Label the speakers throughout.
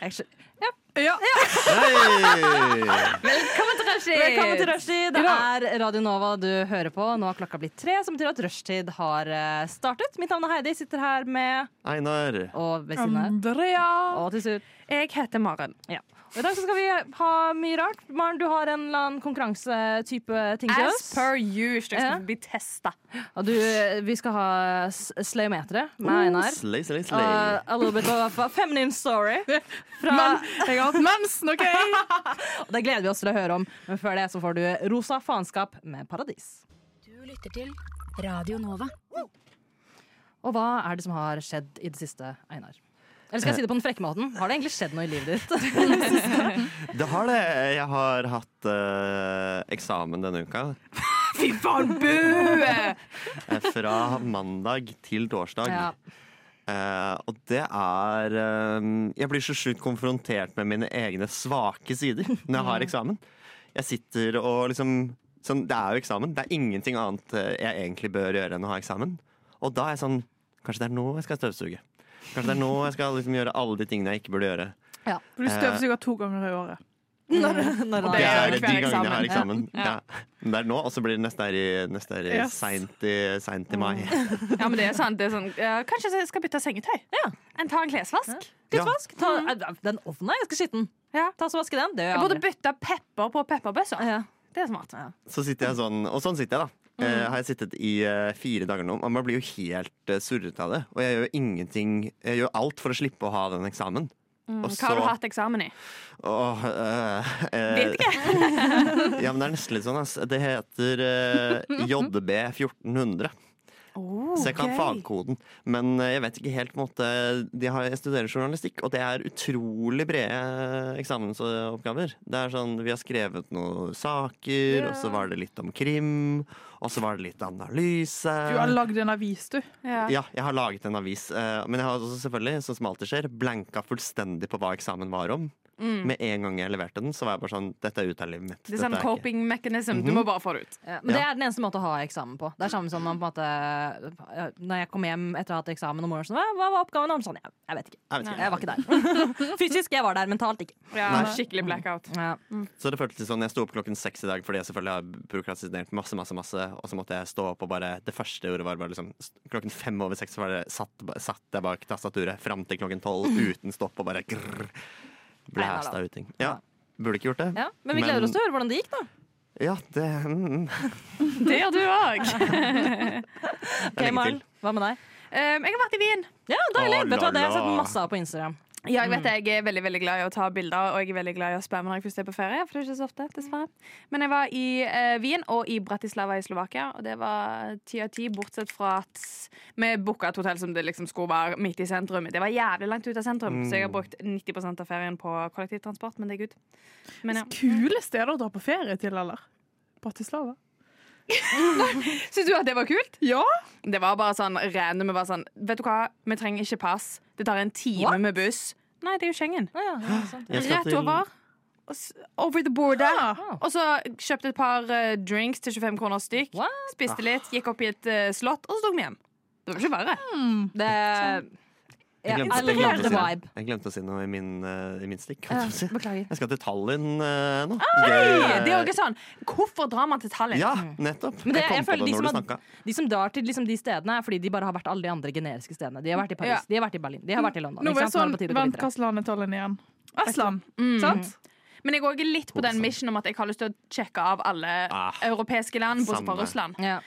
Speaker 1: Jeg skjø- Ja.
Speaker 2: Ja.
Speaker 3: Hei!
Speaker 1: Velkommen til Rashid!
Speaker 2: Velkommen til Rushtid. Det
Speaker 1: Ja.
Speaker 2: er Radio Nova du hører på. Nå har klokka blitt tre, som betyr at rushtid har eh, startet. Mitt navn er Heidi, sitter her med
Speaker 3: Einar.
Speaker 2: Og ved siden av.
Speaker 1: Andrea.
Speaker 2: Og til slutt.
Speaker 1: Jeg heter Maren.
Speaker 2: Ja. Og I dag så skal vi ha mye rart. Maren, du har en eller annen konkurransetype ting til
Speaker 1: As
Speaker 2: oss.
Speaker 1: per usual. Jeg
Speaker 2: Ja.
Speaker 1: skal bli testa.
Speaker 2: Og du, eh, vi skal ha s- Slayometeret med Einar. Eh.
Speaker 3: Slay, slay,
Speaker 2: Og
Speaker 3: slay.
Speaker 2: a little bit of a feminine story. Fra,
Speaker 1: Jeg har hatt mensen, OK?
Speaker 2: og det gleder vi oss til å høre om. Men før det så får du Rosa faenskap med Paradis.
Speaker 4: Du lytter til Radio Nova.
Speaker 2: Og hva er det som har skjedd i det siste, Einar? Eller skal jeg si det på den frekke måten? Har det egentlig skjedd noe i livet ditt?
Speaker 3: Det har det. Jeg har hatt eh, eksamen denne uka.
Speaker 1: Fy faen, bu!
Speaker 3: Eh, Fra mandag til torsdag.
Speaker 2: Ja.
Speaker 3: Eh, og det er eh, Jeg blir så sjukt konfrontert med mine egne svake sider når
Speaker 2: Mm.
Speaker 3: jeg har eksamen. Jeg sitter og liksom sånn, Det er jo eksamen. Det er ingenting annet eh, jeg egentlig bør gjøre enn å ha eksamen. Og da er jeg sånn Kanskje det er nå jeg skal støvsuge. Kanskje det er nå jeg skal liksom gjøre alle de tingene jeg ikke burde gjøre.
Speaker 5: For du støvsuger to ganger i året.
Speaker 2: Når
Speaker 3: Det er de
Speaker 1: hver
Speaker 3: gangene jeg har eksamen.
Speaker 1: eksamen. Ja.
Speaker 3: Ja. Men det er nå, og så blir det neste er i, neste er i
Speaker 5: Yes.
Speaker 3: seint i, seint i
Speaker 1: Mm.
Speaker 3: mai.
Speaker 1: Ja, men det er sant. Det er sånn, eh, kanskje jeg skal bytte sengetøy?
Speaker 2: Ja.
Speaker 1: En ta en klesvask?
Speaker 3: Ja.
Speaker 2: Vask, ta, den ovnen er ganske skitten.
Speaker 1: Ja.
Speaker 2: Ta så vaske den. Det
Speaker 1: Jeg
Speaker 2: gjør
Speaker 1: burde
Speaker 2: Mm. jeg aldri.
Speaker 1: bytte pepper på pepperbøssa.
Speaker 2: Ja.
Speaker 1: Det er smart.
Speaker 3: Så sitter jeg sånn, og sånn sitter jeg da. Eh,
Speaker 1: Mm.
Speaker 3: har jeg sittet i eh, fire dager nå. og Man blir jo helt uh, surret av det. Og jeg gjør ingenting Jeg gjør alt for å slippe å ha den eksamen. og
Speaker 1: Mm, Hva har du hatt eksamen i?
Speaker 3: Åh, eh, eh,
Speaker 1: Vet ikke.
Speaker 3: ja, men det er nesten litt sånn, ass. Det heter eh, JB 1400. Så jeg kan fagkoden. Men eh, jeg vet ikke helt på en måte de har, Jeg studerer journalistikk, og det er utrolig brede eh, eksamensoppgaver. Det er sånn, Vi har skrevet noen saker, og så var det litt om krim, og så var det litt analyse.
Speaker 5: Du
Speaker 2: Eh,
Speaker 5: har lagd en avis, du.
Speaker 1: Ja.
Speaker 3: Ja, jeg har laget en avis. eh, Men jeg har også selvfølgelig, sånn som alltid skjer, blanka fullstendig på hva eksamen var om. Med en gang jeg leverte den, så var jeg bare sånn Dette er ute av livet mitt.
Speaker 1: Mm. Det er
Speaker 3: Dette
Speaker 1: sånn
Speaker 3: er ikke- Mhm.
Speaker 1: coping mechanism. Du må bare få det ut.
Speaker 2: Ja, Men det er den eneste måten å ha eksamen på. Det er samme som man på en måte ja, Når jeg kom hjem etter å ha hatt eksamen om morgenen, sånn, «Hva- hva var oppgaven? om? Sånn, jeg, jeg vet ikke.
Speaker 3: Jeg vet ikke.
Speaker 2: Jeg var ikke der. Fysisk, jeg var der. Mentalt ikke.
Speaker 1: Ja,
Speaker 3: Nei.
Speaker 1: skikkelig blackout.
Speaker 2: Ja.
Speaker 3: Så det føltes sånn, jeg sto opp klokken seks i dag fordi jeg selvfølgelig har prokrastinert masse, masse, masse. Og så måtte jeg stå opp og bare Det første jeg gjorde, var bare liksom Klokken fem over seks så var det, satt, satt jeg bak tastaturet fram til klokken tolv uten stopp og bare grrr, Blæsta ut ting. Ja. Burde ikke gjort det.
Speaker 2: Ja. Men vi gleder oss til å høre hvordan det gikk, da.
Speaker 3: Ja, det mm,
Speaker 1: Det gjør du òg.
Speaker 3: Det er
Speaker 2: Ok,
Speaker 3: lenge til.
Speaker 2: Maren, hva med deg?
Speaker 1: Um, jeg har vært i Wien.
Speaker 2: Ja, deilig!
Speaker 3: Å,
Speaker 2: Vet du hva, Det har jeg
Speaker 3: la, la.
Speaker 2: sett masse av på Instagram.
Speaker 1: Ja, jeg vet det.
Speaker 3: Mm.
Speaker 1: Jeg er veldig veldig glad i å ta bilder, og jeg er veldig glad i å spamme når jeg først er på ferie. For det er ikke så ofte, dessverre. Men jeg var i eh, Wien og i Bratislava i Slovakia, og det var ti av ti, bortsett fra at vi booka et hotell som det liksom skulle være midt i sentrum. Det var jævlig langt ut av sentrum, så
Speaker 3: Mm.
Speaker 1: jeg har brukt 90 av ferien på kollektivtransport, men det er good. Men ja.
Speaker 5: Kule steder å dra på ferie til, eller? Bratislava.
Speaker 1: Syns du at det var kult?
Speaker 5: Ja!
Speaker 1: Det var bare sånn random. Vi var sånn, vet du hva, vi trenger ikke pass. Det tar en time
Speaker 2: What?
Speaker 1: med buss. Nei, det er jo Schengen.
Speaker 2: Ja, ja, sant.
Speaker 3: Jeg skal
Speaker 1: Rett
Speaker 3: til-
Speaker 1: over. og s- Over the border.
Speaker 5: Ah.
Speaker 1: Og så kjøpte et par eh, drinks til 25 kroner stykk.
Speaker 2: What?
Speaker 1: Spiste litt, gikk opp i et eh, slott, og så tok vi hjem. Det var ikke verre.
Speaker 2: Det
Speaker 3: Jeg
Speaker 2: ja,
Speaker 3: glemte,
Speaker 2: I
Speaker 3: jeg,
Speaker 2: love
Speaker 3: glemte
Speaker 2: the
Speaker 3: å si det.
Speaker 2: vibe.
Speaker 3: jeg glemte å si noe i min, eh, i min stikk. holdt jeg på å si.
Speaker 2: Beklager.
Speaker 3: Jeg skal til Tallinn eh, nå.
Speaker 5: Ah.
Speaker 3: Gøy, eh,
Speaker 1: Det er jo ikke sånn Hvorfor drar man til Tallinn?
Speaker 3: Ja, nettopp.
Speaker 2: Mm. Men det, jeg
Speaker 3: jeg kom
Speaker 2: føler
Speaker 3: på
Speaker 2: de
Speaker 3: det
Speaker 2: som
Speaker 3: når du
Speaker 2: har-
Speaker 3: snakka.
Speaker 2: De som drar til liksom, de stedene, er fordi de bare har vært alle de andre generiske stedene. De har vært i Paris,
Speaker 1: Ja.
Speaker 2: de har vært i Berlin, de har vært i London.
Speaker 5: Nå
Speaker 2: ikke
Speaker 5: var jeg
Speaker 2: sant? Nå er
Speaker 5: sånn,
Speaker 2: det på tide å gå
Speaker 5: Vent,
Speaker 2: videre.
Speaker 5: hvilket land er Tallinn igjen? Estland.
Speaker 1: Mm.
Speaker 5: Sant?
Speaker 1: Men jeg er også litt på den
Speaker 3: Hovedstaden.
Speaker 1: mission om at jeg har lyst til å sjekke av alle
Speaker 3: Ah,
Speaker 1: europeiske land, bortsett fra
Speaker 3: samme.
Speaker 1: Russland.
Speaker 2: Ja.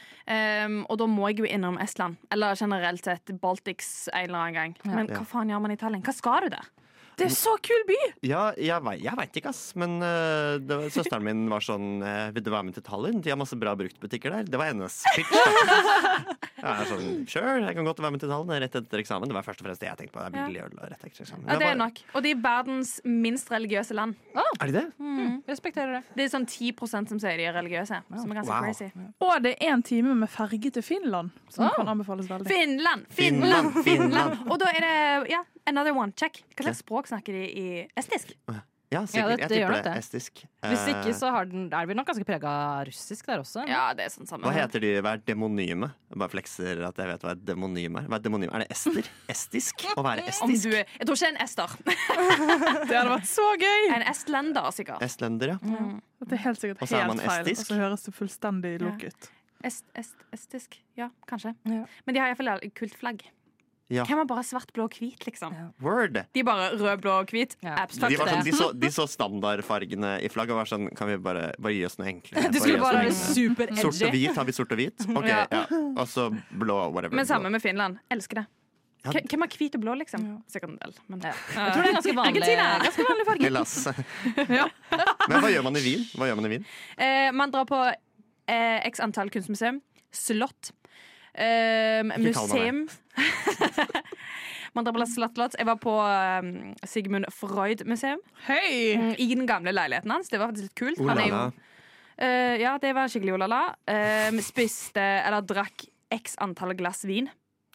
Speaker 1: Um, og da må jeg jo innom Estland. Eller generelt sett Baltics en eller annen gang. Men
Speaker 3: Ja.
Speaker 1: hva faen gjør man i Tallinn? Hva skal du der?
Speaker 5: Det er så kul by!
Speaker 3: Ja, jeg, vei- jeg veit ikke, ass. Men øh, det var, søsteren min var sånn øh, Vil du være med til Tallinn? De har masse bra bruktbutikker der. Det var hennes pitch. da. Jeg er sånn, sure, jeg kan godt være med til Tallinn Det er rett etter eksamen. Det var først og fremst det jeg tenkte på. Det er billig øl og rett etter eksamen.
Speaker 1: Ja,
Speaker 3: Men
Speaker 1: det
Speaker 3: jeg
Speaker 1: er
Speaker 3: bare-
Speaker 1: nok. Og de er verdens minst religiøse land.
Speaker 3: Er de det?
Speaker 5: Hmm.
Speaker 2: Respekterer det.
Speaker 1: Det er sånn 10 som sier de er religiøse. Som er ganske
Speaker 3: Wow.
Speaker 1: crazy.
Speaker 5: Og det er en time med ferge til Finland, som
Speaker 2: Ah.
Speaker 5: kan anbefales veldig.
Speaker 1: Finland!
Speaker 3: Finland,
Speaker 1: Finland!
Speaker 3: Finland.
Speaker 1: Finland! Og da er det ja, another one. Check. Hva slags språk snakker de i estisk?
Speaker 3: Ja, sikkert.
Speaker 2: det-
Speaker 3: Jeg
Speaker 2: det gjør nok
Speaker 3: tipper det.
Speaker 2: det.
Speaker 3: Estisk.
Speaker 2: Hvis
Speaker 3: Eh,
Speaker 2: ikke, så har den, er vi nok ganske prega av russisk der også. eller?
Speaker 1: Ja, det er sånn samme.
Speaker 3: Hva heter de? Hva er demonyme? Jeg bare flekser at jeg vet hva et demonym er. Hva er, demonym? er det ester? Estisk? Å være
Speaker 1: Om
Speaker 3: estisk?
Speaker 1: du er, jeg tror ikke en ester.
Speaker 5: Det hadde vært så gøy!
Speaker 1: En estlender, sikkert.
Speaker 3: Estlender, ja.
Speaker 5: Det er helt sikkert
Speaker 3: Og så er man
Speaker 5: helt feil, og
Speaker 3: estisk.
Speaker 5: så høres det fullstendig
Speaker 1: Ja.
Speaker 5: lukk ut.
Speaker 1: Est, est, estisk. Ja, kanskje.
Speaker 2: Ja.
Speaker 1: Men de har iallfall kultflagg.
Speaker 3: Ja.
Speaker 1: Hvem har bare svart, blå og hvit, liksom?
Speaker 2: Ja.
Speaker 3: Word!
Speaker 1: De er bare rød, blå og hvit.
Speaker 2: Ja.
Speaker 1: Abstract.
Speaker 3: De, var sånn,
Speaker 2: det.
Speaker 3: de, så, de så standardfargene i flagget og var sånn Kan vi bare, bare gi oss noe enklere?
Speaker 2: Du skulle
Speaker 3: gi oss
Speaker 2: bare være
Speaker 3: noe enklere.
Speaker 2: super
Speaker 3: Sort og
Speaker 2: edgy.
Speaker 3: hvit, har vi sort og hvit? Ok,
Speaker 1: Ja.
Speaker 3: ja. Og så blå, whatever.
Speaker 1: Men samme med Finland. Elsker det.
Speaker 3: Ja.
Speaker 1: Hvem- Hvem har hvit og blå, liksom? Sikkert en del. Men.
Speaker 2: Ja. Jeg tror det er ganske vanlig.
Speaker 1: Argentina.
Speaker 2: Ganske vanlig farge.
Speaker 3: Hellas. Men hva gjør man i Wien? Hva gjør man i Wien?
Speaker 1: Eh, man drar på eh, x antall kunstmuseum. Slott. Eh,
Speaker 3: Ikke kall meg
Speaker 1: museum. man drar på Slottlott. Jeg var på eh, Sigmund Freud-museum.
Speaker 5: Hei!
Speaker 2: Mm.
Speaker 1: I den gamle leiligheten hans. Det var faktisk litt kult. Han er jo
Speaker 3: Olala.
Speaker 1: Eh, ja, det var skikkelig olala. Eh, spiste, eller drakk x antall glass vin.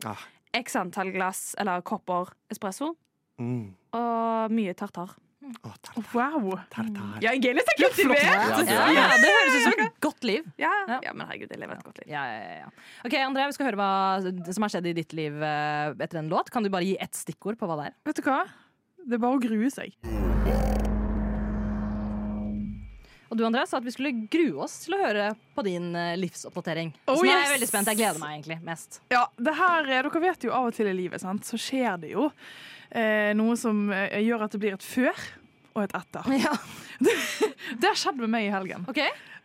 Speaker 3: Ah.
Speaker 1: X antall glass, eller kopper espresso.
Speaker 3: Mm.
Speaker 1: Og mye tartar.
Speaker 3: Å, tartar.
Speaker 5: Wow!
Speaker 3: tartar.
Speaker 1: Ja, jeg er litt kultivert!
Speaker 3: Ja, det
Speaker 2: Ja,
Speaker 3: er-
Speaker 2: ja, det høres ut som et godt liv.
Speaker 1: Ja,
Speaker 2: Ja.
Speaker 1: ja, men herregud, jeg lever et godt liv.
Speaker 2: Ja, ja, ja. Ok, Andrea, vi skal høre hva som har skjedd i ditt liv eh, etter en låt. Kan du bare gi ett stikkord på hva det er?
Speaker 5: Vet du hva? Det er bare å grue seg.
Speaker 2: Og du Andrea, sa at vi skulle grue oss til å høre på din eh, livsoppdatering.
Speaker 5: Oh,
Speaker 2: så nå er jeg
Speaker 5: yes!
Speaker 2: veldig spent. Jeg gleder meg egentlig mest.
Speaker 5: Ja, det her, eh, Dere vet jo av og til i livet, sant? så skjer det jo eh, noe som eh, gjør at det blir et før og et etter.
Speaker 2: Ja.
Speaker 5: Det har skjedd med meg i helgen.
Speaker 2: Ok?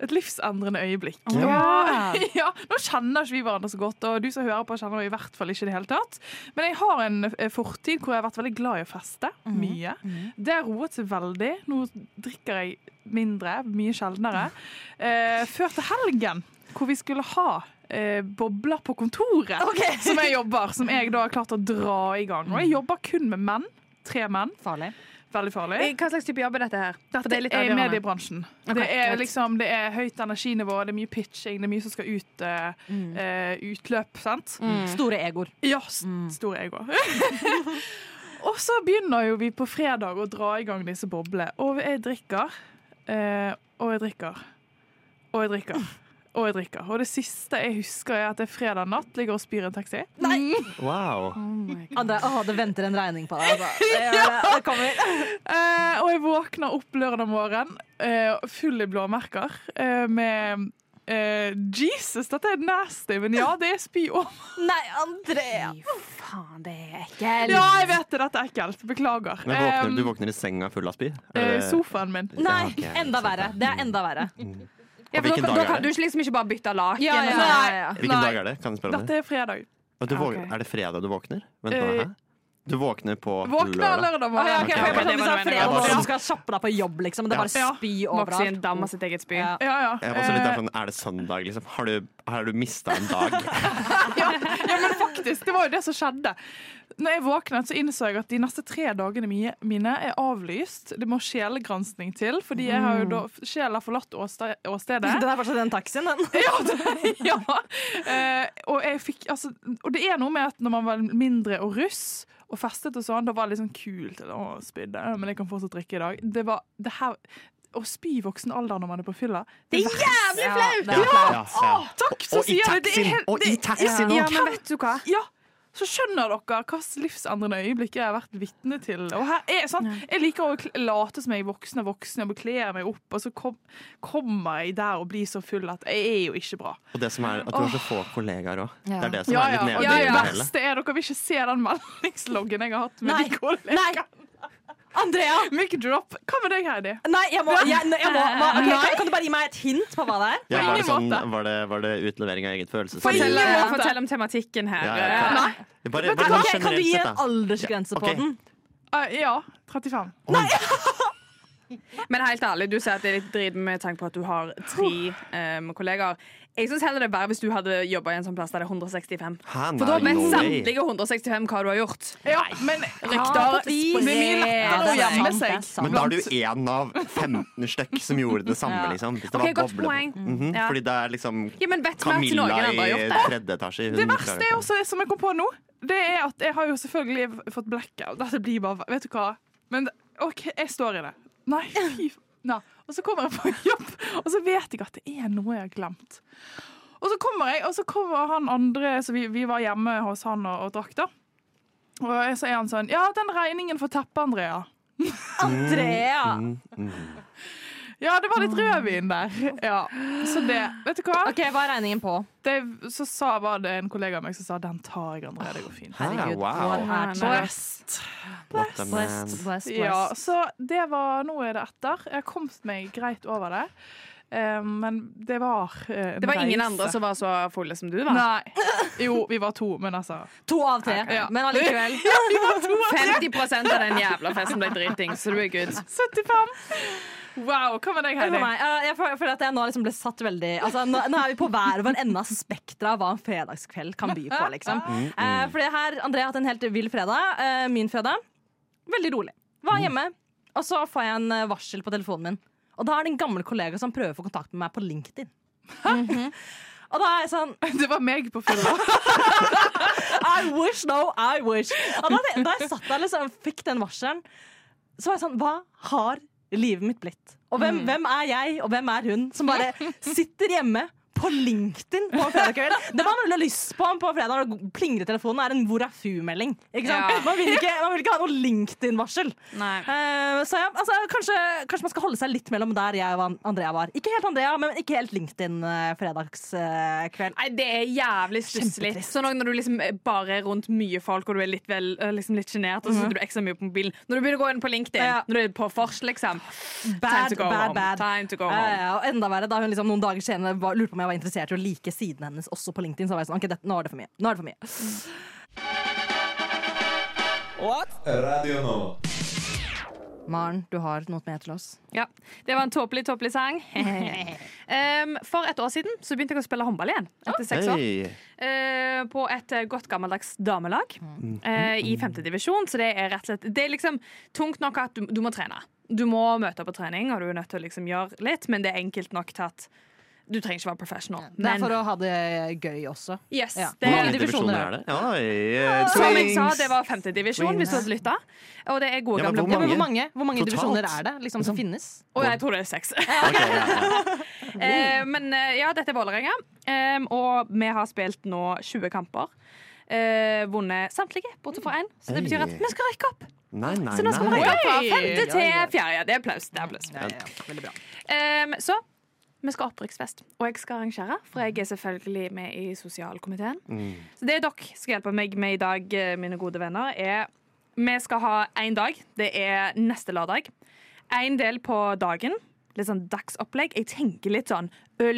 Speaker 5: Et livsendrende øyeblikk.
Speaker 2: Ja.
Speaker 5: ja, Nå kjenner ikke vi hverandre så godt, og du som hører på, kjenner jo i hvert fall ikke det hele tatt. Men jeg har en eh, fortid hvor jeg har vært veldig glad i å feste. Mye. Det har roet seg veldig. Nå drikker jeg mindre, mye sjeldnere. Eh, før til helgen, hvor vi skulle ha eh, bobler på kontoret, som jeg jobber, som jeg da har klart å dra i gang. Og jeg jobber kun med menn. Tre menn.
Speaker 2: Farlig.
Speaker 5: Veldig farlig.
Speaker 1: Hva slags type jobb er dette her? For
Speaker 5: Dette
Speaker 1: det er
Speaker 5: er,
Speaker 1: litt
Speaker 5: i
Speaker 1: avgjørende.
Speaker 5: mediebransjen.
Speaker 1: Ok,
Speaker 5: det, er
Speaker 1: greit.
Speaker 5: liksom, det er høyt energinivå, det er mye pitching, det er mye som skal ut eh,
Speaker 1: Mm.
Speaker 5: eh, utløp. sant?
Speaker 2: Mm. Store egoer.
Speaker 5: Ja, s-
Speaker 1: Mm.
Speaker 5: store ego. og så begynner jo vi på fredag å dra i gang disse boblene. Og jeg drikker, eh, og jeg drikker, og jeg drikker. Og jeg drikker. Og det siste jeg husker, er at det er fredag natt, ligger og spyr i en taxi.
Speaker 3: Wow.
Speaker 2: Mm. Andrea, å, det venter en regning på deg. Altså. Det, gjør det. det kommer.
Speaker 5: Eh, og jeg våkner opp lørdag morgen eh, full i blåmerker eh, med eh, Jesus, dette er nasty, men ja, det er spy òg.
Speaker 2: Nei, Andrea!
Speaker 1: Fy faen, det er ekkelt.
Speaker 5: Ja, jeg vet det, dette er ekkelt. Beklager.
Speaker 3: Men våkner,
Speaker 5: Em,
Speaker 3: du våkner i senga full av spy?
Speaker 5: eh,
Speaker 3: Eller-
Speaker 5: sofaen min.
Speaker 2: Nei,
Speaker 3: Ja, ok.
Speaker 2: enda verre. Det er enda verre.
Speaker 1: Ja, for
Speaker 3: Hvilken
Speaker 1: da,
Speaker 3: dag
Speaker 1: da
Speaker 3: er
Speaker 1: kan
Speaker 3: det?
Speaker 1: du ikke liksom ikke bare bytte laken.
Speaker 2: Ja, ja,
Speaker 1: og sånn.
Speaker 2: ja,
Speaker 3: Hvilken
Speaker 5: Nei.
Speaker 3: dag er det? Kan jeg spørre om det?
Speaker 5: Dette er fredag.
Speaker 3: Og du våg-
Speaker 1: Ok.
Speaker 3: Er det fredag du våkner? Vent nå,
Speaker 5: Eh,
Speaker 3: hæ? Du våkner på
Speaker 5: Våkner
Speaker 3: lørdag.
Speaker 2: Å,
Speaker 5: lørdag
Speaker 2: ja, ok,
Speaker 5: morgen.
Speaker 2: for jeg bare
Speaker 1: Det
Speaker 2: trodde du sa
Speaker 1: var det meningen.
Speaker 2: fredag,
Speaker 3: Ja, bare
Speaker 2: og
Speaker 3: sånn.
Speaker 2: du skal kjappe deg på jobb, liksom. Men det er bare
Speaker 5: Ja.
Speaker 2: spy
Speaker 1: Vokse i en
Speaker 2: overalt. Mm.
Speaker 1: dam av sitt eget spy.
Speaker 2: Ja.
Speaker 5: Ja, Eh, ja.
Speaker 3: Jeg var også litt der sånn, Er det søndag, liksom? Har du, har du mista en dag?
Speaker 5: Faktisk, det var jo det som skjedde. Når jeg våknet, så innså jeg at de neste tre dagene mi- mine er avlyst. Det må sjelegranskning til, fordi jeg har
Speaker 2: Mm.
Speaker 5: jo da sjela forlatt åste- åstedet.
Speaker 2: Den er fortsatt den taxien, den.
Speaker 5: ja. Eh, og, jeg fikk, altså, og det er noe med at når man var mindre og russ og festet og sånn, da var det litt sånn kult. Eller, å, spydde, ja, men jeg kan fortsatt drikke i dag. Det var det her Å spy i voksen alder når man er på fylla Det er jævlig
Speaker 2: Ja, det er flaut.
Speaker 3: Ja, ja.
Speaker 5: Takk, så
Speaker 3: Og i
Speaker 5: sier jeg det. det er
Speaker 3: taxien!
Speaker 5: helt-
Speaker 3: Og i
Speaker 5: det-
Speaker 3: taxien
Speaker 1: Ja,
Speaker 3: òg!
Speaker 1: men vet du hva?
Speaker 5: Ja, så skjønner dere hvilket livsendrende øyeblikk jeg har vært vitne til. Og her er sånn, Jeg liker å kl- late som jeg er voksen og voksen og bekler meg opp, og så kom, kommer jeg der og blir så full at jeg er jo ikke bra.
Speaker 3: Og det som er at du har så få kollegaer òg. Det er det som
Speaker 5: Ja,
Speaker 3: er litt
Speaker 5: ja. Og
Speaker 3: nedrig
Speaker 5: det
Speaker 3: i det hele.
Speaker 5: verste er dere vil ikke se den meldingsloggen jeg har hatt med
Speaker 2: Nei.
Speaker 5: de kollegaene.
Speaker 2: Andrea!
Speaker 5: Mic drop. Hva med deg, Heidi?
Speaker 2: Nei, jeg må, jeg, jeg må hva, ok, kan, kan du bare gi meg et hint på hva det er?
Speaker 3: Ja, var,
Speaker 5: På
Speaker 3: det
Speaker 5: ingen
Speaker 3: sånn,
Speaker 5: måte.
Speaker 3: var, det, var det utlevering av eget følelsesliv?
Speaker 1: Fortell,
Speaker 5: På ingen måte.
Speaker 1: fortell om tematikken her.
Speaker 3: Ja, ja,
Speaker 1: Nei.
Speaker 3: Bare,
Speaker 2: Kan,
Speaker 3: bare sånn
Speaker 2: ok, kan du
Speaker 3: generelt
Speaker 2: gi
Speaker 3: sett,
Speaker 2: en
Speaker 3: da.
Speaker 2: aldersgrense på
Speaker 3: Ok.
Speaker 2: den?
Speaker 5: Eh, ja, 35.
Speaker 1: Men helt ærlig, du sier at det er litt drit med tanke på at du har tre em, kollegaer. Jeg syns heller det er verre hvis du hadde jobba i en sånn plass der det er 165.
Speaker 3: Hæ, nei,
Speaker 1: For da vet
Speaker 3: no way.
Speaker 1: samtlige 165 hva du har gjort.
Speaker 5: Ja, men
Speaker 1: Rykter
Speaker 5: Det er mye lettere å gjemme seg.
Speaker 3: Men da er du én av 15 stykk som gjorde det samme,
Speaker 2: Ja.
Speaker 3: liksom. Hvis det
Speaker 1: Ok,
Speaker 3: var
Speaker 1: godt
Speaker 3: boble.
Speaker 1: poeng.
Speaker 3: Mhm,
Speaker 1: Ja.
Speaker 3: Fordi det er liksom
Speaker 1: Ja, men vet vi at noen
Speaker 3: Camilla
Speaker 1: andre har
Speaker 3: i
Speaker 1: gjort det?
Speaker 3: tredje etasje.
Speaker 5: Det verste er også, som jeg kom på nå, det er Altså, at jeg har jo selvfølgelig fått blackout. Dette blir bare Vet du hva? Men OK, jeg står i det. Nei, fy f- Nei. Og så kommer jeg på jobb, og så vet jeg at det er noe jeg har glemt. Og så kommer jeg, og så kommer han andre Så vi, vi var hjemme hos han og, og drakk, da. Og jeg- så er han sånn Ja, den regningen for teppet, Andrea.
Speaker 2: Andrea!
Speaker 3: Mm, mm.
Speaker 5: Ja, det var litt rødvin der. Ja, Så det Vet du hva?
Speaker 2: OK, hva er regningen på?
Speaker 5: Det, så sa, var det en kollega av meg som sa den tar jeg, Andrea. Det går fint.
Speaker 3: Herregud,
Speaker 2: what
Speaker 3: wow.
Speaker 2: a
Speaker 1: Bless.
Speaker 2: blessed.
Speaker 3: What a man.
Speaker 2: Blessed, blessed,
Speaker 5: Ja,
Speaker 2: blessed.
Speaker 5: så det var Nå er det etter. Jeg har kommet meg greit over det. Eh, men det var eh, en
Speaker 1: Det var ingen
Speaker 5: reise.
Speaker 1: andre som var så fulle som du var.
Speaker 5: Nei. Jo, vi var to, men altså
Speaker 2: To av tre,
Speaker 5: Ja.
Speaker 2: men allikevel.
Speaker 1: 50 av den jævla festen ble driting, så du er good.
Speaker 5: 75! Wow, hva med deg,
Speaker 2: For
Speaker 5: Heidi?
Speaker 2: meg, eh, jeg føler føler at jeg nå liksom ble satt veldig altså, nå, nå er vi på hver vår ende av spekteret av hva en fredagskveld kan by på. Liksom. Eh, fordi her, André har hatt en helt vill fredag. Eh, min fredag. Veldig rolig. Var hjemme, og så får jeg en eh, varsel på telefonen min. Og da er det en gammel kollega som prøver å få kontakt med meg på LinkedIn. Mhm. Og da er jeg sånn
Speaker 5: Det var meg på fylla.
Speaker 2: I wish, no, I wish. Og da, da jeg satt der liksom, fikk den varselen, så var jeg sånn Hva har livet mitt blitt? Og hvem, hvem er jeg, og hvem er hun, som bare sitter hjemme på LinkedIn på en fredagskveld? Det man vel har lyst på på fredag når det plinger i telefonen, er en hvor er fu-melding. Ikke sant?
Speaker 1: Ja.
Speaker 2: Man, vil ikke, man vil ikke ha noe LinkedIn-varsel.
Speaker 1: Nei.
Speaker 2: Eh, så ja, altså, kanskje, kanskje man skal holde seg litt mellom der jeg og An- Andrea var. Ikke helt Andrea, men ikke helt eh, LinkedIn-fredagskveld.
Speaker 1: Nei, det er jævlig stusslig.
Speaker 2: Kjempetrist.
Speaker 1: Sånn også når du liksom bare er rundt mye folk og du er litt vel, eh, liksom litt sjenert, og så sitter du ekstra mye på mobilen. Når du begynner å gå inn på LinkedIn,
Speaker 2: Mhm. Ja.
Speaker 1: når du er på Fors, liksom. Time
Speaker 2: Bad,
Speaker 1: to go
Speaker 2: bad,
Speaker 1: home.
Speaker 2: bad.
Speaker 1: Time to go
Speaker 2: Ja, ja,
Speaker 1: home.
Speaker 2: ja, og enda verre, da hun liksom noen dager senere var, lurte på om jeg var interessert i å like siden hennes også på LinkedIn. Så var jeg sånn, ok, dette- nå er det for mye. Nå er det for mye.
Speaker 6: Radio Nova.
Speaker 2: Maren, du har noe med til oss.
Speaker 1: Ja. Det var en tåpelig, tåpelig sang. um, for et år siden så begynte jeg å spille håndball igjen. Etter seks år.
Speaker 3: Hei.
Speaker 1: Eh, på et eh, godt gammeldags damelag
Speaker 2: Mhm.
Speaker 1: eh, i femtedivisjon. Så det er rett og slett Det er liksom tungt nok at du, du må trene. Du må møte opp på trening, og du er nødt til å liksom gjøre litt, men det er enkelt nok til at du trenger ikke være professional.
Speaker 2: Det er
Speaker 1: Men-
Speaker 2: for å ha det gøy også.
Speaker 1: Yes,
Speaker 2: Ja.
Speaker 1: det
Speaker 3: Hvor
Speaker 1: er
Speaker 3: mange divisjoner er det? Oi, eh,
Speaker 1: Som jeg
Speaker 3: twins.
Speaker 1: sa, det var femtedivisjon, hvis du hadde lytta. Og det er gode
Speaker 3: Ja, men hvor
Speaker 1: gamle
Speaker 2: Ja,
Speaker 1: blod.
Speaker 2: men hvor
Speaker 3: Mange.
Speaker 2: mange, hvor mange
Speaker 3: Totalt.
Speaker 2: divisjoner er det liksom, som finnes?
Speaker 1: Og jeg tror det er seks.
Speaker 3: Ok, ja, ja.
Speaker 1: Eh, men eh, ja, dette er Vålerenga, eh, og vi har spilt nå 20 kamper. Eh, vunnet samtlige, bortsett fra én. Så det betyr at vi skal rykke opp.
Speaker 3: Nei, nei,
Speaker 1: Så nå skal vi
Speaker 3: nei.
Speaker 1: rykke opp fra
Speaker 5: Oi.
Speaker 1: femte
Speaker 2: Oi, oi.
Speaker 1: til fjerde. Det er applaus. Det er applaus.
Speaker 2: Ja, ja, ja. Veldig bra.
Speaker 1: Ehm, så vi skal ha opprykksfest, og jeg skal arrangere, for jeg er selvfølgelig med i sosialkomiteen. Så det dere skal hjelpe meg med i dag, eh, mine gode venner, er Vi skal ha én dag. Det er neste lørdag. Én del på dagen. Litt sånn dagsopplegg. Jeg tenker litt sånn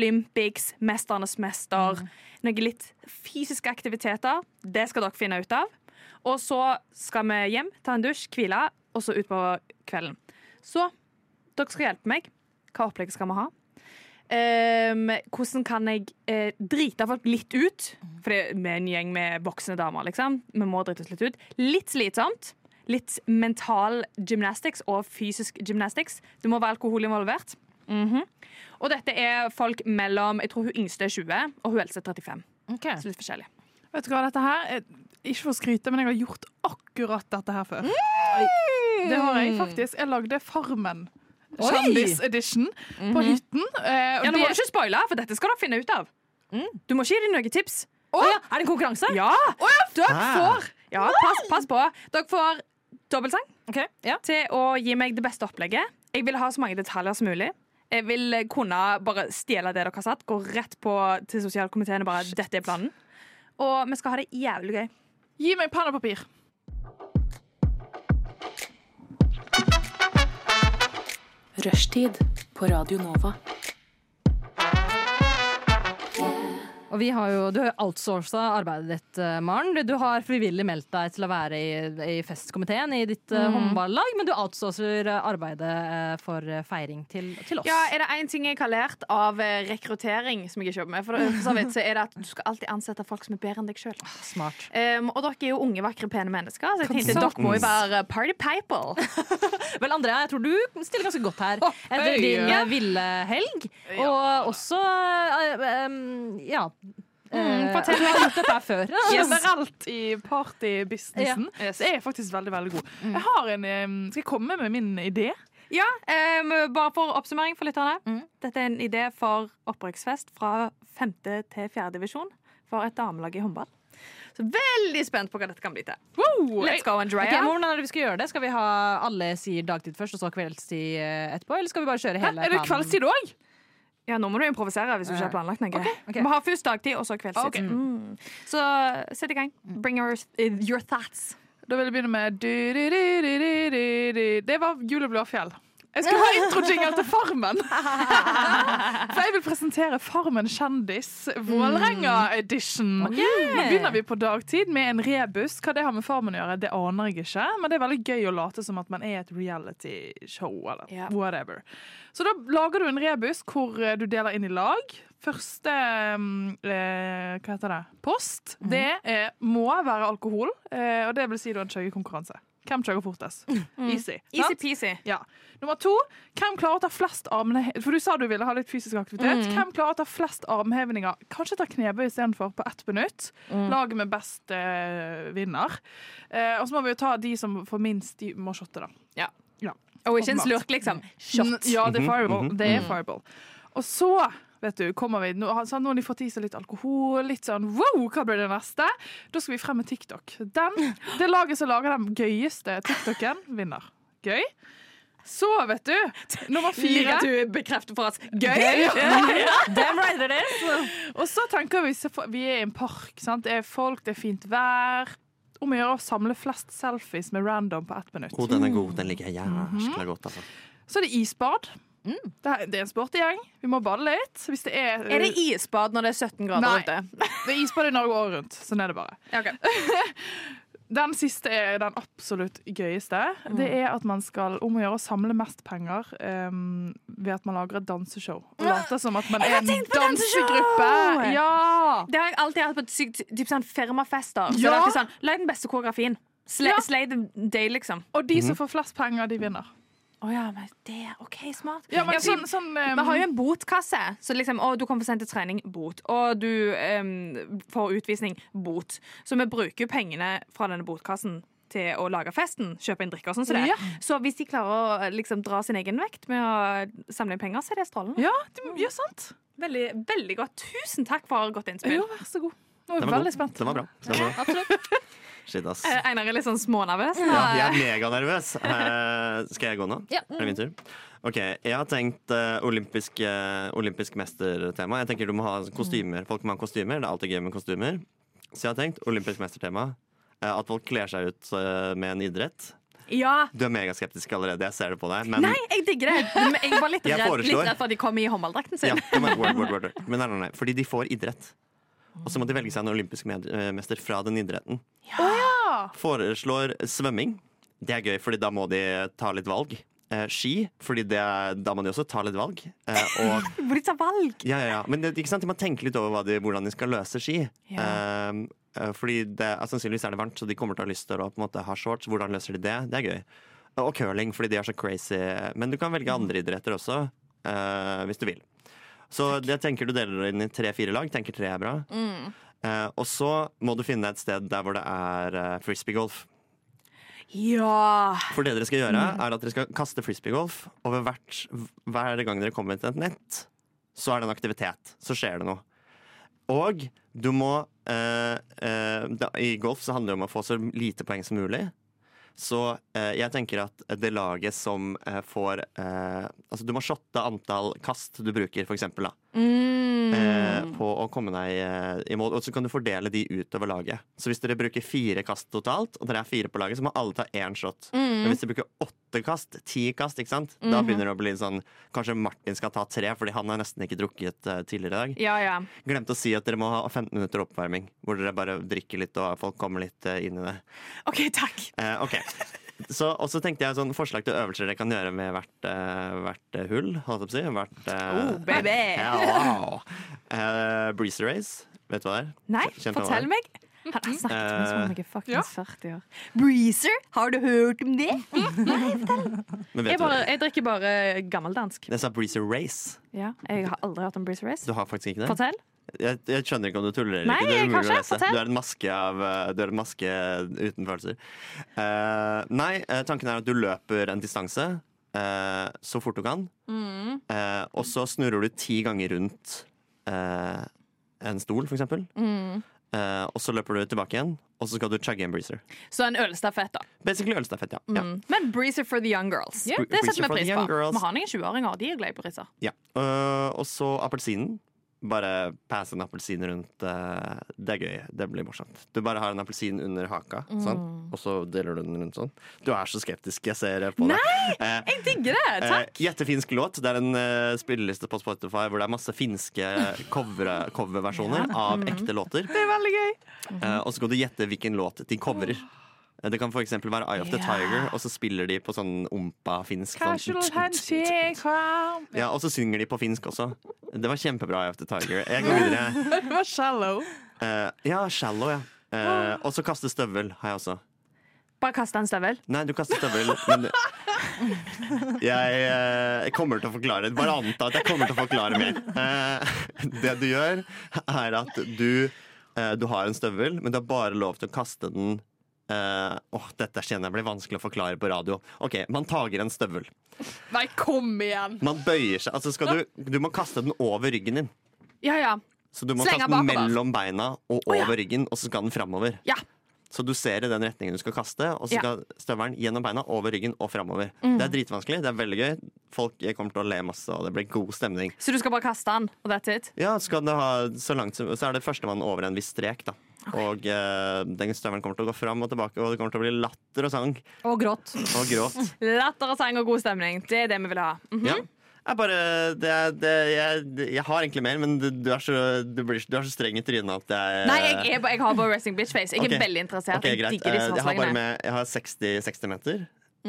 Speaker 1: Olympics, Mesternes mester. Noen litt fysiske aktiviteter. Det skal dere finne ut av. Og så skal vi hjem, ta en dusj, hvile, og så ut på kvelden. Så dere skal hjelpe meg. Hva opplegget skal vi ha? Ehm, hvordan kan jeg eh, drite folk litt ut? For det- vi er en gjeng med voksne damer, liksom. Vi må drite oss litt ut. Litt slitsomt. Litt mental gymnastics og fysisk gymnastics. Det må være alkohol involvert. Mhm. Og dette er folk mellom Jeg tror hun yngste er 20, og hun eldste er 35. Så litt forskjellig.
Speaker 5: Vet du hva, dette her er- Ikke for å skryte, men jeg har gjort akkurat dette her før. Det har
Speaker 1: Mm.
Speaker 5: jeg faktisk. Jeg lagde Farmen.
Speaker 2: Oi!
Speaker 5: Kjendis edition på hytten. eh,
Speaker 1: Mhm.
Speaker 5: og
Speaker 1: Ja, nå må
Speaker 5: det-
Speaker 1: du ikke spoile, for dette skal dere finne ut av. Du må ikke gi dem noen tips.
Speaker 2: Å, ja, er det en konkurranse?
Speaker 1: Ja! Dere
Speaker 3: Hæ?
Speaker 1: får Ja, pass, pass på. Dere får dobbeltsang
Speaker 2: Ok, ja.
Speaker 1: til å gi meg det beste opplegget. Jeg vil ha så mange detaljer som mulig. Jeg vil kunne bare stjele det dere har satt, gå rett på til sosialkomiteen og bare Dette er planen. Og vi skal ha det jævlig gøy.
Speaker 5: Gi meg penn og papir.
Speaker 4: Rushtid på Radio Nova.
Speaker 2: Og vi har jo, du har jo outsourca arbeidet ditt, eh, Maren. Du, du har frivillig meldt deg til å være i, i festkomiteen i ditt
Speaker 5: Mm.
Speaker 2: eh, håndballag, men du outsourcer eh, arbeidet eh, for eh, feiring til, til oss.
Speaker 1: Ja, Er det én ting jeg har lært av eh, rekruttering, som jeg ikke jobber med, for eh, for så vidt, så er det at du skal alltid ansette folk som er bedre enn deg sjøl.
Speaker 2: Smart.
Speaker 1: og dere er jo unge, vakre, pene mennesker, så jeg tenkte dere må jo være party people.
Speaker 2: Vel, Andrea, jeg tror du stiller ganske godt her etter
Speaker 5: hei,
Speaker 2: din
Speaker 5: ja.
Speaker 2: eh, ville helg. Og også eh, em, ja.
Speaker 5: Mm,
Speaker 2: Eh,
Speaker 1: fortell.
Speaker 2: Du har gjort dette her før.
Speaker 5: Generelt i partybusinessen
Speaker 1: Ja. Yes.
Speaker 5: Mm. så er jeg faktisk veldig veldig god. Jeg har en, eh, skal jeg komme med min idé?
Speaker 1: Ja, eh, bare for oppsummering for lytterne.
Speaker 5: Mm.
Speaker 1: Dette er en idé for opprykksfest fra 5. til 4. divisjon for et damelag i håndball. Så veldig spent på hva dette kan bli til.
Speaker 5: Wow,
Speaker 1: Let's go and dry
Speaker 2: Ok, men
Speaker 1: out.
Speaker 2: hvordan er det vi Skal gjøre det? Skal vi ha alle sier dagtid først, og så kveldstid eh, etterpå? Eller skal vi bare kjøre
Speaker 5: Hæ,
Speaker 2: hele
Speaker 5: er det
Speaker 2: planen?
Speaker 5: kveldstid òg?
Speaker 1: Ja, nå må du improvisere hvis du ikke har planlagt noe.
Speaker 2: ok.
Speaker 1: Vi har først dagtid, og så kveldstid.
Speaker 5: Ok. Mm.
Speaker 1: Mm. Så sett i gang. Bring your, eh, your thoughts.
Speaker 5: Da vil jeg begynne med du, du, du, du, du, du, du. Det var Jul og Blåfjell. Jeg skal ha introjingle til Farmen! For jeg vil presentere Farmen kjendis Mm. Vålerenga-edition. Nå begynner vi på dagtid med en rebus. Hva det har med Farmen å gjøre, det aner jeg ikke. Men det er veldig gøy å late som at man er i et reality-show eller
Speaker 1: Ja.
Speaker 5: whatever. Så da lager du en rebus hvor eh, du deler inn i lag. Første mm, eh, hva heter det? post det er, må være alkohol. Eh, og det vil si du har en kjøgekonkurranse. Hvem kjøger fortest? Easy. sant?
Speaker 1: Easy-peasy.
Speaker 5: Ja. Nummer to. Hvem klarer å ta flest armene For du sa du ville ha litt fysisk aktivitet. Hvem klarer å ta flest armhevinger? Kanskje ta knebøy istedenfor på ett minutt. Laget med best eh, vinner. Eh, og så må vi jo ta de som får minst, de må shotte, da.
Speaker 1: Ja.
Speaker 5: Ja.
Speaker 1: Og ikke en
Speaker 5: Åpenbart.
Speaker 1: slurk, liksom.
Speaker 5: N- Ja, det er fireball. Det er fireball. Og så vet du, kommer vi, nå, har- sånn, nå har de fått i seg litt alkohol, litt sånn wow, hva blir det neste? Da skal vi frem med TikTok. Den, det laget som lager den gøyeste TikToken, vinner. Gøy. Så, vet du, nummer fire.
Speaker 1: du bekrefter for oss.
Speaker 2: Damn right it is!
Speaker 5: Og så tenker vi, så- vi er i en park, sant? det er folk, det er fint vær. Om å gjøre å samle flest selfies med random på ett minutt.
Speaker 3: Oh, den er god. Den liker jeg
Speaker 1: Mhm.
Speaker 3: jæskla godt. Altså.
Speaker 5: Så er det isbad. Det, er, det er en sportegjeng. Vi må bade litt. Hvis det er,
Speaker 1: Er det isbad når det er 17
Speaker 5: Nei.
Speaker 1: grader ute?
Speaker 5: Det er isbad i Norge året rundt. Sånn er det bare. Den siste er den absolutt gøyeste. Det
Speaker 1: Mm.
Speaker 5: er at man skal om å gjøre å samle mest penger em, ved at man lager et danseshow. Og later som at man er en
Speaker 1: tenkt på danseshow!
Speaker 5: dansegruppe. Ja!
Speaker 1: Det har jeg alltid hatt på sykt, typ sånn firmafester. Så
Speaker 5: Ja.
Speaker 1: det er alltid sånn, Lag den beste koreografien. Slay,
Speaker 5: Ja.
Speaker 1: slay the day, liksom.
Speaker 5: Og de
Speaker 3: Mhm.
Speaker 5: som får flest penger, de vinner.
Speaker 1: Å ja, men det er OK, smart.
Speaker 5: Ja, men
Speaker 1: Ja,
Speaker 5: sånn,
Speaker 1: vi,
Speaker 5: sånn em,
Speaker 1: vi har jo en botkasse. Så liksom, å, du kom for sent til trening. Bot. Og du em, får utvisning. Bot. Så vi bruker pengene fra denne botkassen til å lage festen. Kjøpe inn drikker og sånn som det.
Speaker 5: Ja.
Speaker 1: Så hvis de klarer å liksom, dra sin egen vekt med å samle inn penger, så er det strålende.
Speaker 5: Ja, det- ja, sant.
Speaker 1: Veldig, veldig godt. Tusen takk for godt innspill.
Speaker 5: Jo, vær så god. Nå er
Speaker 3: Den
Speaker 5: jeg
Speaker 3: var,
Speaker 5: veldig
Speaker 3: god.
Speaker 5: spent.
Speaker 3: Den var bra. Den var bra.
Speaker 2: Absolutt.
Speaker 3: Shit, ass.
Speaker 1: Eh, Einar er litt sånn smånervøs.
Speaker 3: Ja, jeg er meganervøs. Eh, skal jeg gå nå?
Speaker 2: Ja.
Speaker 1: Mm.
Speaker 3: Er det min tur? Ok, Jeg har tenkt eh, olympisk, eh, olympisk mestertema. Jeg tenker du må ha
Speaker 1: Mm.
Speaker 3: kostymer. Folk må ha kostymer. Det er alltid gøy med kostymer. Så jeg har tenkt olympisk mestertema. eh, at folk kler seg ut eh, med en idrett.
Speaker 1: Ja,
Speaker 3: Du er megaskeptisk allerede, jeg ser det på deg. Men
Speaker 1: Nei, jeg digger det. Men jeg var litt
Speaker 3: Jeg
Speaker 1: redd, litt
Speaker 3: foreslår-
Speaker 1: redd for at de kom i håndballdrakten sin.
Speaker 3: Ja, kom igjen. word, word, word. Men nei, nei, nei, fordi de får idrett. Og så må de velge seg en olympisk med- eh, mester fra den idretten. Foreslår svømming. Det er gøy, fordi da må de ta litt valg. Eh, ski, fordi det, er- da må de også ta litt valg. Eh, og,
Speaker 1: Hvor de tar valg.
Speaker 3: ja, ja, ja. Men det, ikke sant? de må tenke litt over hva de, hvordan de skal løse ski. Eh, eh, fordi det, er- Sannsynligvis er det varmt, så de kommer til å ha lyst til å på en måte, ha shorts. Hvordan løser de det? Det er gøy. Og curling, fordi de er så crazy. Men du kan velge andre idretter også, eh, hvis du vil. Så jeg tenker du deler det inn i tre-fire lag. Tenker tre er bra. Eh, og så må du finne et sted der hvor det er eh, frisbeegolf.
Speaker 1: Ja.
Speaker 3: For det dere skal gjøre, er at dere skal kaste frisbeegolf, og ved hvert, hver gang dere kommer til et nett, så er det en aktivitet. Så skjer det noe. Og du må eh, eh, da, I golf så handler det om å få så lite poeng som mulig. Så eh, jeg tenker at det laget som eh, får eh, Altså du må shotte antall kast du bruker, for eksempel, da. Eh, på å komme deg eh, i mål. Og så kan du fordele de utover laget. Så hvis dere bruker fire kast totalt, og dere er fire på laget, så må alle ta én shot. Men hvis dere bruker åtte kast, ti kast, ikke sant? da begynner det å bli sånn Kanskje Martin skal ta tre, fordi han har nesten ikke drukket eh, tidligere i dag.
Speaker 1: Ja, ja.
Speaker 3: Glemte å si at dere må ha 15 minutter oppvarming, hvor dere bare drikker litt og folk kommer litt eh, inn i det.
Speaker 1: OK, takk.
Speaker 3: Eh, ok. Så, og så tenkte jeg sånn forslag til øvelser dere kan gjøre med hvert, eh, hvert eh, hull. Holdt jeg på å si. Hvert eh,
Speaker 1: Oh, baby.
Speaker 3: Ja, wow. Eh, breezer race. Vet du hva det er?
Speaker 1: Nei,
Speaker 3: Kjent hva det
Speaker 1: fortell
Speaker 3: er?
Speaker 1: meg. Han har snakket med så
Speaker 3: Eh,
Speaker 1: mange fuckings 40 år. Breezer, har du hørt om det?
Speaker 3: Men vet
Speaker 1: Jeg,
Speaker 3: du hva
Speaker 1: bare,
Speaker 3: det er?
Speaker 1: jeg drikker bare gammeldansk.
Speaker 3: Jeg sa breezer race.
Speaker 1: Ja, jeg har aldri hørt om Breezer Race.
Speaker 3: Du har faktisk ikke det?
Speaker 1: Fortell.
Speaker 3: Jeg, jeg skjønner ikke om du tuller eller
Speaker 1: Nei,
Speaker 3: ikke. Det er umulig å
Speaker 1: kanskje.
Speaker 3: lese.
Speaker 1: Fortell.
Speaker 3: Du er en maske, av, eh, du er en maske uten følelser. Eh, nei, eh, tanken er at du løper en distanse. eh, så fort du kan.
Speaker 1: Mm.
Speaker 3: Eh, og så snurrer du ti ganger rundt eh, en stol, for eksempel.
Speaker 1: Mm.
Speaker 3: Eh, og så løper du tilbake igjen, og så skal du chugge en breezer.
Speaker 1: Så en ølstafett, da.
Speaker 3: Basically ølstafett, ja. ja.
Speaker 1: Mm. Men breezer for the young girls.
Speaker 3: Ja.
Speaker 1: Det
Speaker 3: Breezer
Speaker 1: setter
Speaker 3: for the
Speaker 1: vi pris
Speaker 3: young
Speaker 1: på.
Speaker 3: girls.
Speaker 1: Vi har noen 20-åringer, de er glad i breezer.
Speaker 3: ja. Eh, og så appelsinen. Bare pass en appelsin rundt. eh, det er gøy. Det blir morsomt. Du bare har en appelsin under haka,
Speaker 5: Mm.
Speaker 3: sånn, og så deler du den rundt sånn. Du er så skeptisk, jeg ser på deg. Eh,
Speaker 1: Jeg digger det!
Speaker 3: Eh, Gjettefinsk låt. Det er en eh, spilleliste på Spotify hvor det er masse finske cover- coverversjoner av ekte låter.
Speaker 5: Mm. Det er veldig gøy.
Speaker 3: Eh, og så kan du gjette hvilken låt de coverer. Eh, Det kan for eksempel være Eye of the
Speaker 1: Ja.
Speaker 3: Tiger, og så spiller de på sånn ompa-finsk.
Speaker 5: Casual
Speaker 3: Sånn.
Speaker 5: handshake. wow.
Speaker 3: Ja, Og så synger de på finsk også. Det var kjempebra, Eye of the Tiger. Jeg går videre.
Speaker 5: Det var shallow.
Speaker 3: Eh, ja, Shallow, ja. Eh, og så kaste støvel har jeg også.
Speaker 1: Bare kast en støvel.
Speaker 3: Nei, du kaster støvel, men jeg, eh, jeg kommer til å forklare det. Bare anta at jeg kommer til å forklare mer. Eh, Det du gjør, er at du, eh, du har en støvel, men du har bare lov til å kaste den eh, Åh, dette kjenner jeg blir vanskelig å forklare på radio. OK, man tager en støvel.
Speaker 5: Nei, kom igjen!
Speaker 3: Man bøyer seg. Altså skal du, du må kaste den over ryggen din.
Speaker 1: Ja, ja.
Speaker 3: Så du må
Speaker 1: Slenge
Speaker 3: kaste den
Speaker 1: bakover.
Speaker 3: mellom beina og
Speaker 1: Å, ja.
Speaker 3: over ryggen, og så skal den framover.
Speaker 1: Ja.
Speaker 3: Så du ser i den retningen du skal kaste, og så
Speaker 1: Ja. Mm.
Speaker 3: skal støvelen gjennom beina, over ryggen og framover. Det er dritvanskelig, det er veldig gøy. Folk jeg kommer til å le masse, og det blir god stemning.
Speaker 1: Så du skal bare kaste den, og that's it?
Speaker 3: Ja, skal du ha så, langt, som- så er det førstemann over en viss strek, da. Og eh, den støvelen kommer til å gå fram og tilbake, og det kommer til å bli latter og sang
Speaker 2: Og gråt.
Speaker 3: og gråt.
Speaker 1: Latter og sang og god stemning. Det er det vi vil ha. Mhm.
Speaker 3: Ja. Jeg bare det, er- det, jeg, jeg har egentlig mer, men du, du, er, så, du, blir, du er så streng i trynet at jeg
Speaker 1: Nei, jeg, er, bare- jeg har bare Resting Bitch Face. Jeg er
Speaker 3: Ok.
Speaker 1: veldig interessert.
Speaker 3: Ok,
Speaker 1: jeg
Speaker 3: greit.
Speaker 1: digger Mm. disse
Speaker 3: Eh, jeg har bare
Speaker 1: forslagene.
Speaker 3: med Jeg har 60, 60 meter.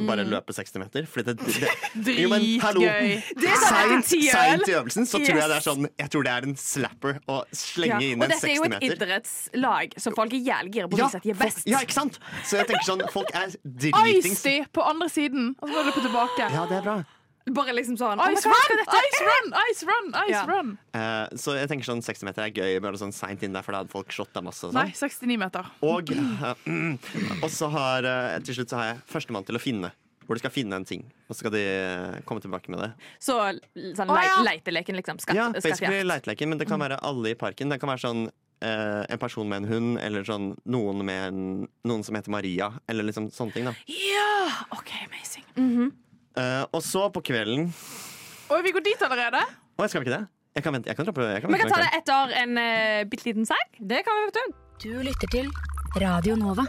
Speaker 3: Bare løpe 60 meter. Fordi det, det, Jo, men hallo.
Speaker 5: Dritgøy.
Speaker 3: Seint
Speaker 1: TIL.
Speaker 3: seint i øvelsen så tror jeg det er
Speaker 1: Yes.
Speaker 3: sånn Jeg tror det er en slapper å
Speaker 1: Ja.
Speaker 3: slenge inn
Speaker 1: Og
Speaker 3: en
Speaker 1: dette er jo
Speaker 3: 60
Speaker 1: et
Speaker 3: meter.
Speaker 1: idrettslag, så folk er jævlig gira på å vise at de er
Speaker 3: folk,
Speaker 1: best.
Speaker 3: ja, ikke sant? Så jeg tenker sånn Folk er dritings.
Speaker 5: Icy på andre siden, og så går det på tilbake.
Speaker 3: Ja, det er bra.
Speaker 1: Bare liksom sånn oh my
Speaker 5: Ice
Speaker 1: God, hva
Speaker 5: run,
Speaker 1: skal dette?
Speaker 5: ice run, ice run! ice
Speaker 1: Ja.
Speaker 5: run
Speaker 3: Eh, så jeg tenker sånn 60 meter er gøy, bare sånn seint inn der, for da hadde folk shot deg masse. Og,
Speaker 5: Nei,
Speaker 3: sånn.
Speaker 5: 69 meter.
Speaker 3: og, eh, mm, og så har eh, til slutt så har jeg førstemann til å finne. Hvor de skal finne en ting, og så skal de eh, komme tilbake med det.
Speaker 1: Så sånn
Speaker 5: Å,
Speaker 1: lei,
Speaker 5: ja.
Speaker 1: leiteleken, liksom. Skatt,
Speaker 3: Ja,
Speaker 1: skattejakt.
Speaker 3: basically leiteleken, men det kan
Speaker 1: Mm.
Speaker 3: være alle i parken. Det kan være sånn eh, en person med en hund, eller sånn noen med en, noen som heter Maria, eller liksom sånne ting, da.
Speaker 1: Ja! OK, amazing.
Speaker 3: Eh, og så på kvelden
Speaker 5: Og vi går dit allerede.
Speaker 3: Å, jeg skal ikke det? Jeg kan vente. Jeg kan droppe jeg kan
Speaker 1: Vi
Speaker 3: vente
Speaker 1: kan ta
Speaker 3: med kvelden.
Speaker 1: det etter en uh, bitte liten sang.
Speaker 2: Det kan vi, vet du.
Speaker 7: Du lytter til Radio Nova.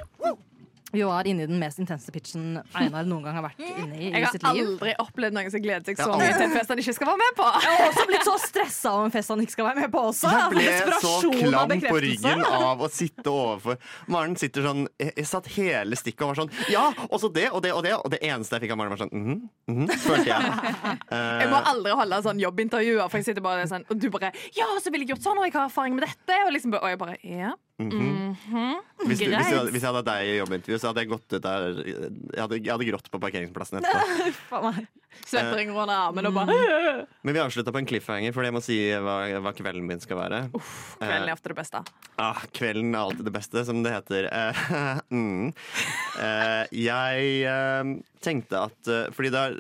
Speaker 2: Vi var inne i den mest intense pitchen Einar noen gang Mm. har vært inne i
Speaker 1: Jeg
Speaker 2: i
Speaker 1: har
Speaker 2: sitt liv.
Speaker 1: aldri opplevd noen som gleder seg
Speaker 3: Jeg
Speaker 1: så
Speaker 3: har
Speaker 1: mye
Speaker 3: aldri-
Speaker 1: til en fest han ikke skal være med på.
Speaker 2: Jeg har også blitt så stressa om en fest han ikke skal være med på også.
Speaker 3: Jeg ble så
Speaker 2: Desperasjon av
Speaker 3: klam på
Speaker 2: bekreftelse.
Speaker 3: ryggen av å sitte overfor Maren sitter sånn Jeg, jeg satt hele stikket og var sånn Ja, og så det og det og det. Og det eneste jeg fikk av Maren, var sånn mhm, mhm, følte jeg. Eh,
Speaker 1: Jeg må aldri holde sånn jobbintervjuer, for jeg sitter bare sånn Og du bare Ja, så ville jeg gjort sånn, og jeg har erfaring med dette. Og, liksom, bare- og jeg bare Ja.
Speaker 3: Hvis, du, hvis,
Speaker 1: Greit.
Speaker 3: jeg, hadde- hvis jeg hadde deg i jobbintervju, så hadde jeg gått ut der Jeg hadde, jeg hadde grått på parkeringsplassen etterpå.
Speaker 2: Faen meg.
Speaker 1: Svettering under armen
Speaker 3: Eh.
Speaker 1: og bare
Speaker 3: Men vi avslutta på en cliffhanger, for jeg må si hva, hva kvelden min skal være.
Speaker 1: Kvelden er ofte det beste.
Speaker 3: Ah, kvelden er alltid det beste, som det heter. Eh, mm. Eh, jeg eh, tenkte at eh, Fordi det er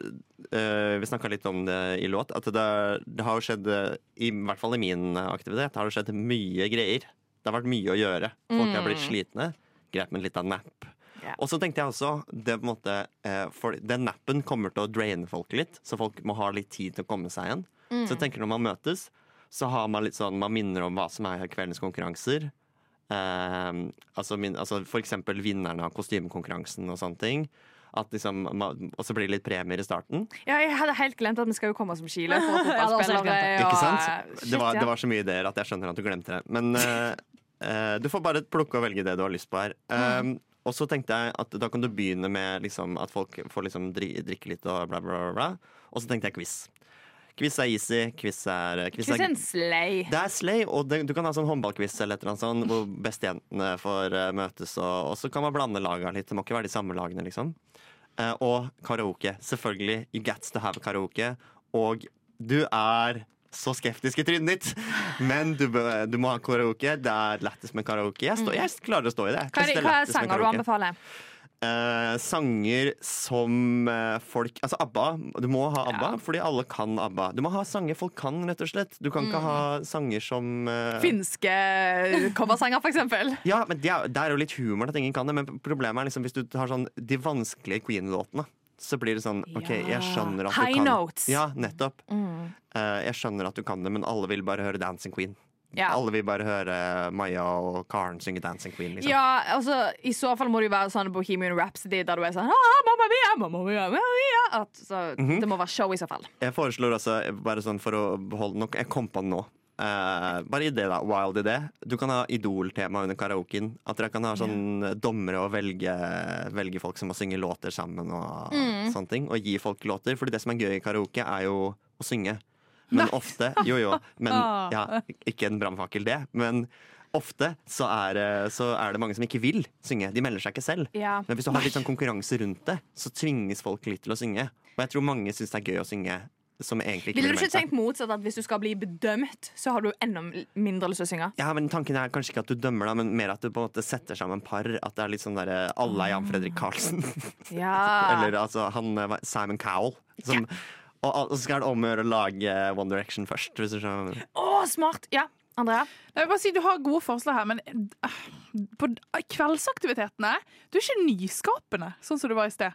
Speaker 3: eh, Vi snakka litt om det i låt. At det, er, det har jo skjedd, eh, i hvert fall i min aktivitet, har det skjedd mye greier. Det har vært mye å gjøre. Folk har blitt slitne. Greit med en liten nap.
Speaker 1: Ja.
Speaker 3: Og så tenkte jeg også det er på en måte, eh, for Den nappen kommer til å draine folk litt, så folk må ha litt tid til å komme seg igjen. Så jeg tenker når man møtes, så har man litt sånn Man minner om hva som er kveldens konkurranser. Eh, altså, min, altså for eksempel vinnerne av kostymekonkurransen og sånne ting. At liksom, man, og så blir det litt premier i starten.
Speaker 1: Ja, jeg hadde helt glemt at vi skal jo komme som skiløpere og
Speaker 2: Jeg hadde også helt
Speaker 1: fotballspillere. eh,
Speaker 2: glemt
Speaker 1: og-
Speaker 3: ikke sant?
Speaker 1: Shit,
Speaker 3: det, var,
Speaker 1: ja.
Speaker 3: det var så mye ideer at jeg skjønner at du glemte det. Men eh, eh, du får bare plukke og velge det du har lyst på her. Um, og så tenkte jeg at da kan du begynne med liksom, at folk får liksom dri drikke litt og bla, bla, bla. bla. Og så tenkte jeg quiz. Quiz er easy. Quiz er, eh, quiz
Speaker 1: Hvis
Speaker 3: er
Speaker 1: en slay.
Speaker 3: det er slay, og det, du kan ha sånn håndballquiz eller et eller annet sånn, hvor bestejentene får eh, møtes, og, og så kan man blande lagene litt. Det må ikke være de samme lagene, liksom. Eh, og karaoke. Selvfølgelig. You gets to have karaoke. Og du er så skeptisk i trynet ditt, men du, bø- du må ha karaoke. Det er lættis med karaoke. Jeg, står- jeg klarer å stå i det.
Speaker 1: Hva er, de-
Speaker 3: Jeg synes det
Speaker 1: Mm. hva er
Speaker 3: lættis med
Speaker 1: sanger du
Speaker 3: karaoke.
Speaker 1: anbefaler?
Speaker 3: eh, sanger som eh, folk Altså ABBA. Du må ha ABBA, fordi alle kan ABBA. Du må ha sanger folk kan, rett og slett. Du kan ikke ha
Speaker 1: Mhm.
Speaker 3: sanger som eh,
Speaker 1: Finske eh, coversanger, for eksempel.
Speaker 3: Ja, men det er, det er jo litt humor at ingen kan det, men problemet er liksom hvis du tar sånn de vanskelige Queen-låtene. Så blir det sånn OK, jeg skjønner at
Speaker 1: High
Speaker 3: du kan
Speaker 1: notes. Mm.
Speaker 3: Ja, nettopp. Eh, jeg skjønner at du kan det, men alle vil bare høre Dancing Queen.
Speaker 1: Ja.
Speaker 3: Alle vil bare høre Maja og Karen synge Dancing Queen, liksom.
Speaker 1: Ja, altså, I så fall må det jo være sånn Bohemian Rhapsody, der du er sånn ah, mamma mia, mamma mia, mamma mia. At, så,
Speaker 3: Mhm.
Speaker 1: Det må være show, i så fall.
Speaker 3: Jeg foreslår altså, bare sånn for å beholde nok Jeg kom på den nå. Eh, bare idé, da. Wild idé. Du kan ha Idol-tema under karaoken. At dere kan ha sånn dommere og velge, velge folk som må synge låter sammen og sånne ting. Og gi folk låter. Fordi det som er gøy i karaoke, er jo å synge. Men ofte Jo, jo. Men ja, ikke en brannfakkel, det. Men ofte så er, det- så er det mange som ikke vil synge. De melder seg ikke selv.
Speaker 1: Ja.
Speaker 3: Men hvis du har litt sånn konkurranse rundt det, så tvinges folk litt til å synge. Og jeg tror mange syns det er gøy å synge som egentlig ikke
Speaker 1: Ville du ikke
Speaker 3: melde seg.
Speaker 1: tenkt motsatt, at hvis du skal bli bedømt, så har du enda mindre lyst til å synge?
Speaker 3: Ja, men Tanken er kanskje ikke at du dømmer, da, men mer at du på en måte setter sammen par. At det er litt sånn derre Alle er Jan Fredrik Karlsen.
Speaker 1: Ja.
Speaker 3: Eller altså han eh, Simon Cowell. Som, og, og så skal det om å gjøre å lage eh, One Direction først. Hvis du skjønner.
Speaker 1: Å, smart! Ja, Andrea.
Speaker 5: Jeg vil bare si, Du har gode forslag her, men eh, på eh, kveldsaktivitetene Du er ikke nyskapende, sånn som du var i sted.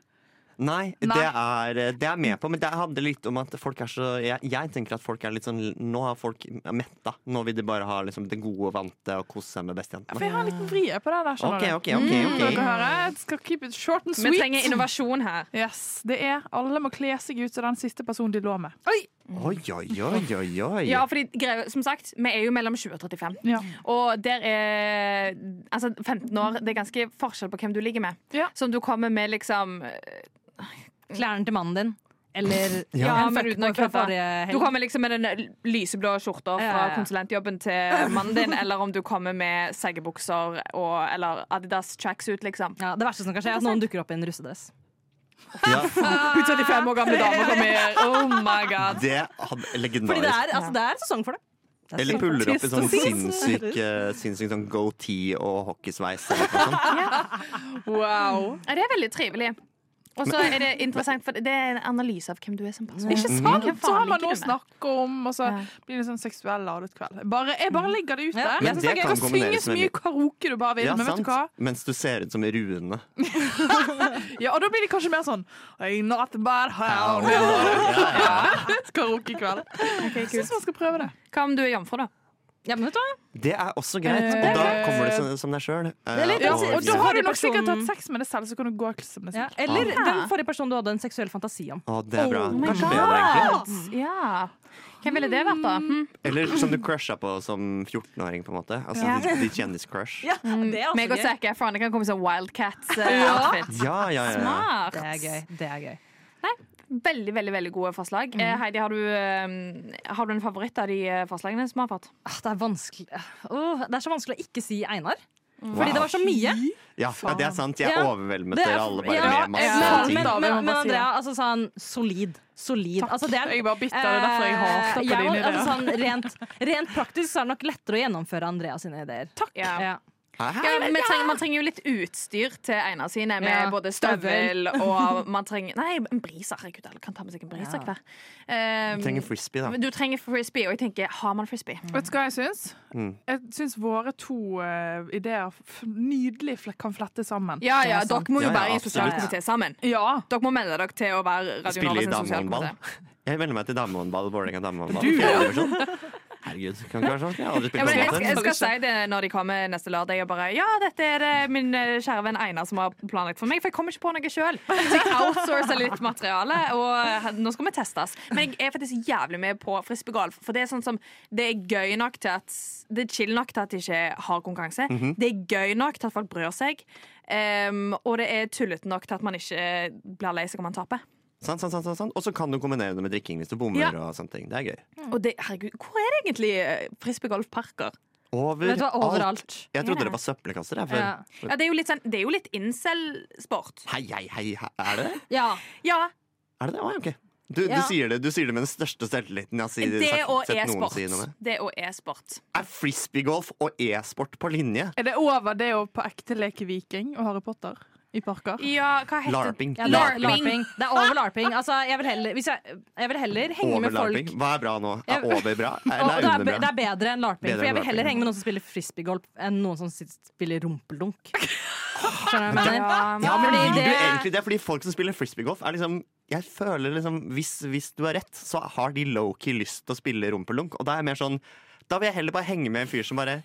Speaker 3: Nei,
Speaker 5: Nei.
Speaker 3: Det, er, eh, det er jeg med på, men det handler litt om at folk er så jeg, jeg tenker at folk er litt sånn Nå har folk metta. Nå vil de bare ha liksom, det gode, vante og kose seg med
Speaker 5: For
Speaker 3: bestejentene.
Speaker 5: jeg har en liten vri på det der. skjønner
Speaker 3: Ok,
Speaker 5: du. Mm,
Speaker 3: ok, ok,
Speaker 2: Mm.
Speaker 3: ok.
Speaker 5: Dere hører, jeg skal keep it short and
Speaker 1: Vi
Speaker 5: sweet.
Speaker 1: trenger innovasjon her.
Speaker 5: Yes, det er Alle må kle seg ut som den siste personen de lå med.
Speaker 3: Oi, oi, oi, oi, oi.
Speaker 1: Ja, fordi greia- som sagt, vi er jo mellom 20 og 35.
Speaker 5: Ja.
Speaker 1: Og der er Altså, 15 år, det er ganske forskjell på hvem du ligger med.
Speaker 5: Ja.
Speaker 1: Så om du kommer med liksom
Speaker 2: Klærne til mannen din. Eller
Speaker 1: Ja,
Speaker 2: en
Speaker 1: men uten å
Speaker 2: fuckboy fra
Speaker 1: kødde.
Speaker 2: forrige
Speaker 1: Du
Speaker 2: helg.
Speaker 1: kommer liksom med den lyseblå skjorta fra
Speaker 2: Ja, ja, ja.
Speaker 1: konsulentjobben til mannen din, eller om du kommer med seggebukser og, eller Adidas tracksuit, liksom.
Speaker 2: Ja, det verste som kan skje, er at noen dukker opp i en russedress.
Speaker 3: Ja,
Speaker 1: Hun 35 år gamle dame kommer her. Oh my god.
Speaker 3: det hadde
Speaker 2: Fordi det
Speaker 3: legendarisk.
Speaker 2: er, altså, det er sesong for det. det er
Speaker 3: Eller
Speaker 2: sesong.
Speaker 3: puller opp i sånn
Speaker 2: Trist å si.
Speaker 3: sinnssyk, eh, sinnssyk sånn goatee og hockeysveis. Eller noe sånt.
Speaker 5: Wow.
Speaker 1: Ja, det er veldig trivelig. Og så er det interessant, for det er en analyse av hvem du er som person.
Speaker 5: Ikke sant?
Speaker 1: Hvem faen
Speaker 5: Så har
Speaker 1: liker
Speaker 5: man noe å
Speaker 1: du med?
Speaker 5: snakke om, og så
Speaker 1: Ja.
Speaker 5: blir det sånn seksuell ladet kveld. Bare, jeg bare legger det ut der.
Speaker 2: Ja.
Speaker 5: Jeg
Speaker 3: Men det
Speaker 5: synes
Speaker 3: kan
Speaker 5: jeg kan synge
Speaker 3: kombineres
Speaker 5: så
Speaker 3: med mye-
Speaker 5: mye karaoke du bare vil,
Speaker 3: Ja,
Speaker 5: men vet
Speaker 3: sant?
Speaker 5: du hva?
Speaker 3: Mens du ser ut som Rune.
Speaker 5: Ja, og da blir det kanskje mer sånn Ain't nothing but how Karaokekveld. Jeg syns man skal prøve det.
Speaker 1: Hva om du er jomfru, da?
Speaker 2: Ja, men vet du hva?
Speaker 3: Det er også
Speaker 2: Eh,
Speaker 3: greit. Og da kommer det som, som deg sjøl. eh,
Speaker 2: litt
Speaker 5: Ja,
Speaker 2: og
Speaker 5: og da
Speaker 2: hvis-
Speaker 5: har du nok
Speaker 2: Personen-
Speaker 5: sikkert hatt sex med deg selv, så kan du gå som det
Speaker 2: Ja.
Speaker 5: selv.
Speaker 2: Eller
Speaker 1: Ah.
Speaker 2: den forrige personen du hadde en seksuell fantasi om.
Speaker 3: Å, det er bra.
Speaker 2: Oh
Speaker 1: my
Speaker 3: Kanskje
Speaker 1: God.
Speaker 3: bedre, egentlig.
Speaker 1: Ja. Hvem ville det vært, da? Hm?
Speaker 3: Eller som du crusha på som 14-åring, på en måte. Altså
Speaker 1: Ja.
Speaker 3: ditt ditt kjendiscrush. Ja,
Speaker 2: det, er
Speaker 1: Meg og Zac Efron det kan komme som Wildcats-outfit.
Speaker 3: ja, ja. ja.
Speaker 1: Smart.
Speaker 2: det er gøy. Det er gøy.
Speaker 1: Veldig veldig, veldig gode forslag. Eh, Heidi, har du, eh, har du en favoritt av de eh, forslagene som vi har fått?
Speaker 2: Ah, Det er vanskelig Åh, Det er så vanskelig å ikke si Einar. Fordi det var så mye.
Speaker 3: Ja, ja, det er sant. Jeg
Speaker 2: Ja.
Speaker 3: overvelmet
Speaker 2: Det er-
Speaker 3: dere alle bare
Speaker 2: ja,
Speaker 3: med masse
Speaker 5: jeg-
Speaker 2: men,
Speaker 3: ting.
Speaker 2: men, men, men
Speaker 5: Bare si det.
Speaker 2: Andrea, altså sånn solid. Solid.
Speaker 5: Takk.
Speaker 2: Altså, det er,
Speaker 5: Jeg er bare bitter, det er derfor jeg hater
Speaker 2: Eh,
Speaker 5: på
Speaker 2: jeg
Speaker 5: dine
Speaker 2: må-
Speaker 5: ideer.
Speaker 2: Altså, sånn, rent, rent praktisk så er det nok lettere å gjennomføre Andreas sine ideer. Takk.
Speaker 1: Ja.
Speaker 2: Ja.
Speaker 3: Hæ?
Speaker 1: Ja, men vi trenger, man trenger jo litt utstyr til Einar sine, med
Speaker 2: Ja,
Speaker 1: både støvel og man trenger, Nei, en briser. Herregud, alle kan ta med seg en briser
Speaker 2: Ja.
Speaker 1: hver. Eh,
Speaker 3: Du trenger frisbee, da.
Speaker 1: men du trenger frisbee, og jeg tenker, har man frisbee?
Speaker 5: Vet du hva jeg syns?
Speaker 3: Mm.
Speaker 5: Jeg syns våre to eh, ideer f nydelig fle- kan flette sammen.
Speaker 1: Ja,
Speaker 2: Det er
Speaker 1: ja,
Speaker 2: sant.
Speaker 1: dere må jo
Speaker 3: Ja, ja,
Speaker 1: være i en
Speaker 3: absolutt.
Speaker 1: sosial komité sammen.
Speaker 5: Ja.
Speaker 1: Dere må melde dere til å være Radio Nova
Speaker 3: Spille i
Speaker 2: sånn
Speaker 1: sin sosiale
Speaker 3: damehåndball.
Speaker 1: komité.
Speaker 3: Jeg melder meg til damehåndball. Vålerenga damehåndball. Fjerdedivisjon. Herregud, kan ikke være sånn. Jeg har aldri
Speaker 1: Ja,
Speaker 3: spilt
Speaker 1: men jeg, skal-
Speaker 3: håndball
Speaker 1: jeg
Speaker 3: før.
Speaker 1: skal si det når de kommer neste lørdag. Og bare, ja, dette er det min eh, kjære venn Einar som har planlagt for meg. For jeg kommer ikke på noe sjøl. Så jeg outsourcer litt materiale, og eh, nå skal vi testes. Men jeg er faktisk jævlig med på frisbeegolf. For det er sånn som Det er gøy nok til at Det er chill nok til at de ikke har konkurranse.
Speaker 3: Mhm.
Speaker 1: Det er gøy nok til at folk bryr seg. Em, og det er tullete nok til at man ikke blir lei seg om man taper.
Speaker 3: Sant, sant, sant, sant, sant. Og så kan du kombinere det med drikking hvis du bommer.
Speaker 1: Ja.
Speaker 3: og sånne ting. Det er gøy.
Speaker 1: Og det, herregud, hvor er det egentlig eh, frisbeegolfparker?
Speaker 3: Over
Speaker 2: Vet du hva,
Speaker 3: alt.
Speaker 2: overalt.
Speaker 3: Jeg
Speaker 1: Ja.
Speaker 3: trodde det var søppelkasser. Jeg,
Speaker 2: Ja.
Speaker 3: før.
Speaker 1: Ja, det er jo litt, sånn, det er jo litt incel-sport.
Speaker 3: Hei, hei, hei. he- Er det det?
Speaker 2: Ja.
Speaker 1: Ja,
Speaker 3: Er det det? Å, ja, ok. Du, du,
Speaker 2: Ja.
Speaker 3: sier det, du sier det med den største selvtilliten jeg har si-
Speaker 1: Det
Speaker 3: sagt-
Speaker 1: og
Speaker 3: sett noen
Speaker 1: e-sport.
Speaker 3: si noe med.
Speaker 1: Det og e-sport.
Speaker 3: Er frisbeegolf og e-sport på linje?
Speaker 5: Er det over det å på ekte leke viking og Harry Potter? I i parker.
Speaker 1: Ja, hva heter
Speaker 3: Larping.
Speaker 2: Ja,
Speaker 1: Larping.
Speaker 2: larping. Det er over larping. Altså, jeg, vil heller, hvis jeg, jeg vil heller henge med folk
Speaker 3: Overlarping. Hva er bra nå? Er
Speaker 2: Jeg-
Speaker 3: over bra?
Speaker 2: og det,
Speaker 3: Eller er
Speaker 2: er, be-
Speaker 3: under
Speaker 2: det
Speaker 3: bra?
Speaker 2: er bedre enn larping.
Speaker 3: Bedre
Speaker 2: for jeg
Speaker 3: enn
Speaker 2: vil heller
Speaker 3: larping.
Speaker 2: henge med noen som spiller frisbeegolf, enn noen som sit- spiller rumpeldunk. Skjønner du hva jeg mener?
Speaker 1: Ja,
Speaker 3: Ja, men
Speaker 2: fordi
Speaker 3: vil du
Speaker 2: det-
Speaker 3: egentlig det? Fordi folk som spiller frisbeegolf, er liksom jeg føler liksom, hvis, hvis du har rett, så har de low-key lyst til å spille rumpelunk. Og da er jeg mer sånn Da vil jeg heller bare henge med en fyr som bare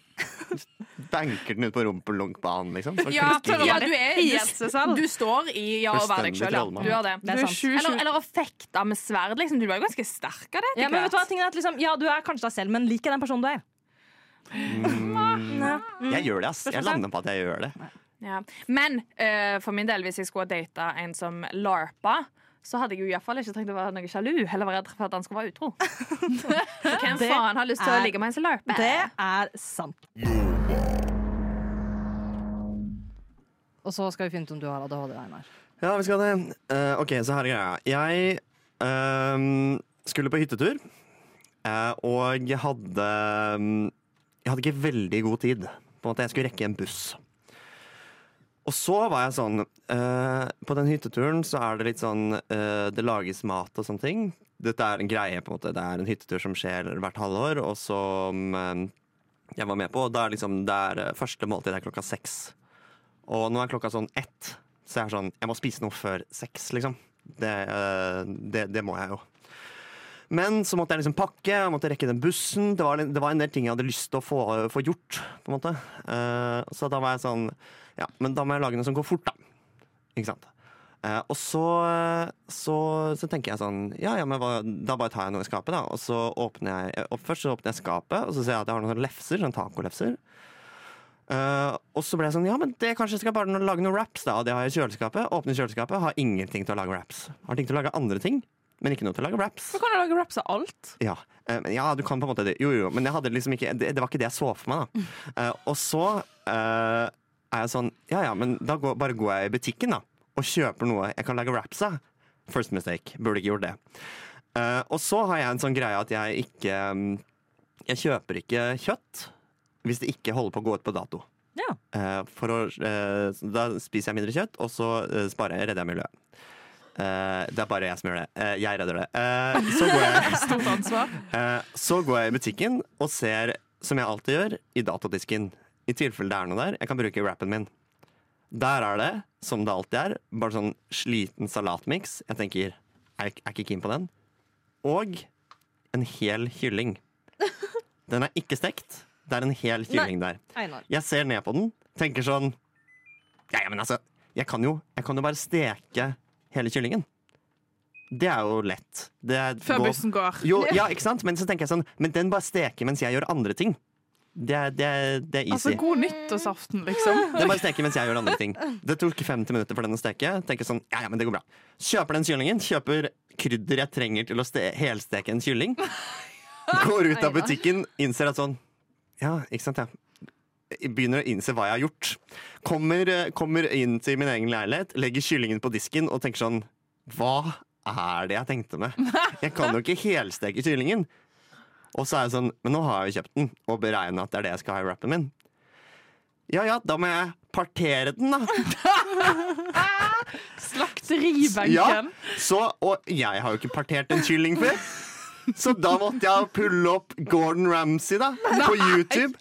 Speaker 3: banker den ut på rumpelunkbanen, liksom. Så
Speaker 1: Ja,
Speaker 3: klikker de.
Speaker 1: ja, du er
Speaker 5: Helt seg selv.
Speaker 1: Du står i ja og være deg
Speaker 3: Fullstendig
Speaker 1: sjøl, ja.
Speaker 3: trollmann.
Speaker 1: Du gjør det.
Speaker 2: Det er
Speaker 5: Du er
Speaker 2: sant.
Speaker 5: sju-
Speaker 1: Eller, eller å fekte med sverd, liksom. Du var jo ganske sterk av det.
Speaker 2: Ja, men vet du hva? Tingen er at liksom, ja, du er kanskje deg selv, men liker den personen du er.
Speaker 3: Jeg gjør det, ass. Jeg lander på at jeg gjør det.
Speaker 1: Ja. Men eh, for min del, hvis jeg skulle ha data en som larpa, så hadde jeg jo iallfall ikke trengt å være noe sjalu eller være redd for at han skulle være utro. Så Hvem
Speaker 2: Det
Speaker 1: faen har lyst til å
Speaker 2: er-
Speaker 1: ligge med en som larper?
Speaker 2: Det er sant. Og så skal vi finne ut om du har ADHD, Einar.
Speaker 3: Ja, vi skal det. Eh, ok, så her er greia. Jeg ehm, skulle på hyttetur, eh, og jeg hadde mm, Jeg hadde ikke veldig god tid. På en måte, Jeg skulle rekke en buss. Og så var jeg sånn eh, På den hytteturen så er det litt sånn eh, Det lages mat og sånne ting. Dette er en greie, på en måte. Det er en hyttetur som skjer hvert halvår, og som eh, jeg var med på. Og da er liksom, det er eh, første måltid er klokka seks. Og nå er klokka sånn ett, så jeg er sånn Jeg må spise noe før seks, liksom. Det, eh, det, det må jeg jo. Men så måtte jeg liksom pakke, jeg måtte rekke den bussen. Det var, det var en del ting jeg hadde lyst til å få, eh, få gjort. på en måte. Eh, så da var jeg sånn Ja, men da må jeg lage noe som går fort, da. Ikke sant. Eh, og så, så, så tenker jeg sånn Ja, ja, men hva, da bare tar jeg noe i skapet, da. Og så åpner jeg opp først, så åpner jeg skapet, og så ser jeg at jeg har noen sånne lefser, sånn tacolefser. Eh, og så ble jeg sånn, ja, men det kanskje jeg skal bare lage noen wraps da, og det har jeg i kjøleskapet. Åpner kjøleskapet, har ingenting til å lage wraps. Har ting til å lage andre ting, men ikke noe til å lage wraps.
Speaker 5: Så kan du lage wraps av alt.
Speaker 3: Ja, eh, men ja, du kan på en måte det. Jo, jo, men jeg hadde liksom ikke, det, det var ikke det jeg så for meg da. Eh, og så eh, er jeg sånn, ja, ja, men da går, bare går jeg i butikken da, og kjøper noe jeg kan lage wraps av. First mistake, burde ikke gjort det. Eh, og så har jeg en sånn greie at jeg ikke, mm, jeg kjøper ikke kjøtt hvis det ikke holder på å gå ut på dato.
Speaker 2: Ja.
Speaker 3: Eh, for å, eh, så da spiser jeg mindre kjøtt, og så eh, sparer jeg, redder jeg miljøet. Eh, det er bare jeg som gjør det. Eh, jeg redder det. Eh, så, går jeg,
Speaker 5: Stort ansvar.
Speaker 3: eh, så går jeg i butikken og ser, som jeg alltid gjør, i datadisken. I tilfelle det er noe der. Jeg kan bruke rappen min. Der er det, som det alltid er, bare sånn sliten salatmiks. Jeg tenker, er, er ikke keen på den. Og en hel kylling. Den er ikke stekt. Det er en hel kylling der.
Speaker 2: Einar.
Speaker 3: Jeg ser ned på den, tenker sånn Ja, ja, men altså jeg kan, jo, jeg kan jo bare steke hele kyllingen. Det er jo lett. Det er-
Speaker 5: Før
Speaker 3: gå-
Speaker 5: bussen går.
Speaker 3: Jo, ja, ikke sant? Men så tenker jeg sånn Men den bare steker mens jeg gjør andre ting. Det er, det er, det er easy.
Speaker 5: Altså, god nyttårsaften, liksom.
Speaker 3: Den bare steker mens jeg gjør andre ting. Det tok 50 minutter for den å steke. Tenker sånn, ja, ja, men det går bra. Kjøper den kyllingen, kjøper krydder jeg trenger til å ste helsteke en kylling. Går ut av butikken, innser at sånn, ja, ikke sant, ja. Jeg Begynner å innse hva jeg har gjort. Kommer, eh, kommer inn til min egen leilighet, legger kyllingen på disken og tenker sånn, hva er det jeg tenkte med? Jeg kan jo ikke helsteke kyllingen. Og så er jeg sånn, men nå har jeg jo kjøpt den, og beregnet at det er det jeg skal ha i rappen min. Ja ja, da må jeg partere den, da. Ja,
Speaker 5: Slakteribenken.
Speaker 3: så, og jeg har jo ikke partert en kylling før. Så da måtte jeg pulle opp Gordon Ramsay da, på YouTube.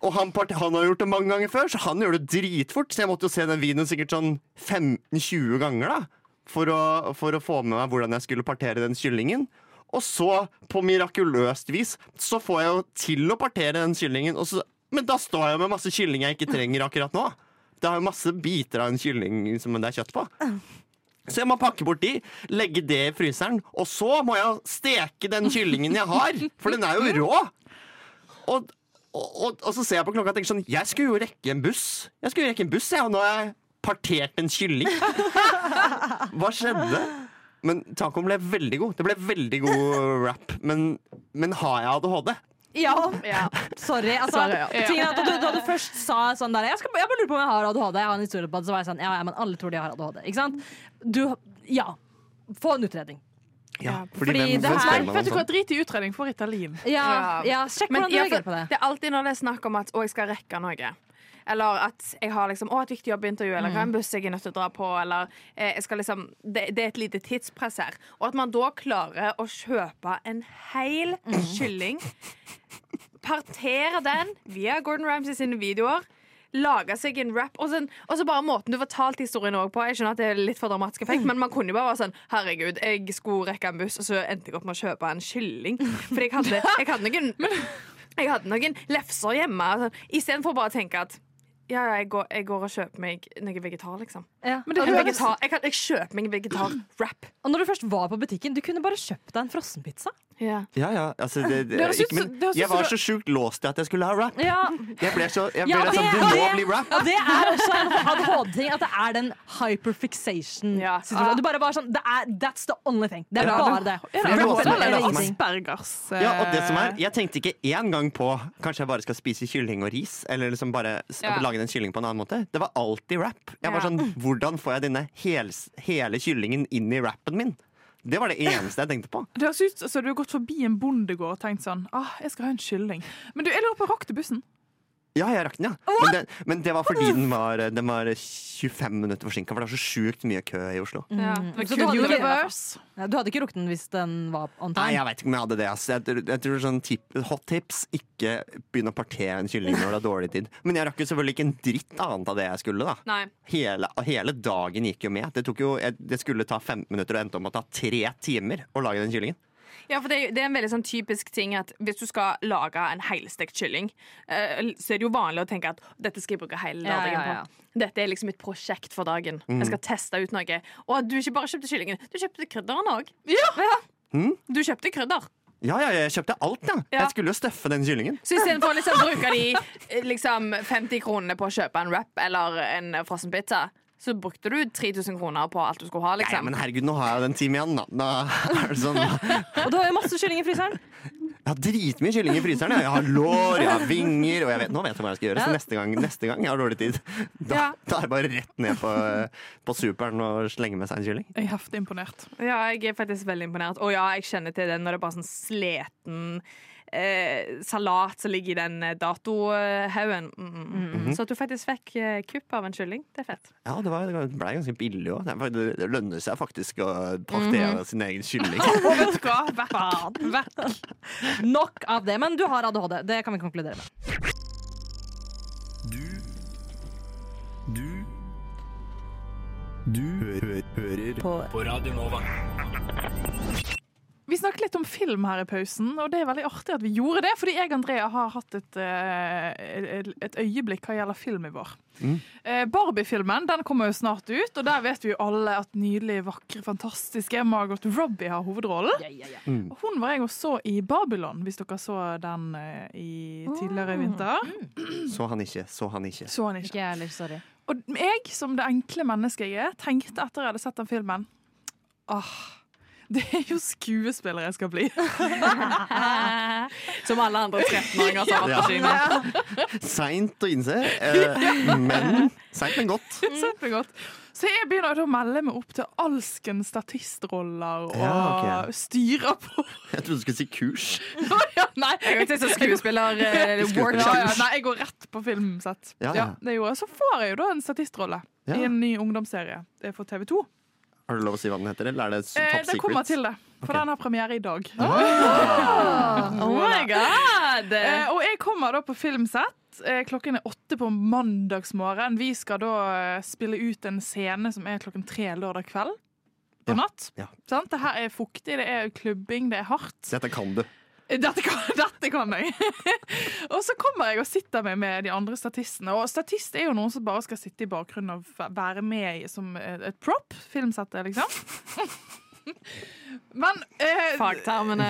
Speaker 3: Og han, part- han har gjort det mange ganger før, så han gjør det dritfort. Så jeg måtte jo se den videoen sikkert sånn 15-20 ganger da, for å, for å få med meg hvordan jeg skulle partere den kyllingen. Og så, på mirakuløst vis, så får jeg jo til å partere den kyllingen. Og så, men da står jeg jo med masse kylling jeg ikke trenger akkurat nå. Det har jo masse biter av en kylling som det er kjøtt på. Så jeg må pakke bort de, legge det i fryseren, og så må jeg steke den kyllingen jeg har, for den er jo rå. Og, og, og, og så ser jeg på klokka og tenker sånn, jeg skulle jo rekke en buss. Jeg skulle jo rekke en buss, jeg, og nå har jeg partert en kylling. Hva skjedde? Men tacoen ble veldig god. Det ble veldig god wrap. Men, men har jeg ADHD?
Speaker 2: Ja,
Speaker 1: Ja.
Speaker 2: sorry. Altså,
Speaker 5: Sorry, ja.
Speaker 2: tingen er at da, du, da du først sa sånn der jeg, skal, jeg bare lurer på om jeg har ADHD, jeg har en historie på det, så var jeg sånn Ja, ja, men alle tror de har ADHD. Ikke sant? Du Ja. Få en utredning.
Speaker 3: Ja,
Speaker 2: fordi det her-
Speaker 3: spør meg sånn? om
Speaker 5: Vet du hva,
Speaker 3: sånt?
Speaker 5: drit i utredning for Ritalin.
Speaker 2: Ja,
Speaker 1: Ja.
Speaker 2: ja sjekk
Speaker 1: Men
Speaker 2: hvordan du
Speaker 1: i hvert fall,
Speaker 2: reagerer på det.
Speaker 1: det er alltid når det er snakk om at å, jeg skal rekke noe. Eller at jeg har liksom, å, et viktig jobbintervju,
Speaker 2: Mm.
Speaker 1: eller hva er en buss jeg er nødt til å dra på, eller eh, jeg skal liksom, det, det er et lite tidspress her. Og at man da klarer å kjøpe en hel
Speaker 2: Mm.
Speaker 1: kylling, partere den via Gordon Ramsay sine videoer, lage seg en rap, og, sånn, og så bare måten du fortalte historien også på. Jeg skjønner at det er litt for dramatisk effekt, men man kunne jo bare være sånn Herregud, jeg skulle rekke en buss, og så endte jeg opp med å kjøpe en kylling. For jeg hadde, jeg hadde noen jeg hadde noen lefser hjemme. Altså, Istedenfor bare å tenke at ja, ja, jeg går, jeg går og kjøper meg noe vegetar, liksom.
Speaker 2: Ja.
Speaker 1: Og
Speaker 2: Og du-
Speaker 1: vegetar, jeg, kan, jeg kjøper meg en vegetar-wrap.
Speaker 2: Og når du først var på butikken, du kunne bare kjøpt deg en frossenpizza.
Speaker 1: Ja.
Speaker 3: Ja, ja. Altså, det, det,
Speaker 5: Det høres ut
Speaker 3: ikke, men,
Speaker 5: som- det høres ut
Speaker 3: jeg
Speaker 5: som
Speaker 3: var
Speaker 5: du-
Speaker 3: så sjukt låst i at jeg skulle ha rap.
Speaker 2: Ja,
Speaker 3: Jeg ble så, jeg ble
Speaker 2: Ja, det-
Speaker 3: sånn, Du må
Speaker 2: det-
Speaker 3: bli rap!
Speaker 2: og det er også en ADHD-ting. At det er den hyperfixation.
Speaker 1: Ja.
Speaker 2: situasjonen. Du bare, bare sånn, det er, That's the only thing. Det er
Speaker 5: Ja,
Speaker 2: bare det.
Speaker 5: Er
Speaker 3: det
Speaker 5: det
Speaker 3: noe
Speaker 5: ADHD
Speaker 3: som er-
Speaker 5: eller
Speaker 3: er det
Speaker 2: ingenting?
Speaker 5: Aspergers? eh,
Speaker 3: Ja, og det som er,
Speaker 1: Eh.
Speaker 3: Jeg tenkte ikke én gang på kanskje jeg bare skal spise kylling og ris. Eller liksom bare s-
Speaker 1: Ja.
Speaker 3: lage den kyllingen på en annen måte. Det var alltid rap. Jeg var
Speaker 1: Ja.
Speaker 3: sånn, Hvordan får jeg denne hels- hele kyllingen inn i rappen min? Det var det eneste jeg tenkte på.
Speaker 5: Det høres ut som du har gått forbi en bondegård og tenkt sånn ah, jeg skal ha en kylling. Men du, jeg lurer på, rakk du bussen?
Speaker 3: Ja, jeg rakk den, ja. Men det, men det var fordi den var, den var 25 minutter forsinka, for det er så sjukt mye kø i Oslo.
Speaker 1: Ja.
Speaker 2: Mm. Så du hadde, ikke, Ja, du hadde ikke rukket den hvis den var on
Speaker 3: Nei,
Speaker 2: time?
Speaker 3: jeg vet ikke om jeg hadde det. ass. Jeg, tror- jeg tror sånn tip, Hot tips ikke begynn å partere en kylling når det er dårlig tid. Men jeg rakk jo selvfølgelig ikke en dritt annet av det jeg skulle. da
Speaker 1: Nei.
Speaker 3: hele, hele dagen gikk jo med. Det, tok jo, det skulle ta 15 minutter og endte om å ta tre timer å lage den kyllingen.
Speaker 1: Ja, for det, er- det er en veldig sånn typisk ting at hvis du skal lage en helstekt kylling, eh, så er det jo vanlig å tenke at dette skal jeg bruke hele
Speaker 2: Ja,
Speaker 1: dagen
Speaker 2: ja, ja.
Speaker 1: på. Dette er liksom et prosjekt for dagen. Jeg skal teste ut noe. Og at du ikke bare kjøpte kyllingen, du kjøpte krydderen òg. Du kjøpte krydder.
Speaker 3: Ja, ja, jeg kjøpte alt, ja.
Speaker 1: Ja.
Speaker 3: Jeg skulle jo støffe den kyllingen.
Speaker 1: Så istedenfor å liksom bruke de eh, liksom, 50 kronene på å kjøpe en wrap eller en eh, frossen pizza, så brukte du 3000 kroner på alt du skulle ha.
Speaker 3: Nei,
Speaker 1: liksom.
Speaker 3: men herregud, nå har jeg jo den timen igjen, da. da er det sånn, jeg
Speaker 2: Og du har jo masse kylling i fryseren.
Speaker 3: har dritmye kylling i fryseren. Jeg Jeg har lår, jeg har vinger, og jeg vet, nå vet jeg hva jeg skal gjøre. Så neste gang, neste gang jeg har dårlig tid, da,
Speaker 1: Ja.
Speaker 3: da er det bare rett ned på, på superen og slenge med seg en kylling.
Speaker 5: Jeg er heftig imponert.
Speaker 1: Ja, jeg er faktisk veldig imponert. Og ja, jeg kjenner til den når det er bare sånn sleten eh, salat som ligger i den eh, datohaugen. Mm, mm, mm.
Speaker 5: Mhm.
Speaker 1: Så at du faktisk fikk eh, kupp av en kylling, det er fett.
Speaker 3: Ja, det, var, det ble ganske billig òg. Det det lønner seg faktisk å
Speaker 1: Mhm.
Speaker 3: partere sin egen kylling.
Speaker 5: Og vet du hva? Vekk. Vekk.
Speaker 2: Nok av det. Men du har ADHD. Det kan vi konkludere med.
Speaker 8: Du Du Du hø hø hører på. på Radio Nova.
Speaker 5: Vi snakket litt om film her i pausen, og det er veldig artig at vi gjorde det, fordi jeg og Andrea har hatt et, eh, et- et øyeblikk hva gjelder film i vår. Eh, Barbie-filmen den kommer jo snart ut, og der vet vi jo alle at nydelige, vakre, fantastiske Margot Robbie har hovedrollen. Og Hun var jeg og så i Babylon, hvis dere så den eh, i tidligere i vinter.
Speaker 3: Så han ikke, så han ikke.
Speaker 5: Mm. Så han ikke.
Speaker 2: jeg heller. Sorry.
Speaker 5: Og jeg, som det enkle mennesket jeg er, tenkte etter jeg hadde sett den filmen Åh, det er jo skuespiller jeg skal bli.
Speaker 1: Som alle andre 13-åringer som har vært på kino.
Speaker 3: Seint å innse, eh, men seint, men godt.
Speaker 5: Kjempegodt. Så jeg begynner da å melde meg opp til alsken statistroller og
Speaker 3: Ja, ok.
Speaker 5: styrer på
Speaker 3: Jeg trodde du skulle si kurs.
Speaker 5: ja, Nei,
Speaker 1: Jeg går til sånn skuespiller-workshop.
Speaker 5: ja, ja, nei, jeg går rett på filmsett.
Speaker 3: Ja,
Speaker 5: Ja,
Speaker 3: ja.
Speaker 5: det gjorde jeg. Så får jeg jo da en statistrolle
Speaker 3: Ja.
Speaker 5: i en ny ungdomsserie eh, for TV 2.
Speaker 3: Har du lov å si hva den heter, eller er det s-
Speaker 5: Eh,
Speaker 3: Top
Speaker 5: det
Speaker 3: Secret?
Speaker 5: kommer
Speaker 3: Ah.
Speaker 5: til det, for den har premiere i dag.
Speaker 2: Ah.
Speaker 1: oh my god!
Speaker 5: Eh, og jeg kommer da på filmsett. Eh, klokken er åtte på mandagsmorgen. Vi skal da eh, spille ut en scene som er klokken tre lørdag kveld. På
Speaker 3: Ja.
Speaker 5: natt.
Speaker 3: Ja.
Speaker 5: Sant? Det her er fuktig, det er klubbing, det er hardt. Eh,
Speaker 3: Dette kan du.
Speaker 5: Dette kan, dette kan jeg! og så kommer jeg og sitter meg med de andre statistene. Og statist er jo noen som bare skal sitte i bakgrunnen og væ- være med i- som et et prop. Filmsettet, liksom. Men eh,
Speaker 1: Fagtermene.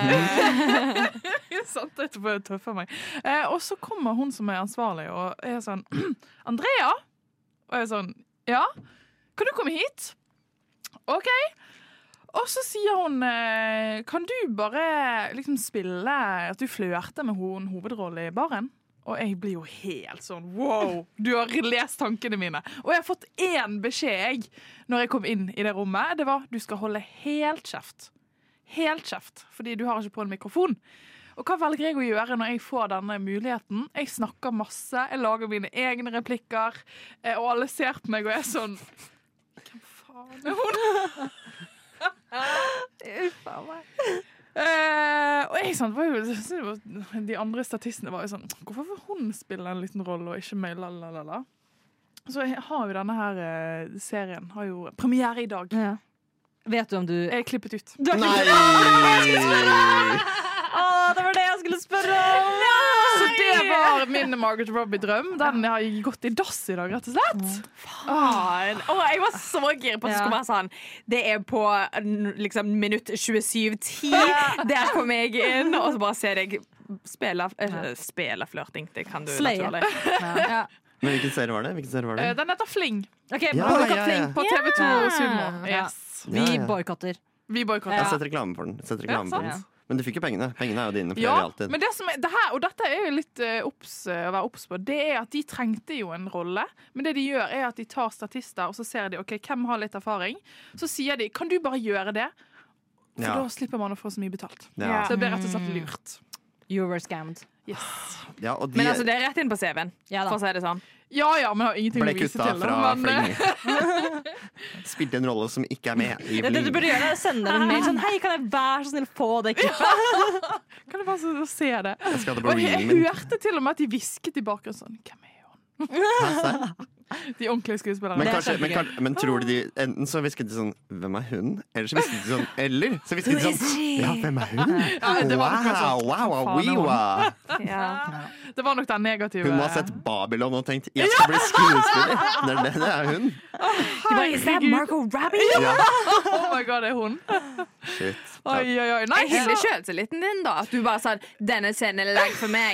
Speaker 5: Sant, dette bare tøffer meg. Eh, og så kommer hun som er ansvarlig og er sånn Andrea! Og jeg er sånn Ja? Kan du komme hit? OK. Og så sier hun eh, Kan du bare liksom spille at du flørter med hun hovedrollen i baren? Og jeg blir jo helt sånn wow! Du har lest tankene mine. Og jeg har fått én beskjed jeg, når jeg kom inn i det rommet. Det var du skal holde helt kjeft. Helt kjeft, fordi du har ikke på en mikrofon. Og hva velger jeg å gjøre når jeg får denne muligheten? Jeg snakker masse, jeg lager mine egne replikker, eh, og alle ser på meg og er sånn Hvem faen er hun? Eh, og jeg sånn, var jo, jeg synes det var- de andre statistene var jo sånn Hvorfor får hun spille en liten rolle, og ikke meg? La, la, la, la. Så jeg har jo denne her eh, serien har jo premiere i dag.
Speaker 2: Ja. Vet du om du
Speaker 5: Jeg er klippet ut.
Speaker 3: Nei!
Speaker 2: Å, Ah, det var det jeg skulle spørre om!
Speaker 5: Så det var min Margaret Robbie-drøm. Den har gått i dass i dag, rett og slett.
Speaker 1: Faen. Å, jeg var så gira på at det
Speaker 2: Ja.
Speaker 1: skulle være sånn. Det er på n- liksom, minutt 27.10. Der kommer jeg inn, og så bare ser jeg spille, eh, spille flørting. Det kan du
Speaker 2: Slayer.
Speaker 1: naturlig.
Speaker 2: Ja.
Speaker 3: Men hvilken serie var det? Hvilken serie var det?
Speaker 5: Eh, Den heter Fling
Speaker 2: OK,
Speaker 3: Ah, Ja,
Speaker 2: boikott
Speaker 3: ja, ja.
Speaker 2: Flink
Speaker 5: på
Speaker 2: på
Speaker 5: TV2
Speaker 1: Ja.
Speaker 5: Sumo.
Speaker 2: Ja.
Speaker 5: Yes.
Speaker 2: Vi
Speaker 3: Ja, ja.
Speaker 2: boikotter.
Speaker 5: Vi
Speaker 3: Jeg har
Speaker 5: boikotter.
Speaker 3: sett reklame for den. Sett reklame
Speaker 5: Ja,
Speaker 3: for den.
Speaker 2: sant.
Speaker 3: Men du fikk jo pengene. Pengene er jo dine. for det
Speaker 5: Ja,
Speaker 3: er vi alltid.
Speaker 5: men det som er, det her, og dette er jo litt eh, obs, eh, å være obs på, det er at de trengte jo en rolle. Men det de gjør, er at de tar statister, og så ser de ok, hvem har litt erfaring. Så sier de kan du bare gjøre det, for
Speaker 3: Ja.
Speaker 5: da slipper man å få så mye betalt.
Speaker 3: Ja.
Speaker 5: Så det blir rett og slett lurt.
Speaker 2: You were scammed.
Speaker 5: Yes.
Speaker 3: Ja, og de
Speaker 1: Men altså, det er rett inn på CV-en,
Speaker 2: Ja da.
Speaker 1: for å si det sånn.
Speaker 5: Ja ja, men jeg har ingenting
Speaker 3: ble
Speaker 5: å vise
Speaker 3: kutta
Speaker 5: til.
Speaker 3: fra
Speaker 5: da, men, eh,
Speaker 3: Fling. Spilte en rolle som ikke er med i
Speaker 2: Det, det du
Speaker 3: Fling.
Speaker 2: burde gjøre, er å sende dem en mail sånn Hei, kan jeg være så snill få det klippet?
Speaker 5: Kan du bare så- se det?
Speaker 3: Jeg skal ha det på
Speaker 5: Og jeg
Speaker 3: reelen min.
Speaker 5: hørte til og med at de hvisket i bakgrunnen sånn Hvem er hun?
Speaker 3: Hæ, se.
Speaker 5: De ordentlige skuespillerne.
Speaker 2: Det
Speaker 3: Men,
Speaker 2: er
Speaker 3: kanskje, men,
Speaker 2: kjempegøy.
Speaker 3: kan- men tror du de
Speaker 5: Ah.
Speaker 3: Enten så hvisket de sånn 'Hvem er hun?' Eller så hvisket de sånn 'Eller?' Så hvisket de sånn 'Ja, hvem er hun?'
Speaker 5: Ja, det, var nok kanskje, sånn,
Speaker 3: Wow, wow, wow,
Speaker 5: Faen, det var-
Speaker 3: wiwa.
Speaker 5: det var nok den negative
Speaker 3: Hun må ha sett Babylon og tenkt 'Jeg skal bli skuespiller'. Det er det det er hun.
Speaker 1: De bare, Is that Margot Robbie?
Speaker 3: Ja,
Speaker 5: Oh my god, det er hun.
Speaker 3: shit.
Speaker 5: Oi, oi, oi. Nei,
Speaker 1: Jeg hyller
Speaker 5: så-
Speaker 1: sjøltilliten din, da. At du bare sånn Denne scenen er lagd for meg.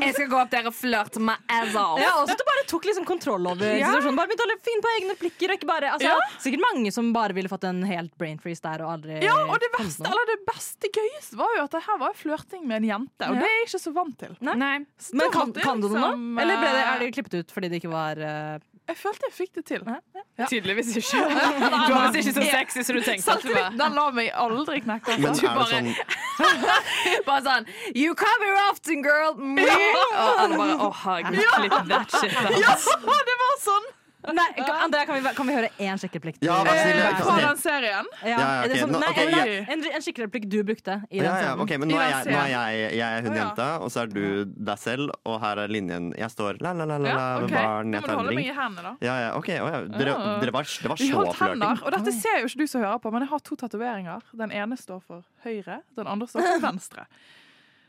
Speaker 1: Jeg skal gå opp der og flørte med Azal.
Speaker 2: Ja, også at du bare tok liksom kontroll over situasjonen. Bare begynte å finne på egne replikker. Og ikke bare, altså,
Speaker 5: Ja.
Speaker 2: Sikkert mange som bare ville fått en helt brain freeze der og aldri
Speaker 5: Ja, og det
Speaker 2: kommet på
Speaker 5: verste,
Speaker 2: noe.
Speaker 5: eller det beste gøyeste var jo at det her var jo flørting med en jente, og
Speaker 2: Ja.
Speaker 5: det er jeg ikke så vant til.
Speaker 2: Nei.
Speaker 1: Nei.
Speaker 5: Så
Speaker 2: Men
Speaker 5: da
Speaker 2: kan,
Speaker 5: måtte jeg
Speaker 2: kan du det nå?
Speaker 5: liksom,
Speaker 2: Eller ble det, er
Speaker 5: eh,
Speaker 2: det klippet ut fordi det ikke var eh,
Speaker 5: Jeg følte jeg fikk det til.
Speaker 1: Tydeligvis ikke. Du var visst ikke så sexy som du tenkte. at du var.
Speaker 5: Selvtillit, den la meg aldri knekke.
Speaker 3: Men er
Speaker 5: Altså.
Speaker 3: det
Speaker 1: bare-
Speaker 3: sånn
Speaker 1: Bare sånn You come here often, girl. Og alle bare Å, herregud, klipp that shit out.
Speaker 5: Ja, det var sånn!
Speaker 2: Nei, kan, Andrea, kan vi, kan vi høre én sjekkereplikk?
Speaker 3: Ja, vær så snill, vær
Speaker 5: Eh,
Speaker 3: så
Speaker 5: Fra
Speaker 3: snill.
Speaker 5: den serien.
Speaker 2: Ja,
Speaker 3: Ja, ja,
Speaker 2: er det
Speaker 3: ok,
Speaker 2: sånn-
Speaker 3: liksom nå-
Speaker 2: nei,
Speaker 3: ok,
Speaker 2: en-
Speaker 5: jeg-
Speaker 2: En, en sjekkereplikk du brukte i den
Speaker 3: ja, ja,
Speaker 2: serien.
Speaker 3: ok, men nå er, jeg, nå er jeg, jeg er hun
Speaker 5: Å, ja.
Speaker 3: jenta, og så er du deg selv, og her er linjen. Jeg står la, la, la, la, la
Speaker 5: Ja, ok.
Speaker 3: med barn,
Speaker 5: Da
Speaker 3: jeg
Speaker 5: må du
Speaker 3: tar en
Speaker 5: holde meg
Speaker 3: drink.
Speaker 5: i hendene, da.
Speaker 3: Ja, ja, ok, å, ja. Dere,
Speaker 5: Ja.
Speaker 3: dere var, det var
Speaker 5: Vi
Speaker 3: så
Speaker 5: holdt hender,
Speaker 3: flørting.
Speaker 5: og dette ser jo ikke du som hører på, men jeg har to tatoveringer. Den ene står for høyre, den andre står for venstre.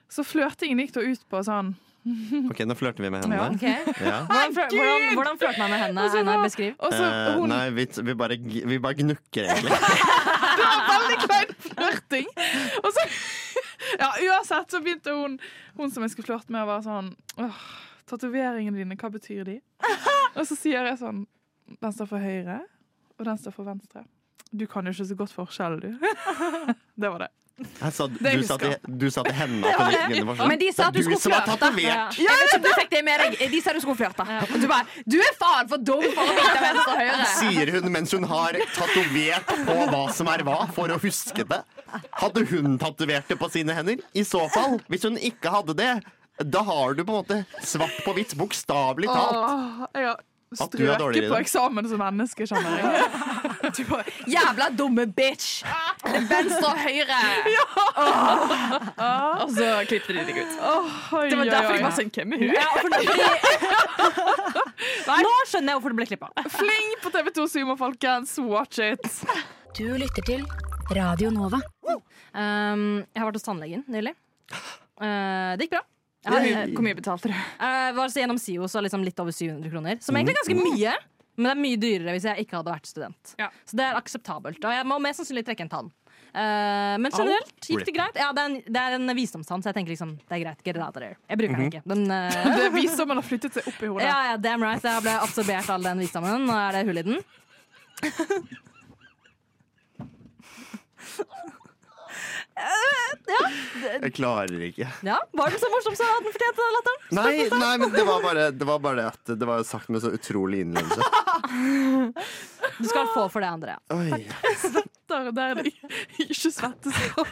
Speaker 5: Så flørtingen gikk da ut på sånn
Speaker 3: Ok, nå flørter vi med hendene.
Speaker 2: Ok.
Speaker 3: Ja.
Speaker 2: Hvordan, flør- hvordan, hvordan flørter man med hendene?
Speaker 5: Og så
Speaker 2: Einar,
Speaker 5: da-
Speaker 2: beskriv.
Speaker 5: Og
Speaker 1: Altså,
Speaker 5: så
Speaker 3: Eh,
Speaker 5: hun
Speaker 3: nei, vi, vi, bare, g- vi bare gnukker, egentlig.
Speaker 5: Veldig klein flørting. Og så Ja, uansett så begynte hun Hun som jeg skulle flørte med, å være sånn Åh, tatoveringene dine, hva betyr de? Og så sier jeg sånn Den står for høyre, og den står for venstre. Du kan jo ikke så godt forskjell, du. Det var det.
Speaker 3: Jeg sa-
Speaker 5: jeg
Speaker 3: du, sa
Speaker 5: husker.
Speaker 3: til, du sa til henne at hun ikke kunne forstå.
Speaker 1: Men de sa at du
Speaker 3: Det er
Speaker 1: skulle
Speaker 3: som var
Speaker 1: flørte.
Speaker 3: tatovert!
Speaker 1: Jeg vet ikke om du fikk det med deg. De sa du skulle flørte. Og du bare Du er faen for dum for å vite venstre og høyre.
Speaker 3: Sier hun mens hun har tatovert på hva som er hva, for å huske det. Hadde hun tatovert det på sine hender? I så fall, hvis hun ikke hadde det, da har du på en måte svart på hvitt, bokstavelig talt.
Speaker 5: Åh, jeg har
Speaker 3: At du er dårligere i
Speaker 5: strøket på
Speaker 3: det.
Speaker 5: eksamen som menneske, kjenner jeg.
Speaker 1: Jævla dumme bitch. Det er venstre og høyre. Åh. Og så klippet de deg ut.
Speaker 5: Oi,
Speaker 1: Det var
Speaker 5: oi,
Speaker 1: derfor
Speaker 5: oi.
Speaker 1: jeg var sånn Hvem er hun?
Speaker 2: Ja, for nå, nå skjønner jeg hvorfor det ble klippa.
Speaker 5: Fling på TV2 Sumo, folkens. Watch it.
Speaker 7: Du lytter til Radio Nova.
Speaker 2: Um, jeg har vært hos tannlegen nylig. Uh, det gikk bra. Jeg har,
Speaker 1: Hvor mye betalte du?
Speaker 2: eh, var så gjennom SIO, så liksom litt over 700 kroner. Som egentlig er ganske mye, men det er mye dyrere hvis jeg ikke hadde vært student.
Speaker 1: Ja.
Speaker 2: Så det er akseptabelt. Og jeg må mest sannsynlig trekke en tann. Eh, men generelt gikk det greit. Ja, det, er en, det er en visdomstann, så jeg tenker liksom det er greit. Get it out of there. Jeg bruker den ikke. Den, eh,
Speaker 5: Det er visdommen har flyttet seg opp i hodet.
Speaker 2: Ja, ja, damn right. Jeg ble absorbert all den visdommen. Nå er det hull i den.
Speaker 3: Jeg klarer ikke.
Speaker 2: Ja, Var den så morsom, så hadde den fortjent den latteren.
Speaker 3: Nei, nei men det var, bare, det var bare det at det var sagt med så utrolig innlevelse.
Speaker 2: Du skal få for det, Andrea.
Speaker 3: Oi.
Speaker 5: Der, der det ikke svettes sånn.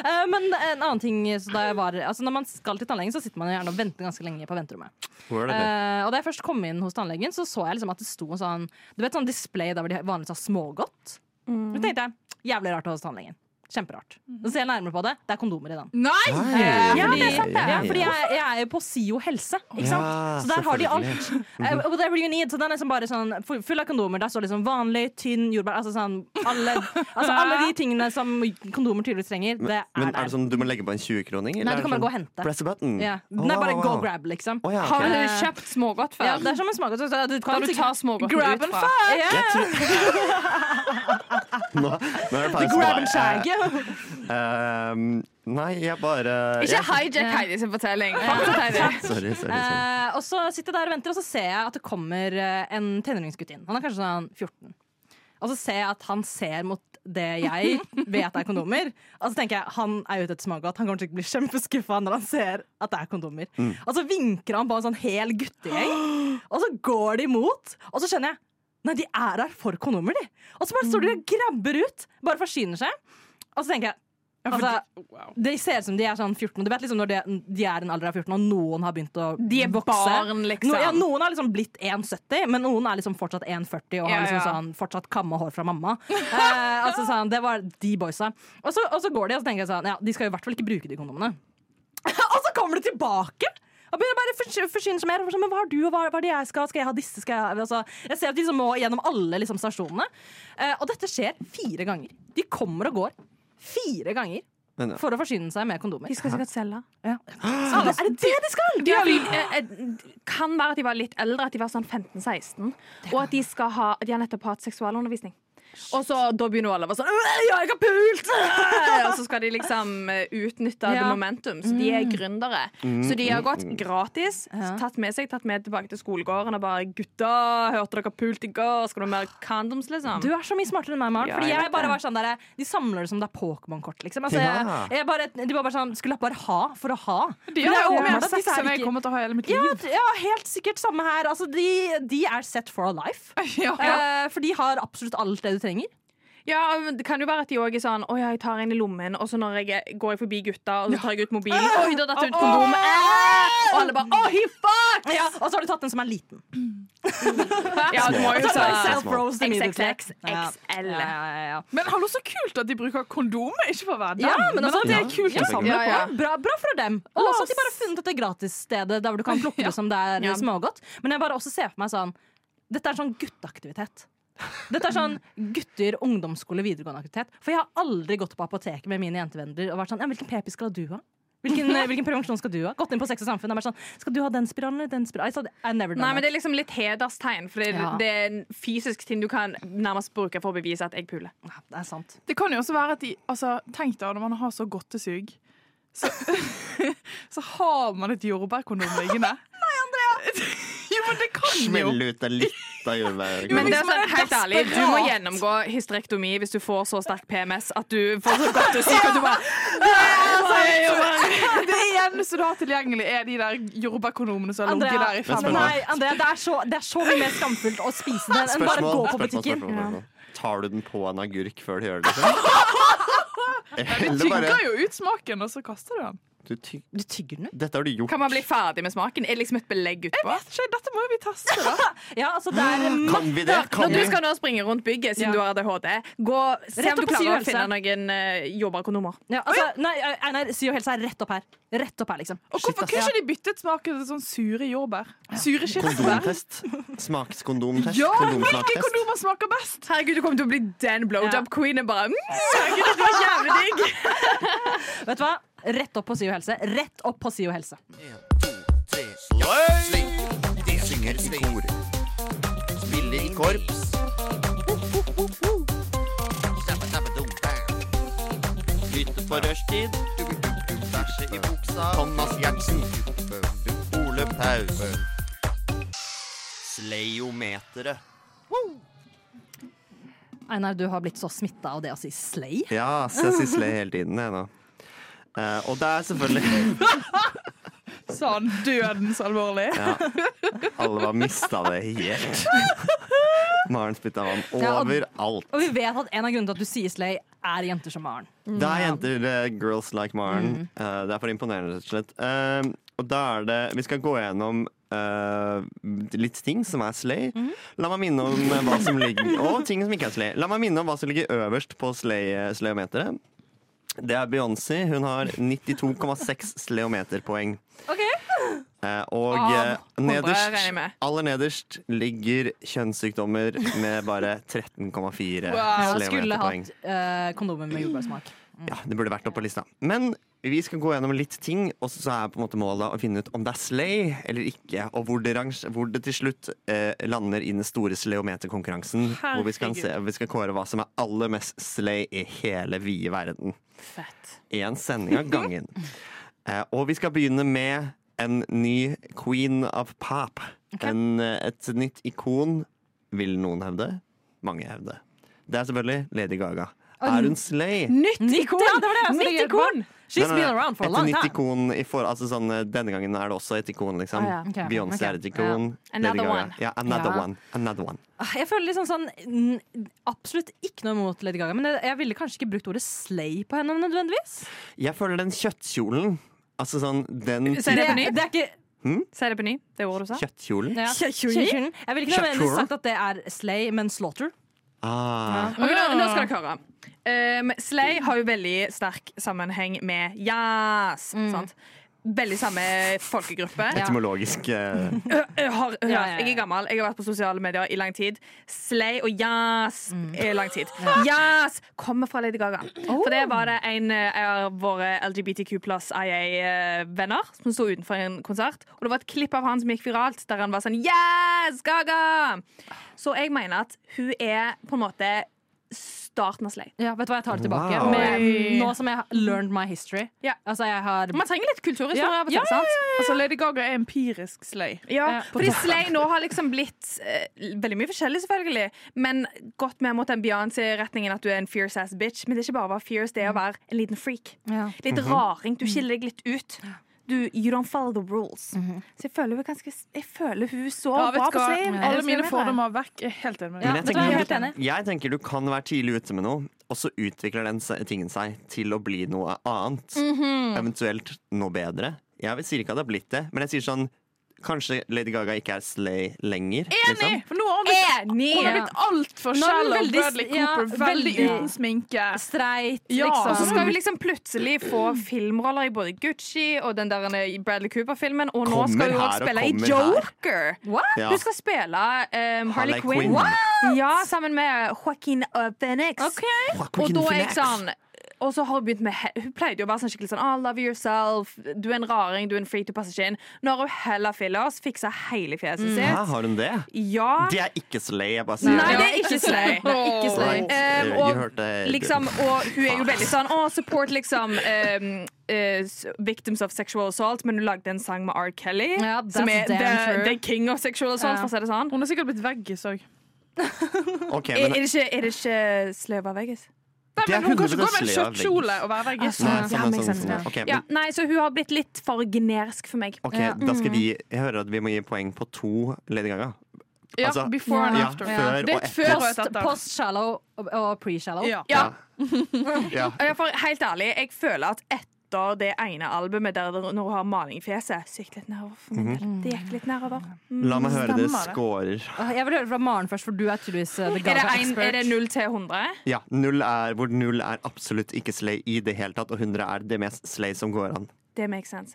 Speaker 2: Eh, Men en annen ting så da jeg var, altså Når man skal til tannlegen, så sitter man gjerne og venter ganske lenge på venterommet.
Speaker 3: Hvor er det det?
Speaker 2: Eh, og da jeg først kom inn hos tannlegen, så så jeg liksom at det sto en sånn Du vet sånn display der hvor de vanligvis har smågodt.
Speaker 1: Mm.
Speaker 2: Så tenkte jeg, jævlig rart hos tannlegen. Kjemperart. Så ser jeg nærmere på det, det er kondomer i den.
Speaker 5: Nei!
Speaker 3: Hei!
Speaker 2: Ja,
Speaker 1: Mhm. Eh, det er sant, det.
Speaker 2: Ja, fordi jeg, jeg er jo på SIO helse, ikke sant?
Speaker 3: Ja,
Speaker 2: så der har de alt.
Speaker 3: selvfølgelig. Mhm.
Speaker 2: Eh, whatever you need. Så den er liksom bare sånn fu- full av kondomer. Der står liksom vanlig, tynn, jordbær Altså sånn alle, altså alle de tingene som kondomer tydeligvis trenger, det er,
Speaker 3: Men er
Speaker 2: der.
Speaker 3: det sånn du må legge på en 20-kroning? eller
Speaker 2: Nei,
Speaker 3: er
Speaker 2: du
Speaker 3: det
Speaker 2: kan bare
Speaker 3: sånn,
Speaker 2: gå og hente.
Speaker 3: Press the button.
Speaker 2: Ja.
Speaker 3: Å,
Speaker 2: Nei, bare
Speaker 3: wow,
Speaker 2: go
Speaker 3: wow.
Speaker 2: grab, liksom.
Speaker 3: Å, ja, ok.
Speaker 1: Har du kjøpt smågodt før?
Speaker 2: Ja, det er som en smaker. Så, så, du
Speaker 1: Da
Speaker 2: kan
Speaker 1: du
Speaker 2: sikkert-
Speaker 1: tar smågodten
Speaker 2: Grab
Speaker 1: ut
Speaker 2: and
Speaker 1: fra.
Speaker 2: fuck! Ja,
Speaker 3: Jeg tror- nå, nå er det pause
Speaker 2: Grab
Speaker 3: på
Speaker 2: and
Speaker 3: meg.
Speaker 2: shag.
Speaker 3: Eh, ehm, nei, jeg bare
Speaker 1: Ikke
Speaker 3: jeg,
Speaker 1: hijack Heidi sin fortelling. Fortsett, Heidi.
Speaker 3: Sorry, sorry. sorry.
Speaker 2: Eh, og så sitter jeg der og venter, og så ser jeg at det kommer eh, en tenåringsgutt inn. Han er kanskje sånn 14. Og så ser jeg at han ser mot det jeg vet er kondomer. Og så tenker jeg, Han er ute etter smågodt. Han kommer til å bli kjempeskuffa når han ser at det er kondomer. Og så vinker han på en sånn hel guttegjeng, og så går de imot. Og så skjønner jeg Nei, de er her for kondomer, de. Og så bare står de og grabber ut. Bare forsyner seg. Og så tenker jeg
Speaker 5: Ja, for
Speaker 2: Altså,
Speaker 5: de- wow.
Speaker 2: det ser ut som de er sånn 14. Du vet liksom når de, de er en alder av 14, og noen har begynt å
Speaker 1: De er
Speaker 2: vokse.
Speaker 1: barn, liksom.
Speaker 2: No, ja, noen har liksom blitt 1,70, men noen er liksom fortsatt 1,40 og har
Speaker 1: Ja,
Speaker 2: liksom
Speaker 1: ja.
Speaker 2: sånn fortsatt kamma hår fra mamma. Eh, altså sånn, Det var de boysa. Og så, og så går de, og så tenker jeg sånn Ja, de skal jo i hvert fall ikke bruke de kondomene. og så kommer de tilbake! Og begynner bare å forsy- forsyne seg mer. Og sånn, Men hva har du, og hva, hva er det jeg skal? Skal jeg ha disse? Skal jeg, altså, jeg ser at de liksom må gjennom alle liksom, stasjonene. Eh, og dette skjer fire ganger. De kommer og går fire ganger
Speaker 3: Men,
Speaker 2: for å forsyne seg med kondomer.
Speaker 1: De skal sikkert selge.
Speaker 2: Ja. Ah, er det det de skal?
Speaker 1: De har, eh, eh, kan være at de var litt eldre, at de var sånn 15-16, og at de, skal ha, de har nettopp hatt seksualundervisning. Og så da begynner alle å være sånn «Øh, Ja, jeg har pult! Øh!» Og så skal de liksom eh, utnytte det
Speaker 2: Ja.
Speaker 1: momentum. Så de er gründere. Så de har gått gratis, tatt med seg, tatt med tilbake til skolegården og bare 'Gutta, hørte dere pult i går? Skal du ha mer condoms?' liksom.
Speaker 2: Du er så mye smartere enn meg, Maren.
Speaker 1: Ja,
Speaker 2: fordi
Speaker 1: jeg
Speaker 2: jeg
Speaker 1: vet
Speaker 2: bare
Speaker 1: det.
Speaker 2: var sånn der, De samler det som det er Pokémon-kort, liksom. Altså, jeg,
Speaker 3: Ja.
Speaker 2: jeg bare, de var bare sånn Skulle bare ha for å ha. Men
Speaker 5: De
Speaker 2: det er
Speaker 5: har jo
Speaker 2: åpenbart
Speaker 5: mer
Speaker 2: at
Speaker 5: sex
Speaker 2: disse er
Speaker 5: enn jeg
Speaker 2: ikke-
Speaker 5: kommer til å ha i hele mitt
Speaker 2: ja,
Speaker 5: liv.
Speaker 2: t- ja, helt sikkert samme her. Altså, de, de er set for a life.
Speaker 5: Ja.
Speaker 2: Eh, for de har absolutt alt det du trenger.
Speaker 1: Ja, men Det kan jo være at de òg er sånn 'Å ja, jeg tar en i lommen', og så når jeg er- går jeg forbi gutta, og så tar jeg ut mobilen Oi, da datt det ut kondom! Eh! Og alle bare 'Å, he fuck!'
Speaker 2: Ja, og så har du tatt en som er liten.
Speaker 1: Ja, du må jo
Speaker 2: Så er det
Speaker 1: ta
Speaker 2: self-roast immediately.
Speaker 1: XXX, XL.
Speaker 2: Ja, ja, ja, ja.
Speaker 5: Men hallo, så kult at de bruker kondom, ikke for hverdagen.
Speaker 2: Ja, men altså,
Speaker 5: at det er kult å
Speaker 3: Ja.
Speaker 5: samle
Speaker 1: Ja, ja.
Speaker 5: på.
Speaker 2: Bra, bra for dem. Og også at de bare har funnet dette gratisstedet der hvor du kan plukke det som det er
Speaker 1: Ja.
Speaker 2: smågodt. Men jeg bare også ser for meg sånn Dette er sånn gutteaktivitet. Dette er sånn gutter, ungdomsskole, videregående aktivitet. For jeg har aldri gått på apoteket med mine jentevenner og vært sånn ja, Hvilken p-piller skal du ha? Hvilken, eh, hvilken prevensjon skal du ha? Gått inn på Sex og samfunn og vært sånn Skal du ha den spiralen eller den spiralen? I said, I never done
Speaker 1: Nei, men
Speaker 2: that.
Speaker 1: Det er liksom litt hederstegn, for det,
Speaker 2: Ja.
Speaker 1: det er en fysisk ting du kan nærmest bruke for å bevise at jeg puler.
Speaker 2: Ja, det er sant.
Speaker 5: Det kan jo også være at de altså, Tenk deg når man har så godtesug, så, så har man et jordbærkondom liggende. Nei, Andrea! jo, men det kan jo.
Speaker 3: Smell ut en lita jordbær.
Speaker 5: Jo,
Speaker 1: Men det er
Speaker 5: hvis man
Speaker 1: sånn,
Speaker 5: er
Speaker 1: helt ærlig, Du må
Speaker 5: desperat.
Speaker 1: gjennomgå hysterektomi hvis du får så sterk PMS at du får så godt å si at du bare «Nei, jeg bare-
Speaker 5: Det eneste du har tilgjengelig, er de der jordbærkondomene som har
Speaker 2: Andrea,
Speaker 5: ligget der i fem
Speaker 3: Men
Speaker 5: år.
Speaker 2: nei, Andrea det, er så, det er så mye mer skamfullt å spise den enn bare å gå
Speaker 3: Spørsmål,
Speaker 2: på
Speaker 3: spørsmål,
Speaker 2: butikken.
Speaker 3: spørsmål, spørsmål. Tar du den på en agurk før du gjør det? Liksom?
Speaker 5: Du
Speaker 3: Eller bare
Speaker 5: tygger jo ut smaken, og så kaster du den.
Speaker 3: du tyg...
Speaker 2: Du tygger den ut.
Speaker 3: Dette har du gjort.
Speaker 1: Kan man bli ferdig med smaken? Er det liksom et belegg utpå?
Speaker 5: Vet ikke, Dette må jo vi teste, da.
Speaker 2: Ja, altså det er
Speaker 3: Kan vi det?
Speaker 1: Når
Speaker 3: Kan
Speaker 1: du
Speaker 3: vi?
Speaker 1: skal nå springe rundt bygget siden
Speaker 2: Ja.
Speaker 1: du har ADHD, gå, se
Speaker 2: Rett opp
Speaker 1: om du
Speaker 2: på
Speaker 1: klarer å
Speaker 2: syvhelse.
Speaker 1: finne noen uh, jordbærkondomer.
Speaker 2: Ja, altså, Nei, Einar, Sy og Helse er rett opp her. Rett opp her, liksom.
Speaker 5: Og hvorfor kunne ikke de byttet smaken til sånn sure jordbær? Sure kirsebær?
Speaker 3: Kondomtest. Smakskondomtest.
Speaker 5: Ja, hvilke
Speaker 3: Kondomsmaktest.
Speaker 5: kondomer smaker best?
Speaker 1: Herregud, du kommer til å bli den blowjob-queenen. Bare mm, herregud, du er jævlig digg!
Speaker 2: Vet du hva? Rett opp på Sy og Helse. Rett opp på Sy og Helse.
Speaker 9: Synger i kor. Spiller i korps.
Speaker 3: Lytte på rushtid.
Speaker 9: Bæsje i buksa. Thomas Gjertsen.
Speaker 3: Ole Paus. Sleiometeret.
Speaker 2: Einar, du har blitt så smitta av det å si slay.
Speaker 3: Ja, så jeg sier slay hele tiden, jeg nå. Eh, og det er selvfølgelig
Speaker 5: Sa han dødens alvorlig.
Speaker 3: ja, Alle var mista det helt. Maren spytta vann
Speaker 2: Ja, og-
Speaker 3: overalt.
Speaker 2: Og vi vet at en av grunnene til at du sier slay, er jenter som Maren.
Speaker 3: Det er jenter, eh, girls like Maren. Eh, det er for imponerende, rett og slett. Eh, og da er det Vi skal gå gjennom eh, litt ting som er slay. La meg minne om eh, hva som ligger Og ting som ikke er slay. La meg minne om hva som ligger øverst på slay- eh, slayometeret. Det er Beyoncé. Hun har 92,6 slayometerpoeng.
Speaker 2: Ok,
Speaker 3: Eh, og
Speaker 1: Av
Speaker 3: eh,
Speaker 1: håndball, regner jeg
Speaker 3: nederst,
Speaker 1: med.
Speaker 3: aller nederst ligger kjønnssykdommer med bare 13,4
Speaker 2: ja, Skulle
Speaker 3: slayometerpoeng.
Speaker 2: hatt eh, kondomer med jordbærsmak.
Speaker 3: Ja, det burde vært opp på lista. Men vi skal gå gjennom litt ting, og så er på en måte målet å finne ut om det er slay eller ikke, og hvor det, range, hvor det til slutt eh, lander i den store slayometerkonkurransen, hvor vi skal, se, vi skal kåre hva som er aller mest slay i hele vide verden.
Speaker 1: Fett.
Speaker 3: Én sending av gangen. Eh, og vi skal begynne med en ny queen of pop. En, eh, et nytt ikon, vil noen hevde. Mange hevde. Det er selvfølgelig Lady Gaga. Er hun slay?
Speaker 1: Nytt
Speaker 2: Nikon! Ja, det var det jeg også
Speaker 1: Nytt
Speaker 2: reagerte på.
Speaker 1: ikon!
Speaker 2: She's
Speaker 3: Nei, nei,
Speaker 2: been around for a
Speaker 3: et
Speaker 2: long
Speaker 3: nytt
Speaker 2: time.
Speaker 3: ikon i for, altså sånn, eh, Denne gangen er det også et ikon, liksom.
Speaker 1: Ah, ja.
Speaker 2: Ok,
Speaker 3: Beyoncé
Speaker 2: ok.
Speaker 3: er et ikon.
Speaker 1: Ja. Another
Speaker 3: Lady Gaga.
Speaker 1: one.
Speaker 3: Ja, another
Speaker 2: Ja.
Speaker 3: one. Another one.
Speaker 2: Jeg føler liksom sånn mm, Absolutt ikke noe imot Lady Gaga, men jeg, jeg ville kanskje ikke brukt ordet slay på henne nødvendigvis.
Speaker 3: Jeg føler den kjøttkjolen Altså sånn den
Speaker 1: Sier det på ny?
Speaker 2: det er ikke
Speaker 1: Si det på ny, det ordet du sa.
Speaker 3: Kjøttkjolen?
Speaker 2: ja. Kjøttkjolen. Jeg ville ikke nødvendigvis sagt at det er slay, men slaughter.
Speaker 3: Ah.
Speaker 1: Ok, nå, nå skal dere høre. Um, Slay har jo veldig sterk sammenheng med jazz. Sant? Veldig samme folkegruppe.
Speaker 3: Etymologisk eh,
Speaker 1: Jeg, har, hør,
Speaker 2: ja, ja.
Speaker 1: jeg er gammel, jeg har vært på sosiale medier i lang tid. Slay og jazz
Speaker 2: Mm.
Speaker 1: i lang tid. Jazz kommer fra Lady Gaga. For
Speaker 2: Oh.
Speaker 1: det var det en eh, av våre LGBTQ pluss IA-venner eh, som sto utenfor en konsert. Og det var et klipp av han som gikk viralt, der han var sånn Yes, Gaga! Så jeg mener at hun er på en måte starten av Slay.
Speaker 2: Ja, vet du hva, jeg tar det tilbake.
Speaker 3: Wow.
Speaker 2: Med, nå som jeg har learned my history.
Speaker 1: Ja.
Speaker 2: Altså, jeg har
Speaker 1: Man trenger litt kulturhistorie
Speaker 2: Ja,
Speaker 1: av og
Speaker 2: ja,
Speaker 1: til. sant?
Speaker 5: Altså, Lady Gaga er empirisk slay.
Speaker 1: Ja,
Speaker 2: På
Speaker 1: fordi Slay nå har liksom blitt eh, veldig mye forskjellig, selvfølgelig. Men gått mer mot den Beyoncé-retningen at du er en fierce ass bitch. Men det er ikke bare å være fierce,
Speaker 5: Mm.
Speaker 1: det er å være en liten freak.
Speaker 5: Mhm.
Speaker 2: ja.
Speaker 1: Litt raring. Du skiller deg litt ut. Du, you don't follow the rules. Så jeg føler hun er ganske Jeg føler hun så
Speaker 5: Mhm. Ja,
Speaker 1: bra
Speaker 5: vet du
Speaker 1: på
Speaker 5: hva?
Speaker 1: Slay.
Speaker 5: Alle mine fordommer vekk. Jeg er helt enig med
Speaker 2: Ja.
Speaker 5: deg.
Speaker 3: Men jeg
Speaker 2: vet du hva, jeg er
Speaker 3: tenker,
Speaker 2: helt
Speaker 3: du, jeg tenker du kan være tidlig ute med noe, og så utvikler den se- tingen seg til å bli noe annet.
Speaker 1: Mhm.
Speaker 3: Eventuelt noe bedre. Jeg vil- sier ikke at det har blitt det, men jeg sier sånn Kanskje Lady Gaga ikke er slay lenger. Liksom.
Speaker 5: For nå har hun blitt,
Speaker 1: Enig!
Speaker 5: hun har blitt altfor
Speaker 2: Nå er hun
Speaker 5: shallow
Speaker 2: veldig-
Speaker 5: Bradley Cooper.
Speaker 2: ja,
Speaker 5: veldig
Speaker 2: veldig-
Speaker 5: uten sminke.
Speaker 2: Streit,
Speaker 5: Ja,
Speaker 1: Og så
Speaker 2: liksom.
Speaker 1: skal hun liksom plutselig få filmroller i både Gucci og den der eh, Bradley Cooper-filmen, og nå
Speaker 3: Kommer
Speaker 1: skal hun
Speaker 3: her
Speaker 1: også
Speaker 3: og
Speaker 1: spille i
Speaker 3: kommer her.
Speaker 1: Joker.
Speaker 3: Ja.
Speaker 1: Hun skal spille um, Harley
Speaker 3: Harley
Speaker 1: Quinn.
Speaker 3: Quinn.
Speaker 1: Ja, sammen med Joaquin uh, Phoenix.
Speaker 2: Ok.
Speaker 1: Og
Speaker 3: Joaquin
Speaker 1: da er jeg
Speaker 3: Phoenix.
Speaker 1: sånn og så har Hun begynt med he- Hun pleide jo å være sånn skikkelig sånn ah, love yourself, du er en raring, du er en freak, du passer ikke inn. Nå har hun hella fillers, fiksa hele fjeset
Speaker 2: Mm.
Speaker 3: Hæ,
Speaker 1: sitt.
Speaker 3: har hun det?
Speaker 1: Ja.
Speaker 3: Det er ikke slay, jeg bare sier
Speaker 1: Nei, det er ikke slay.
Speaker 2: Det er ikke slay.
Speaker 3: Nei.
Speaker 1: Eh,
Speaker 3: Jeg
Speaker 1: og,
Speaker 3: hørte det.
Speaker 1: liksom, og hun er jo veldig sånn Å, support liksom ehm, eh, s- Victims of sexual assault, men hun lagde en sang med R. Kelly,
Speaker 2: Ja, that's
Speaker 1: som er
Speaker 2: damn
Speaker 1: the,
Speaker 2: true.
Speaker 1: the king of sexual assault,
Speaker 2: Ja.
Speaker 1: for å si det sånn.
Speaker 5: Hun er sikkert blitt veggis òg.
Speaker 3: Ok,
Speaker 1: Er, er
Speaker 3: men,
Speaker 1: det ikke, er det ikke sløv av veggis?
Speaker 3: Det er
Speaker 5: Men hun
Speaker 3: 100%
Speaker 5: kan ikke gå med en
Speaker 3: slay av
Speaker 5: kjøttkjole
Speaker 3: veggis.
Speaker 5: og være veggis.
Speaker 3: Nei, sånn,
Speaker 1: Ja,
Speaker 3: sånn,
Speaker 1: makes
Speaker 3: sånn,
Speaker 1: sense,
Speaker 3: sånn. Ok,
Speaker 1: Ja,
Speaker 3: men,
Speaker 1: nei, så hun har blitt litt for generisk for meg.
Speaker 3: ok,
Speaker 2: Ja.
Speaker 3: da skal vi Jeg hører at vi må gi poeng på to Lady Gaga.
Speaker 5: Ja,
Speaker 3: Altså,
Speaker 5: before and
Speaker 3: ja,
Speaker 5: after.
Speaker 3: før
Speaker 5: Det
Speaker 3: og
Speaker 5: er et før
Speaker 3: etter.
Speaker 5: og et
Speaker 2: Post,
Speaker 5: etter.
Speaker 2: post shallow og- og pre-shallow.
Speaker 5: Ja.
Speaker 1: Ja,
Speaker 3: Ja.
Speaker 1: ja, for helt ærlig, jeg føler at etter det ene albumet der det- når hun har maling i fjeset, så gikk det litt nedover for min del. Det gikk litt nedover.
Speaker 3: Mhm. Mm.
Speaker 1: Mm.
Speaker 3: La meg høre dere
Speaker 5: Stemmer det.
Speaker 3: scorer.
Speaker 2: Jeg vil høre fra Maren først, for du er tydeligvis uh, the
Speaker 1: Er det,
Speaker 2: gaga
Speaker 1: en,
Speaker 2: expert.
Speaker 1: er det 0 til 100?
Speaker 3: Ja, null er, hvor null er absolutt ikke slay i det hele tatt, og 100 er det mest slay som går an.
Speaker 1: Det makes sense.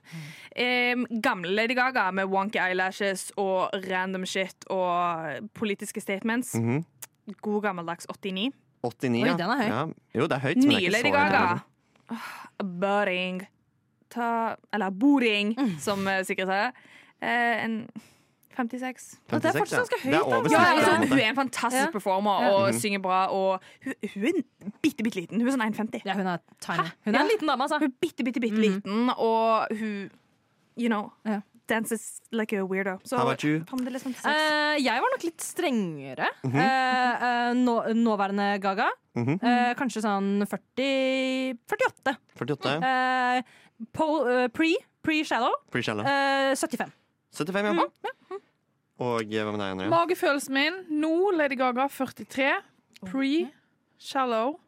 Speaker 1: Em, gamle Lady Gaga med wonky eyelashes og random shit og politiske statements.
Speaker 3: Mhm.
Speaker 1: God gammeldags 89.
Speaker 3: 89,
Speaker 2: Oi,
Speaker 3: ja.
Speaker 2: den er høy.
Speaker 3: Ja. Jo, det er høyt, men det er
Speaker 1: Nye
Speaker 3: ikke
Speaker 1: Lady
Speaker 3: så
Speaker 1: Gaga.
Speaker 3: høyt.
Speaker 2: liksom.
Speaker 1: Åh, Boring. Ta Eller boring,
Speaker 2: Mm.
Speaker 1: som eh, sikkert er. Eh, en 56.
Speaker 3: 56,
Speaker 2: Det er fortsatt
Speaker 3: ja.
Speaker 2: ganske høyt,
Speaker 3: Det
Speaker 2: da.
Speaker 3: er over
Speaker 1: Ja,
Speaker 3: snittet, på en
Speaker 1: altså,
Speaker 3: måte.
Speaker 1: hun er en fantastisk
Speaker 2: Ja.
Speaker 1: performer og synger bra. Og hun, hun er bitte, bitte liten. Hun er sånn 1,50.
Speaker 2: Ja, hun er tiny. Hun er en liten dame, altså.
Speaker 1: Hun er bitte, bitte, bitte liten, og hun You know.
Speaker 2: Ja.
Speaker 1: Dances like a weirdo. Så
Speaker 3: How about you?
Speaker 1: fremdeles 56.
Speaker 2: Eh, jeg var nok litt strengere. Eh, eh, nå, nåværende Gaga.
Speaker 3: Mhm.
Speaker 2: Eh, kanskje sånn 40 48.
Speaker 3: 48.
Speaker 2: Eh, po, eh, pre, pre-shallow
Speaker 3: Pre-shallow.
Speaker 2: eh, 75.
Speaker 3: 75, ja. Og eh, hva med deg, Andrea?
Speaker 5: Magefølelsen min nå, Lady Gaga 43. Pre, Shallow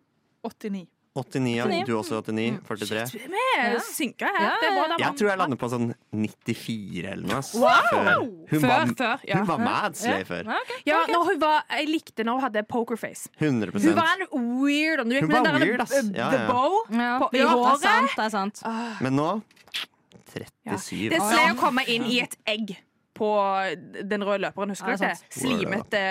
Speaker 5: 89.
Speaker 3: 89, ja. Du også 89? 43?
Speaker 1: Jeg synker her. Det Mm. er bra, da.
Speaker 3: Jeg tror jeg lander på sånn 94 eller noe. ass. Før. Hun,
Speaker 5: Før,
Speaker 3: var,
Speaker 5: før, ja.
Speaker 3: hun var mad slay før.
Speaker 1: Ja, når hun var, jeg likte når hun hadde pokerface.
Speaker 3: 100
Speaker 1: Hun var en weird Hun gikk
Speaker 3: Hun
Speaker 1: med
Speaker 3: var
Speaker 1: den
Speaker 3: weird,
Speaker 1: der
Speaker 3: ass. Ja, ja.
Speaker 1: the bow på, i håret.
Speaker 2: Det er sant. Det er sant.
Speaker 3: Men nå
Speaker 1: Ja.
Speaker 3: 37.
Speaker 1: Det er slay å komme inn i et egg på den røde løperen, husker
Speaker 2: Ja,
Speaker 1: du
Speaker 2: det er
Speaker 1: det? Slimete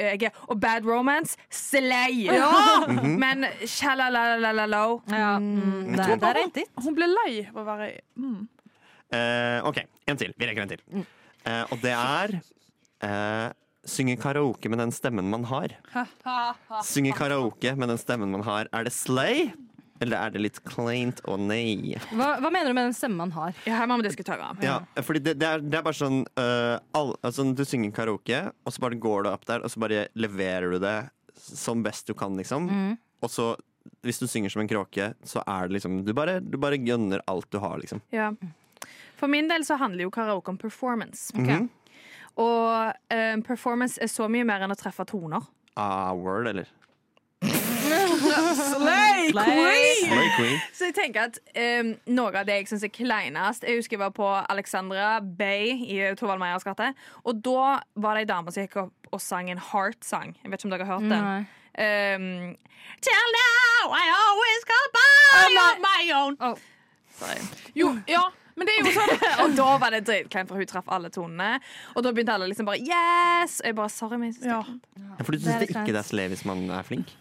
Speaker 1: egg. Og Bad Romance, slay!
Speaker 3: Mhm.
Speaker 1: Men sjalalalalalalo
Speaker 2: Ja, mm, det, det er riktig.
Speaker 5: Hun ble lei av å være mm.
Speaker 3: Eh, OK, en til. Vi rekker en til.
Speaker 1: Mm.
Speaker 3: Eh, og det er eh, Synge karaoke med den stemmen man har. Synge karaoke med den stemmen man har. Er det slay, eller er det litt kleint og nei?
Speaker 2: Hva, hva mener du med den stemmen man har?
Speaker 1: Ja, her må vi diskutere.
Speaker 3: Ja, fordi det, det, er, det er bare sånn eh, all, altså, Du synger karaoke, og så bare går du opp der, og så bare leverer du det som best du kan, liksom.
Speaker 2: Mm.
Speaker 3: Og så, hvis du synger som en kråke, så er det liksom Du bare, du bare gønner alt du har, liksom.
Speaker 1: Ja. For min del så handler jo karaoke om performance.
Speaker 3: Mhm.
Speaker 1: Og eh, performance er så mye mer enn å treffe toner.
Speaker 3: Ah, word, eller?
Speaker 5: Slay!
Speaker 2: Slay!
Speaker 3: Slay queen.
Speaker 1: Så jeg tenker at eh, Noe av det jeg syns er kleinest Jeg husker jeg var på Alexandra Bay i Thorvald Meyers gate. Og da var det ei dame som gikk opp og sang en Heart-sang. Jeg vet ikke om dere har hørt den.
Speaker 2: Nei.
Speaker 1: Um, Till now I always go by on my own.
Speaker 2: Oh.
Speaker 5: Jo, ja, men det er jo sånn
Speaker 1: Og da var det dritkleint, for hun traff alle tonene. Og da begynte alle liksom bare Yes! Og jeg bare Sorry, men jeg synes det er
Speaker 5: ja.
Speaker 1: kleint."
Speaker 3: Ja, for du
Speaker 2: Det er
Speaker 3: syns det
Speaker 2: litt
Speaker 3: ikke
Speaker 2: kleint.
Speaker 3: det er slay hvis man er flink?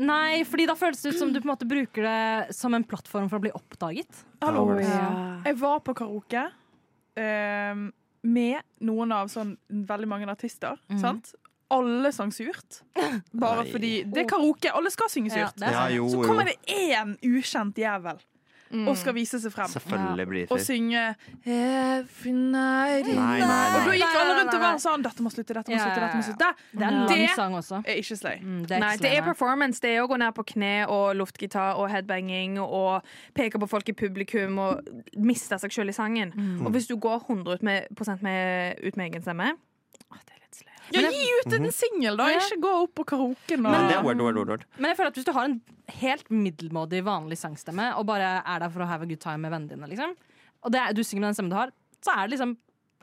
Speaker 2: Nei, fordi da føles det ut som du på en måte bruker det som en plattform for å bli oppdaget.
Speaker 5: Hallo.
Speaker 3: Ja.
Speaker 5: Jeg var på karaoke ehm, med noen av sånn veldig mange artister.
Speaker 2: Mhm.
Speaker 5: Sant? Alle sang surt. Bare
Speaker 3: Nei.
Speaker 5: fordi Det er karaoke. Alle skal synge
Speaker 2: Ja,
Speaker 5: surt.
Speaker 2: det er
Speaker 3: Ja,
Speaker 2: sant.
Speaker 3: jo,
Speaker 5: Så
Speaker 3: jo.
Speaker 5: kommer det én ukjent jævel
Speaker 1: Mm.
Speaker 5: og
Speaker 2: Mm.
Speaker 5: skal vise seg frem.
Speaker 3: Selvfølgelig blir
Speaker 5: Og
Speaker 3: det fyr.
Speaker 5: synge Every night
Speaker 3: Nei, nei,
Speaker 5: Og da
Speaker 3: nei.
Speaker 5: gikk alle rundt og
Speaker 2: Nei, nei,
Speaker 5: var sånn Dette må slutte, dette må
Speaker 2: Ja,
Speaker 5: slutte, dette må
Speaker 2: ja,
Speaker 5: slutte.
Speaker 2: Det er en lang
Speaker 5: Det
Speaker 2: sang også.
Speaker 5: er ikke slay.
Speaker 2: Mm, det er
Speaker 1: Nei,
Speaker 2: ikke
Speaker 1: det er
Speaker 2: slemme.
Speaker 1: performance. Det er å gå ned på kne og luftgitar og headbanging og peke på folk i publikum og miste seg sjøl i sangen.
Speaker 2: Mm.
Speaker 1: Og hvis du går 100 ut med, prosent med, ut med egen stemme å, det er litt sløyt.
Speaker 5: Ja, gi ut en singel, da! Ikke gå opp på karaoken
Speaker 3: Mhm. Men
Speaker 5: og
Speaker 3: det er word, word, word, word.
Speaker 2: Men jeg føler at hvis du har en helt middelmådig vanlig sangstemme, og bare er der for å have a good time med vennene dine, liksom, og det er, du synger med den stemmen du har, så er det liksom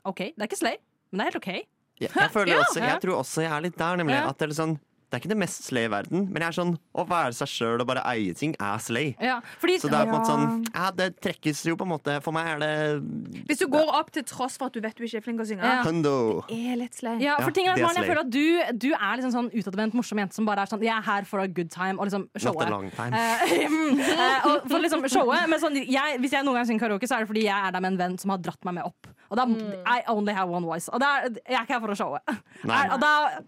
Speaker 2: OK. Det er ikke slay, men det er helt OK.
Speaker 3: Ja, Jeg, føler
Speaker 2: Ja.
Speaker 3: også, jeg tror også jeg er litt der, nemlig.
Speaker 2: Ja.
Speaker 3: At det er litt sånn det er ikke det mest slay i verden, men jeg er sånn, å være seg sjøl og bare eie ting er slay.
Speaker 2: Ja, fordi,
Speaker 3: Så det er på en måte sånn ja, Det trekkes jo på en måte For meg er det
Speaker 1: Hvis du går opp til tross for at du vet du ikke er flink til å synge,
Speaker 2: Ja.
Speaker 3: hundo.
Speaker 1: det er litt sløyt.
Speaker 2: ja, for
Speaker 3: Ja,
Speaker 2: ting er at
Speaker 3: det er
Speaker 2: Maren, jeg
Speaker 3: slay.
Speaker 2: føler at du, du er liksom sånn utadvendt morsom jente som bare er sånn Jeg er her for a good time, og liksom
Speaker 3: Not a
Speaker 2: showet.
Speaker 3: long time.
Speaker 2: Eh, mm, eh, og for liksom showet Men sånn, jeg, hvis jeg noen gang synger karaoke, så er det fordi jeg er der med en venn som har dratt meg med opp. Og da, I only have one voice. Og det er, jeg er ikke her for å showe.
Speaker 3: Nei.
Speaker 2: Er- Og da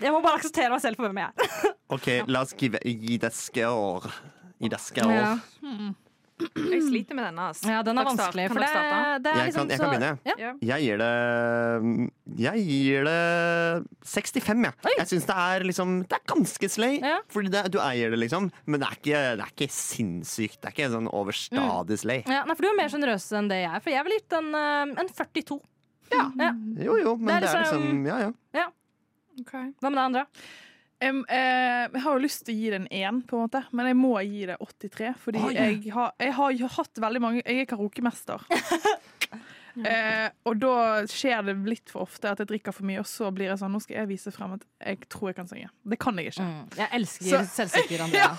Speaker 2: Jeg må bare akseptere meg selv for hvem jeg er.
Speaker 3: OK, la oss give, gi det skår. Gi det skår.
Speaker 2: Ja.
Speaker 1: Jeg sliter med denne. Altså.
Speaker 2: Ja, den er
Speaker 1: Dere start-
Speaker 2: vanskelig.
Speaker 1: kan
Speaker 2: For det,
Speaker 1: dere starte?
Speaker 2: det er
Speaker 3: Jeg
Speaker 2: liksom
Speaker 3: kan- jeg kan
Speaker 2: så-
Speaker 3: begynne,
Speaker 2: Ja.
Speaker 1: Ja.
Speaker 3: Jeg gir det Jeg gir det 65, jeg. Jeg syns det er liksom Det er ganske slay.
Speaker 2: Ja.
Speaker 3: Fordi det, du eier det, liksom. Men det er ikke, det er ikke sinnssykt. Det er ikke sånn overstadig slay.
Speaker 2: Ja, nei, for du er mer sjenerøs enn det jeg er. For jeg ville gitt en, eh, en 42. Ja.
Speaker 3: Jo jo,
Speaker 2: Mm.
Speaker 3: men
Speaker 2: Det er
Speaker 3: det er
Speaker 2: liksom-
Speaker 3: liksom Ja ja.
Speaker 2: Hva med deg, Andrea?
Speaker 5: Em, eh, jeg har jo lyst til å gi det en én, på en måte, men jeg må gi det 83. Fordi jeg, har, jeg har jo hatt veldig mange Jeg er karaokemester. eh, og da skjer det litt for ofte at jeg drikker for mye, og så blir jeg sånn Nå skal jeg vise frem at jeg tror jeg kan synge. Det kan jeg ikke.
Speaker 2: Mm, Jeg elsker
Speaker 5: Så-
Speaker 2: selvsikker Andrea.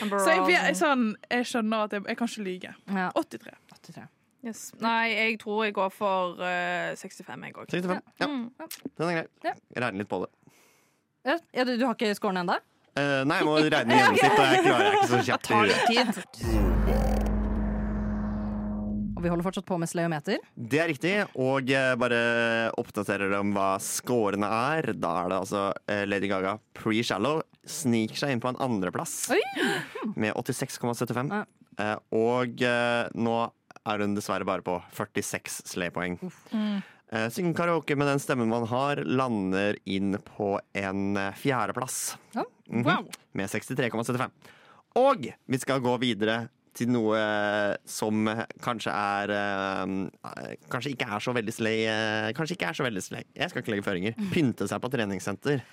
Speaker 5: Så jeg, blir- jeg, sånn, jeg skjønner at jeg, jeg kan ikke lyge.
Speaker 2: Ja.
Speaker 5: 83.
Speaker 1: Yes. Nei, jeg tror jeg går for eh, 65, jeg òg.
Speaker 3: 65. Ja. Den er grei.
Speaker 2: Mm. Ja.
Speaker 3: Jeg regner litt på det.
Speaker 2: Ja, ja, du, du har ikke scoren ennå?
Speaker 3: Eh, nei, jeg må regne gjennomsnitt, og jeg klarer ikke så kjapt. i huet.
Speaker 2: Og vi holder fortsatt på med sleometer.
Speaker 3: Det er riktig, og jeg bare oppdaterer om hva scorene er. Da er det altså eh, Lady Gaga pre-shallow sniker seg inn på en andreplass med 86,75.
Speaker 2: Ja.
Speaker 3: Eh, Og eh, nå er hun dessverre bare på 46 slaypoeng. Eh, Synge karaoke med den stemmen man har, lander inn på en eh, fjerdeplass
Speaker 2: Ja.
Speaker 3: Mhm, med 63,75. Og vi skal gå videre til noe som kanskje er eh, Kanskje ikke er så veldig slay. eh, Kanskje ikke er så veldig slay. Jeg skal ikke legge føringer. Pynte seg på treningssenter.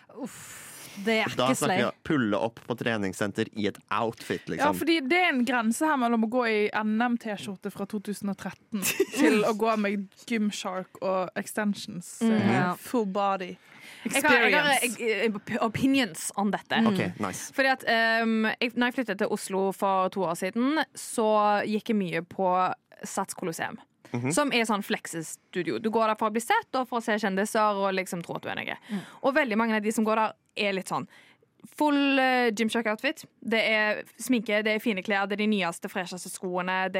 Speaker 2: Det er
Speaker 3: Da
Speaker 2: Mm. ikke
Speaker 3: snakker
Speaker 2: slay.
Speaker 3: vi om pulle opp på treningssenter i et outfit,
Speaker 5: Ja,
Speaker 3: liksom.
Speaker 5: fordi det er en grense her mellom å gå i NM-T-skjorte fra 2013 til å gå med Gymshark og extensions. eh,
Speaker 2: ja.
Speaker 5: Full body
Speaker 1: Jeg har, jeg har
Speaker 5: experience.
Speaker 1: eh, eh, opinions on dette.
Speaker 2: Mm.
Speaker 3: OK, nice.
Speaker 1: Fordi at ehm, jeg, Når jeg flyttet til Oslo for to år siden, så gikk jeg mye på Sats Colosseum. Som er sånn fleksestudio. Du går der for å bli sett og for å se kjendiser. Og liksom tro at du er noe Og veldig mange av de som går der, er litt sånn Full uh, Gymshark-outfit. Det er sminke, det er fine klær, det er de nyeste, fresheste skoene, det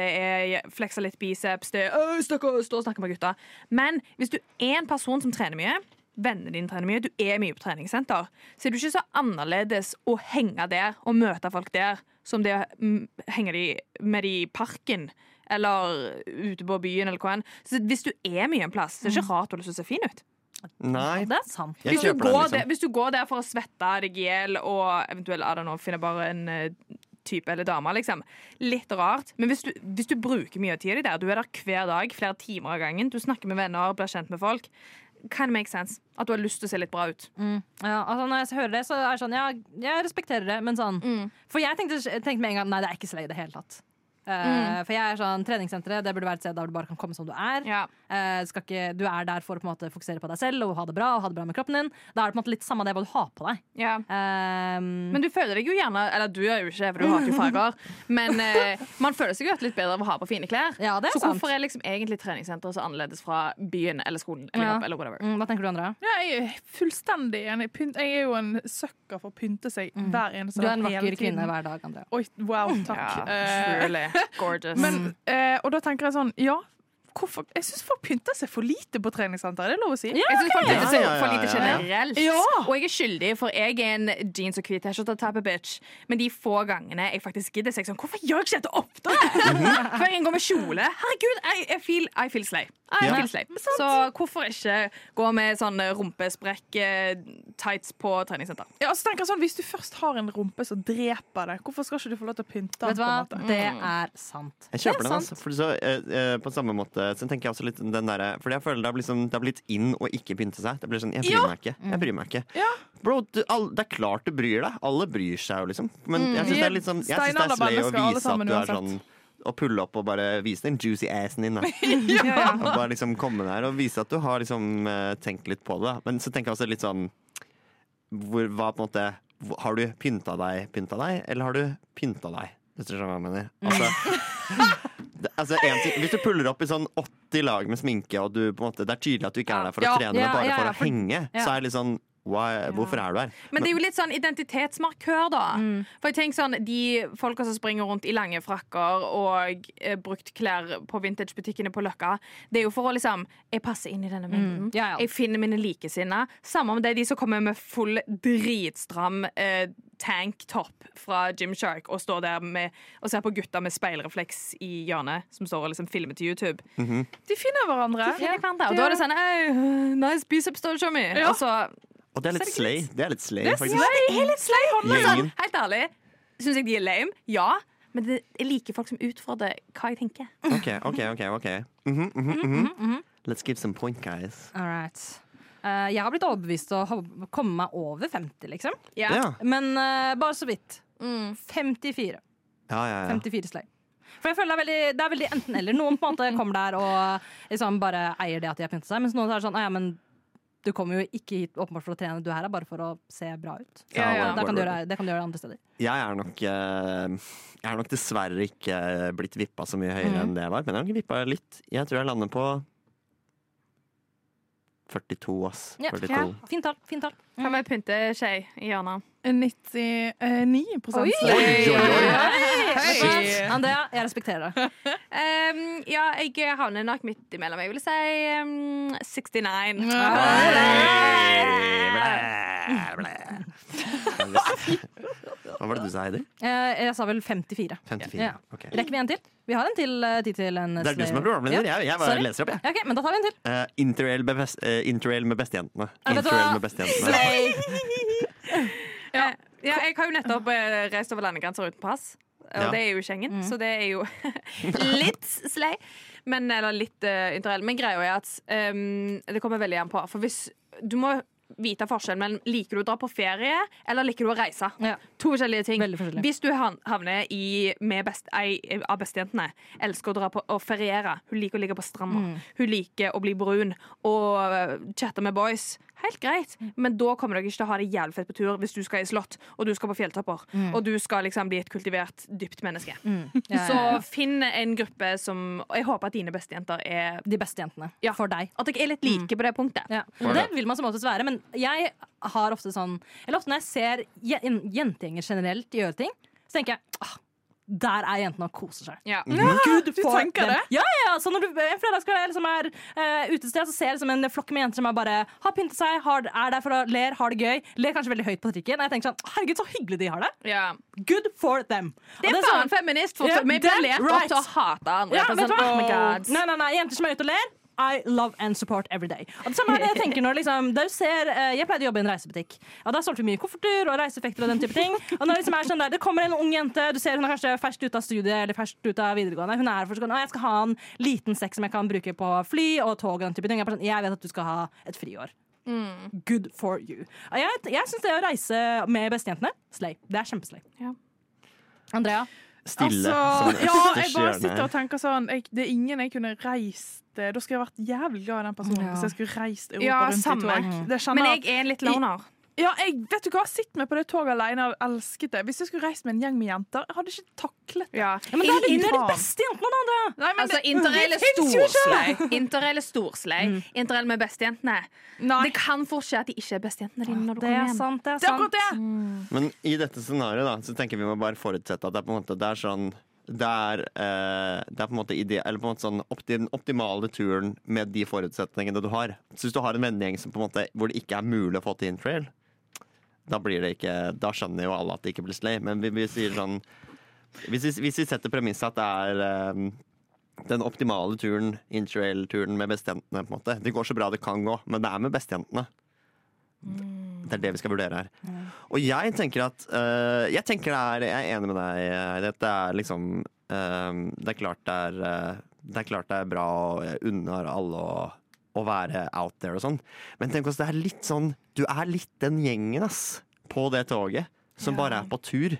Speaker 1: er fleksa litt biceps, det er «Øy, stakkar», stå og snakke med gutta. Men hvis du er en person som trener mye, vennene dine trener mye, du er mye på treningssenter, så er du ikke så annerledes å henge der og møte folk der som det å mm, henge de med de i parken. Eller ute på byen, eller hva enn. Så hvis du er mye en plass, så er det ikke rart du har lyst til å se fin ut.
Speaker 3: Nei,
Speaker 2: Det er sant.
Speaker 3: jeg
Speaker 1: Hvis du,
Speaker 3: kjøper den,
Speaker 1: går der,
Speaker 3: liksom.
Speaker 1: hvis du går der for å svette deg i hjel og eventuelt I don't know, finne bare en eh, type eller dame, liksom. Litt rart. Men hvis du, hvis du bruker mye av tida di der, du er der hver dag, flere timer av gangen, du snakker med venner, blir kjent med folk, kan make sense at du har lyst til å se litt bra ut.
Speaker 2: Ja, altså når jeg hører det, så er det sånn Ja, jeg respekterer det, men sånn For jeg tenkte, tenkte med en gang Nei, det er ikke slay i det hele tatt. Eh, For jeg er sånn, treningssenteret det burde være et sted der du bare kan komme som du er.
Speaker 1: Ja.
Speaker 2: Eh, skal ikke, du er der for å på en måte fokusere på deg selv og ha det bra og ha det bra med kroppen din. Da er det på en måte litt samme det hva du har på deg.
Speaker 1: ja.
Speaker 2: Eh,
Speaker 1: Men du føler deg jo gjerne Eller du er jo ikke det, for du har ikke farger. Men eh, man føler seg jo alltid litt bedre av å ha på fine klær.
Speaker 2: Ja, det er
Speaker 1: så
Speaker 2: sant.
Speaker 1: hvorfor er liksom egentlig treningssenteret så annerledes fra byen eller skolen eller,
Speaker 2: Ja.
Speaker 1: jobb, eller whatever?
Speaker 2: mm, hva tenker du, Andrea?
Speaker 5: Ja, jeg er fullstendig enig. Pynt- Jeg er jo en søkker for å pynte seg hver eneste
Speaker 2: Mm. Du er en
Speaker 5: dag, hele
Speaker 2: vakker
Speaker 5: tiden.
Speaker 2: kvinne hver dag, Andrea.
Speaker 5: Oi, wow, takk. Eh,
Speaker 1: truly gorgeous. Mm.
Speaker 5: men, eh, og da tenker jeg sånn, ja hvorfor? Jeg syns folk pynter seg for lite på treningssenter. Er det lov å si?
Speaker 1: Jeg synes folk
Speaker 3: Ja,
Speaker 1: er så
Speaker 3: ja, ja,
Speaker 1: for lite
Speaker 3: ja, ja.
Speaker 1: generelt.
Speaker 5: Ja.
Speaker 1: Og jeg er skyldig, for jeg er en jeans og hvit T-skjorte type bitch. Men de få gangene jeg faktisk gidder, så er jeg sånn Hvorfor gjør jeg ikke dette oftere? Hver gang jeg går med kjole. Herregud, I, I feel, I feel slay. I
Speaker 3: Ja.
Speaker 1: feel slay. Så hvorfor ikke gå med sånn rumpesprekk-tights på treningssenter?
Speaker 5: Ja, og så tenker jeg sånn, Hvis du først har en rumpe som dreper deg, hvorfor skal ikke du få lov til å pynte den?
Speaker 2: Vet du hva?
Speaker 5: på en måte?
Speaker 2: Det er sant.
Speaker 3: Jeg kjøper
Speaker 2: Det
Speaker 3: den,
Speaker 2: er
Speaker 3: altså. For så, eh, eh, på samme måte så tenker jeg også litt den derre Fordi jeg føler det har blitt, sånn- det har blitt inn å ikke pynte seg. Det blir sånn, Jeg bryr meg ikke. Jeg bryr meg ikke.
Speaker 5: Ja.
Speaker 3: Bro, du, all, det er klart du bryr deg. Alle bryr seg jo, liksom.
Speaker 2: Mm.
Speaker 3: Men jeg syns
Speaker 5: Vi
Speaker 3: det
Speaker 5: er
Speaker 3: er litt sånn Jeg synes det er slay å
Speaker 5: steinaldermennesker, alle
Speaker 3: vise at
Speaker 5: sammen,
Speaker 3: du er
Speaker 5: uansett.
Speaker 3: sånn Å pulle opp og bare vise den juicy assen din. Da. Og bare liksom komme der og vise at du har liksom eh, tenkt litt på det. da. Men så tenker jeg også litt sånn hvor, Hva på en måte hvor- Har du pynta deg, pynta deg, eller har du pynta deg? Hvis du skjønner hva jeg mener.
Speaker 2: Mm.
Speaker 3: Altså, det- altså, en ting, hvis du puller opp i sånn 80 lag med sminke, og du, på en måte, det er tydelig at du ikke er der for å
Speaker 2: Ja,
Speaker 3: trene,
Speaker 2: ja,
Speaker 3: men bare
Speaker 2: ja,
Speaker 3: for
Speaker 2: ja,
Speaker 3: å
Speaker 2: for-
Speaker 3: henge,
Speaker 2: ja.
Speaker 3: så er det litt sånn why, Hvorfor er du her?
Speaker 1: Men det er jo litt sånn identitetsmarkør, da.
Speaker 2: Mm.
Speaker 1: For jeg tenker sånn, De folka som springer rundt i lange frakker og eh, brukt klær på vintagebutikkene på Løkka, det er jo for å liksom Jeg passer inn i denne mengden.
Speaker 2: Mm. Ja, ja.
Speaker 1: Jeg finner mine likesinnede. Samme om det er de som kommer med full dritstram eh, tanktopp fra Gymshark og står der med, og ser på gutter med speilrefleks i hjørnet, som står og liksom filmer til YouTube.
Speaker 5: De finner hverandre.
Speaker 1: Finner hverandre. Og da er det sånn Hey, nice biceps, da, Tommy.
Speaker 5: Ja.
Speaker 1: Og så
Speaker 3: Og det er litt slay. Det er litt slay,
Speaker 5: Det er
Speaker 3: faktisk.
Speaker 5: slay.
Speaker 1: det er litt slei hånda. Sånn,
Speaker 3: Gjengen.
Speaker 1: helt ærlig, syns jeg de er lame. Ja. Men det, jeg liker folk som utfordrer hva jeg tenker.
Speaker 3: Ok, ok, ok. ok Mhm, mhm, mhm. Let's give some point, guys.
Speaker 2: All right. Eh, jeg har blitt overbevist til å ho- komme meg over 50, liksom.
Speaker 1: Ja.
Speaker 3: Ja,
Speaker 2: Men eh, bare så vidt. 54.
Speaker 3: ja, ja. ja.
Speaker 2: 54 slag. For jeg føler det er veldig, det er veldig enten-eller. Noen på en måte kommer der og liksom bare eier det at de har pyntet seg, mens noen er sånn «Ah, ja, men du kommer jo ikke hit åpenbart for å trene, du her er bare for å se bra ut.
Speaker 3: Ja, ja.
Speaker 2: Da kan du gjøre, det kan du gjøre det andre steder.
Speaker 3: Jeg er nok, eh, jeg er nok dessverre ikke eh, blitt vippa så mye høyere enn det jeg var. Men jeg har nok vippa litt. Jeg tror jeg lander på 42, ass.
Speaker 2: Ja.
Speaker 3: 42.
Speaker 2: Fint tall. fint tall.
Speaker 1: Kan vi pynte skje i hjørnet?
Speaker 5: Eh, 99
Speaker 2: Oi!
Speaker 3: Oi, oi, oi.
Speaker 2: Vet du hva? Andrea, jeg respekterer deg.
Speaker 1: Um, ja, jeg havner nok midt imellom. Jeg ville si um, 69.
Speaker 3: Hva var det du sa, Heidi?
Speaker 2: Eh, Jeg sa vel 54.
Speaker 3: 54?
Speaker 2: Ja.
Speaker 3: Ok.
Speaker 2: Rekker vi en til? Vi har en til eh, tid til. En
Speaker 3: Det er du som er programleder. Jeg, jeg bare
Speaker 2: Sorry.
Speaker 3: leser opp, jeg.
Speaker 2: Ja, ok, men da tar vi en til.
Speaker 3: Eh, interrail, med best, eh, interrail med bestejentene.
Speaker 2: Ja, vet du
Speaker 3: Interrail
Speaker 2: hva?
Speaker 3: med bestejentene.
Speaker 2: Slay!
Speaker 1: Ja. ja, jeg har jo nettopp eh, reist over eh, landegrenser uten pass. og
Speaker 3: Ja.
Speaker 1: det er jo Schengen, så det er jo litt slei. Men, eller litt uh, interell. Men greia er at ehm, det kommer veldig an på. For hvis du må vite forskjellen mellom liker du å dra på ferie eller liker du å reise.
Speaker 2: Ja.
Speaker 1: To forskjellige ting.
Speaker 2: Veldig forskjellig.
Speaker 1: Hvis du han- havner i med best, ei av bestejentene, elsker å dra på og feriere, hun liker å ligge på stranda,
Speaker 2: Mm.
Speaker 1: hun liker å bli brun og eh, chatte med boys. Helt greit,
Speaker 2: Mm.
Speaker 1: men da kommer dere ikke til å ha det jævlig fett på tur hvis du skal i slott og du skal på fjelltopper
Speaker 2: Mm.
Speaker 1: og du skal liksom bli et kultivert, dypt menneske. Så finn en gruppe som og Jeg håper at dine bestejenter er
Speaker 2: De beste jentene.
Speaker 1: Ja.
Speaker 2: For deg.
Speaker 1: At dere er litt
Speaker 2: Mm.
Speaker 1: like på det punktet.
Speaker 2: Ja.
Speaker 3: For
Speaker 2: Det
Speaker 3: det.
Speaker 2: vil man som oftest være, men jeg har ofte sånn Eller ofte når jeg ser je- jentegjenger generelt gjøre ting, så tenker jeg ah, der er jentene og koser seg.
Speaker 1: Ja.
Speaker 5: Gud, du
Speaker 2: For
Speaker 5: tenker
Speaker 2: dem.
Speaker 5: det?
Speaker 2: Ja, ja, ja. Så når du en fredagskveld liksom er eh, ute et sted, så ser jeg liksom en flokk med jenter som er bare har pyntet seg, har, er der for å ler, har det gøy, ler kanskje veldig høyt på trikken. Og jeg tenker sånn Herregud, så hyggelig de har det.
Speaker 1: Ja.
Speaker 2: Good for them.
Speaker 1: Det er
Speaker 2: sånn
Speaker 1: faen feminist! For
Speaker 2: Ja,
Speaker 1: vi blir
Speaker 2: that's
Speaker 1: lært
Speaker 2: right.
Speaker 1: opp til å hate andre.
Speaker 2: Ja,
Speaker 1: Det er
Speaker 2: vet du
Speaker 1: sånn,
Speaker 2: hva?
Speaker 1: oh my God.
Speaker 2: Nei, nei, nei, jenter som er ute og ler. I love and support every day. Og det samme er det Jeg tenker når liksom, der du ser, eh, jeg pleide å jobbe i en reisebutikk. Og Der solgte vi mye kofferter og reiseeffekter. og den type ting Og når Det liksom er sånn der, det kommer en ung jente, du ser hun er kanskje ferskt ut av studiet eller ferskt ut av videregående. Hun er her for sånn, «Å, Jeg skal ha en liten sekk som jeg kan bruke på fly og tog. og den type ting Jeg, er bare sånn, jeg vet at du skal ha et friår.
Speaker 1: Mm.
Speaker 2: Good for you. Og jeg jeg syns det å reise med bestejentene slay. Det er kjempeslay.
Speaker 1: Ja.
Speaker 2: Andrea?
Speaker 3: Stille som
Speaker 5: Altså,
Speaker 3: en
Speaker 5: ja, jeg
Speaker 3: østers
Speaker 5: bare sitter
Speaker 3: hjørne.
Speaker 5: og tenker sånn jeg, Det er ingen jeg kunne reist eh, Da skulle jeg vært jævlig glad i den personen
Speaker 2: Ja.
Speaker 5: hvis jeg skulle reist Europa
Speaker 1: Ja,
Speaker 5: rundt
Speaker 1: samme.
Speaker 5: i tog. Det
Speaker 1: Men
Speaker 5: kjenner
Speaker 1: jeg er en litt loner.
Speaker 5: Ja, jeg, vet du hva? Sitt meg på det toget alene og elsket det. Hvis jeg skulle reist med en gjeng med jenter, jeg hadde ikke taklet det.
Speaker 1: Ja.
Speaker 2: Men det er
Speaker 5: Ingen
Speaker 2: det er de
Speaker 5: faen.
Speaker 2: beste jentene, da, Andrea!
Speaker 5: Nei, men
Speaker 1: Altså,
Speaker 5: det-
Speaker 1: interrail er
Speaker 5: det finnes jo ikke!
Speaker 1: storslei. Interrail er storslei. Interrail med bestejentene. Det kan fort skje at de ikke er bestejentene dine når du
Speaker 2: Det
Speaker 1: kommer
Speaker 2: er
Speaker 1: hjem. Mm.
Speaker 2: sant, det er
Speaker 5: Det er akkurat
Speaker 2: sant.
Speaker 5: det!
Speaker 3: Men i dette scenarioet da, så tenker jeg vi må bare forutsette at det er på en måte det er sånn det er, eh, det er på en måte, ide eller på en måte sånn opti den optimale turen med de forutsetningene du har. Så hvis du har en vennegjeng som på en måte, hvor det ikke er mulig å få til interrail, da, blir det ikke, da skjønner jo alle at det ikke blir slay. Men vi, vi sier sånn Hvis vi, hvis vi setter premisset at det er eh, den optimale turen, interrail-turen med bestejentene, på en måte. Det går så bra det kan gå, men det er med bestejentene. Det er det vi skal vurdere her. Og jeg tenker at øh, Jeg tenker det er, jeg er enig med deg Eirik. Det er liksom øh, Det er klart det er øh, Det er klart det er bra og jeg unner alle å, å være out there og sånn. Men tenk oss, det er litt sånn Du er litt den gjengen ass på det toget som bare er på tur.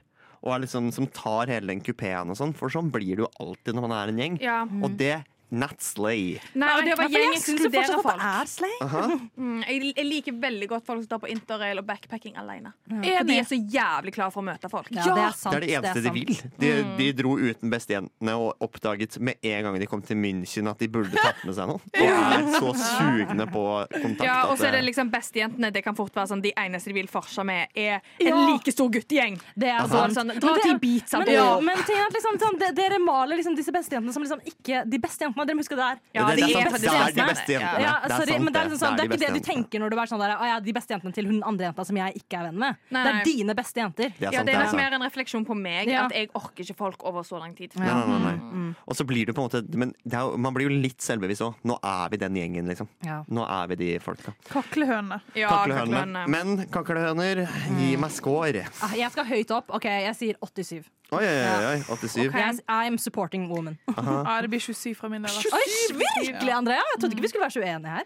Speaker 3: Og er liksom, som tar hele den kupeen og sånn, for sånn blir det jo alltid når man er en gjeng.
Speaker 1: Ja.
Speaker 3: Og det not slay.
Speaker 1: Nei, det å
Speaker 2: Ja,
Speaker 1: være
Speaker 2: for jeg
Speaker 1: gjeng
Speaker 2: synes jo fortsatt
Speaker 1: ekskluderer
Speaker 2: at
Speaker 1: folk.
Speaker 2: det er slay.
Speaker 1: Mm, jeg, jeg liker veldig godt folk som tar på interrail og backpacking alene. For de
Speaker 5: Enig.
Speaker 1: er så jævlig klare for å møte folk.
Speaker 2: Ja, det er sant.
Speaker 3: Det er det eneste de vil. De, de dro uten bestejentene og oppdaget med en gang de kom til München at de burde tatt med seg noen. Og er så sugne på kontakt.
Speaker 1: Ja,
Speaker 3: at
Speaker 1: og så er det
Speaker 3: det-
Speaker 1: liksom bestejentene. Det kan fort være sånn de eneste de vil forse med, er en
Speaker 2: Ja.
Speaker 1: like stor guttegjeng.
Speaker 2: Det er
Speaker 1: Altså,
Speaker 2: sant.
Speaker 1: sånn,
Speaker 2: Men
Speaker 1: dra
Speaker 2: det-
Speaker 1: til Ibiza,
Speaker 2: Men,
Speaker 1: da.
Speaker 2: ja, men ting er at liksom, sånn, de- dere maler liksom disse bestejentene som liksom ikke de beste jentene. Dere må huske det er
Speaker 1: Ja,
Speaker 3: det, det,
Speaker 1: de
Speaker 3: er
Speaker 1: er
Speaker 3: sant.
Speaker 1: faktisk
Speaker 3: det er de
Speaker 1: beste
Speaker 3: beste
Speaker 1: jentene.
Speaker 2: ja,
Speaker 3: jentene. Det er
Speaker 2: sorry,
Speaker 3: sant,
Speaker 2: men det er, liksom sånn, det er
Speaker 3: de
Speaker 2: ikke det du
Speaker 3: beste jentene.
Speaker 2: tenker når du er sånn der, «Å, ja, de beste jentene til hun andre jenta som jeg ikke er venn med.
Speaker 1: Nei,
Speaker 2: Det
Speaker 1: nei.
Speaker 2: er dine beste jenter.
Speaker 3: Det er
Speaker 1: Ja,
Speaker 3: sant,
Speaker 1: det
Speaker 3: det er
Speaker 1: er nok
Speaker 3: sant.
Speaker 1: mer en refleksjon på meg
Speaker 2: Ja.
Speaker 1: at jeg orker ikke folk over så lang tid.
Speaker 3: Nei, nei, nei, nei. Og så blir du på en måte Men det er jo, man blir jo litt selvbevisst òg. Nå er vi den gjengen, liksom.
Speaker 2: Ja.
Speaker 3: Nå er vi de folka.
Speaker 5: Kaklehønene.
Speaker 1: Ja,
Speaker 3: Kaklehønene.
Speaker 1: kaklehønene.
Speaker 3: Men kaklehøner, gi meg score.
Speaker 2: Ah, Jeg skal høyt opp. Ok, jeg sier 87.
Speaker 3: Oi, oi, oi. oi 87.
Speaker 2: Jeg, I'm supporting woman.
Speaker 5: Ja, det blir 27 fra min del. altså.
Speaker 2: Oi, virkelig, Andrea! Jeg trodde ikke vi skulle være så uenige her.